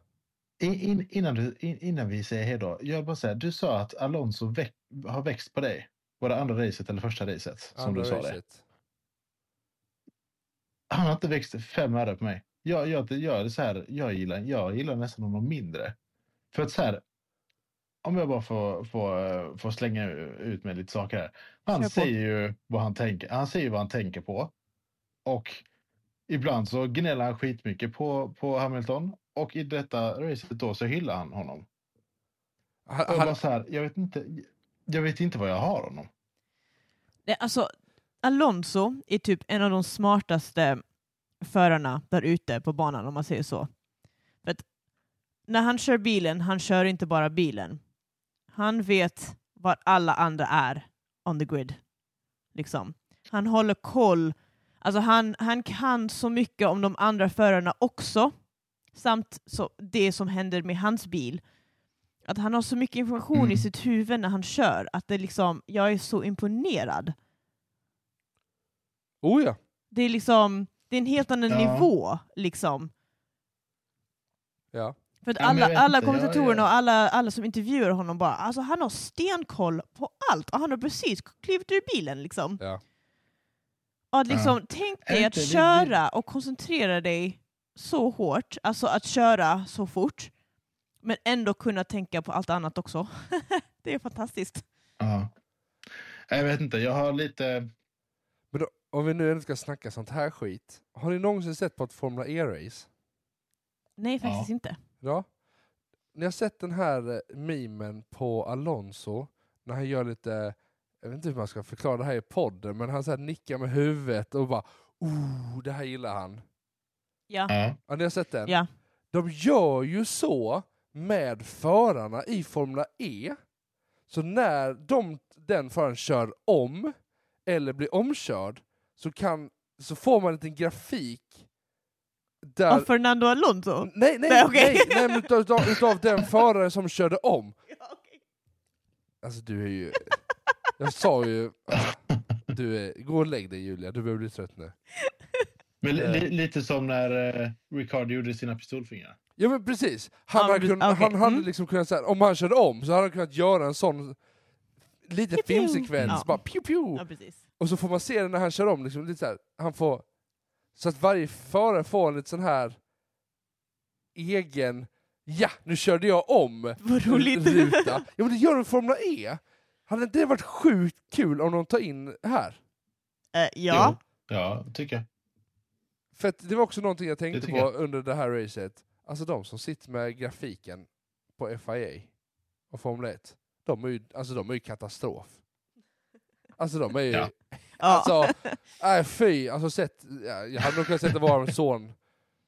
S1: in, in, innan, du, in, innan vi säger hej då. Jag vill bara säga, du sa att Alonso väck, har växt på dig. Var det andra racet eller första racet? Som
S2: andra
S1: du sa det.
S2: racet.
S1: Han har inte växt fem öre på mig. Jag, jag, jag, är så här, jag, gillar, jag gillar nästan honom mindre. För att så här, om jag bara får, får, får slänga ut med lite saker här.
S3: Kör på.
S1: Han säger ju vad han tänker, han säger vad han tänker på. Och ibland så gnäller han skitmycket på, på Hamilton. Och i detta racet då så hyllar han honom.
S2: Han,
S1: Och jag, bara
S2: han,
S1: så här, jag, vet inte, jag vet inte vad jag har honom.
S3: Det, alltså, Alonso är typ en av de smartaste förarna där ute på banan om man säger så. För att när han kör bilen, han kör inte bara bilen. Han vet var alla andra är on the grid. Liksom. Han håller koll. Alltså han, han kan så mycket om de andra förarna också, samt så det som händer med hans bil. Att han har så mycket information
S2: Mm.
S3: i sitt huvud när han kör, att det liksom, jag är så imponerad.
S2: Oh ja.
S3: Det är liksom, det är en helt annan
S1: Ja.
S3: nivå. Liksom.
S2: ja.
S3: För att
S1: Ja, men jag
S3: alla,
S1: vet
S3: alla
S1: inte, jag-
S3: kommentatorerna
S1: jag-
S3: och alla, alla som intervjuar honom bara, alltså han har stenkoll på allt och han har precis klivit ur bilen liksom.
S2: Ja.
S3: Och att liksom, tänk dig
S1: Är
S3: att
S1: inte det
S3: köra och koncentrera dig så hårt, alltså att köra så fort, men ändå kunna tänka på allt annat också. [LAUGHS] det är fantastiskt.
S1: Ja. Jag vet inte, jag har lite...
S2: Men då, om vi nu ändå ska snacka sånt här skit. Har ni någonsin sett på ett Formula E-race?
S3: Nej, faktiskt inte.
S2: Ja. Ni har sett den här eh, memen på Alonso när han gör lite, jag vet inte hur man ska förklara det här i podden, men han så här nickar med huvudet och bara oh, det här gillar han.
S3: Ja.
S1: Ja.
S2: Ja, ni har sett den?
S3: Ja.
S2: De gör ju så med förarna i Formula E. Så när de, den föraren kör om eller blir omkörd så, kan, så får man en liten grafik där
S3: Och Fernando Alonso.
S2: Nej, nej,
S3: Nej, okej.
S2: nej, nej men utav, utav, utav den förare som körde om.
S3: Ja, okej.
S2: Alltså du är ju... Jag sa ju... alltså, Du är, gå och lägg dig Julia, du börjar bli trött nu.
S1: Men li,
S2: Eh.
S1: li, lite som när eh, Ricardo gjorde sina pistolfingrar.
S2: Ja men precis,
S3: Ja,
S2: han,
S3: men
S2: hade, kun,
S3: precis, okej,
S2: han hade
S3: mm.
S2: liksom kunnat säga om han körde om så hade han kunnat göra en sån lite
S3: Pew, pew.
S2: filmsekvens,
S3: Ja.
S2: bara pew, pew.
S3: ja precis.
S2: Och så får man se det när han kör om, liksom, lite så här, han får... Så att varje förare får en lite sån här egen, ja nu körde jag om.
S3: Vad roligt.
S2: ruta. Ja men det gör de i Formula E. Hade inte det varit sjukt kul om de tar in här?
S3: Eh, ja.
S1: Jo, ja, tycker jag.
S2: För att det var också någonting jag tänkte
S1: Det
S2: på
S1: tycker
S2: under det här racet. Alltså de som sitter med grafiken på FIA och Formel 1, de är ju, alltså, de är ju katastrof. Alltså de är ju...
S1: Ja.
S3: Ja.
S2: Alltså, nej fy, alltså sett, ja, jag hade nog kunnat sätta vår son,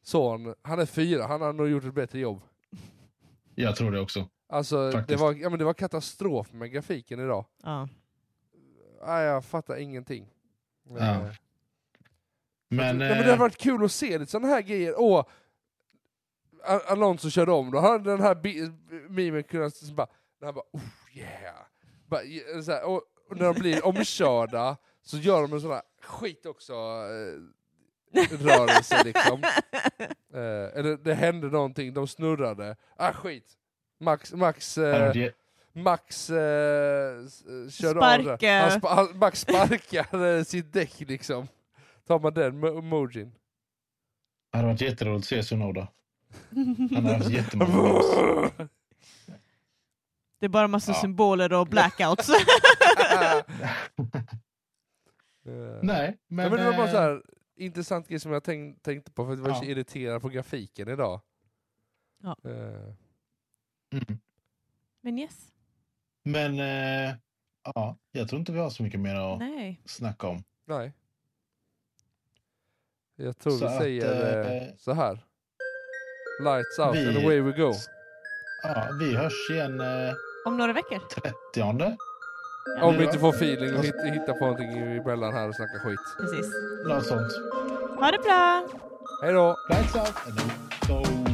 S2: son, han är fyra, han hade nog gjort ett bättre jobb.
S1: Jag tror det också.
S2: Alltså det
S1: Faktiskt.
S2: var, ja, men det var katastrof med grafiken idag.
S3: Ja.
S2: Nej, jag fattar ingenting.
S1: Ja.
S2: Eh,
S1: Men,
S2: ja, men det
S1: eh,
S2: hade varit kul att se lite sådana här grejer. Åh, Al- Alonso körde om, då hade den här bi- mimen kunnat... Så bara, när han bara oh yeah. Bara, eh, så här, och, och när
S1: [LAUGHS]
S2: de blir omkörda så gör de en sån här skit också. Eh, rörelse liksom. Eh, eller det hände någonting, de snurrade. Ah skit! Max, Max,
S1: det hade
S2: eh,
S1: varit jä-
S2: Max eh, s- eh, körde av det.
S3: Sparka.
S2: Han spa, han, Max sparkar eh, sitt däck liksom. Tar man den
S1: [LAUGHS]
S2: mo- emojin.
S1: det hade varit jätteroligt att se Sonoda. Han har haft jättemånga
S2: [LAUGHS]
S1: memes.
S3: [LAUGHS] Det är bara massa
S1: Ja.
S3: symboler och blackouts.
S2: Eh,
S1: Nej,
S2: Men,
S1: men...
S2: det var bara
S1: eh,
S2: så här, intressant grej som jag tänk, tänkte på för att jag var
S1: Ja.
S2: så irriterad på grafiken idag.
S3: Ja.
S2: Eh,
S1: mm.
S3: [LAUGHS] Men yes.
S1: Men eh, ja, jag tror inte vi har så mycket mer att
S3: Nej.
S1: snacka om.
S2: nej. Jag tror
S1: Så
S2: vi
S1: att,
S2: säger eh,
S1: eh,
S2: så här. Lights out
S1: vi-
S2: and away we go.
S1: Ja, vi hörs igen eh,
S3: Om några veckor.
S1: 30.
S2: Om vi inte får feeling och hit- hittar på någonting emellan här och snackar skit.
S3: Precis.
S1: Något sånt.
S3: Ha det bra!
S2: Hej då!
S1: Lights out and go.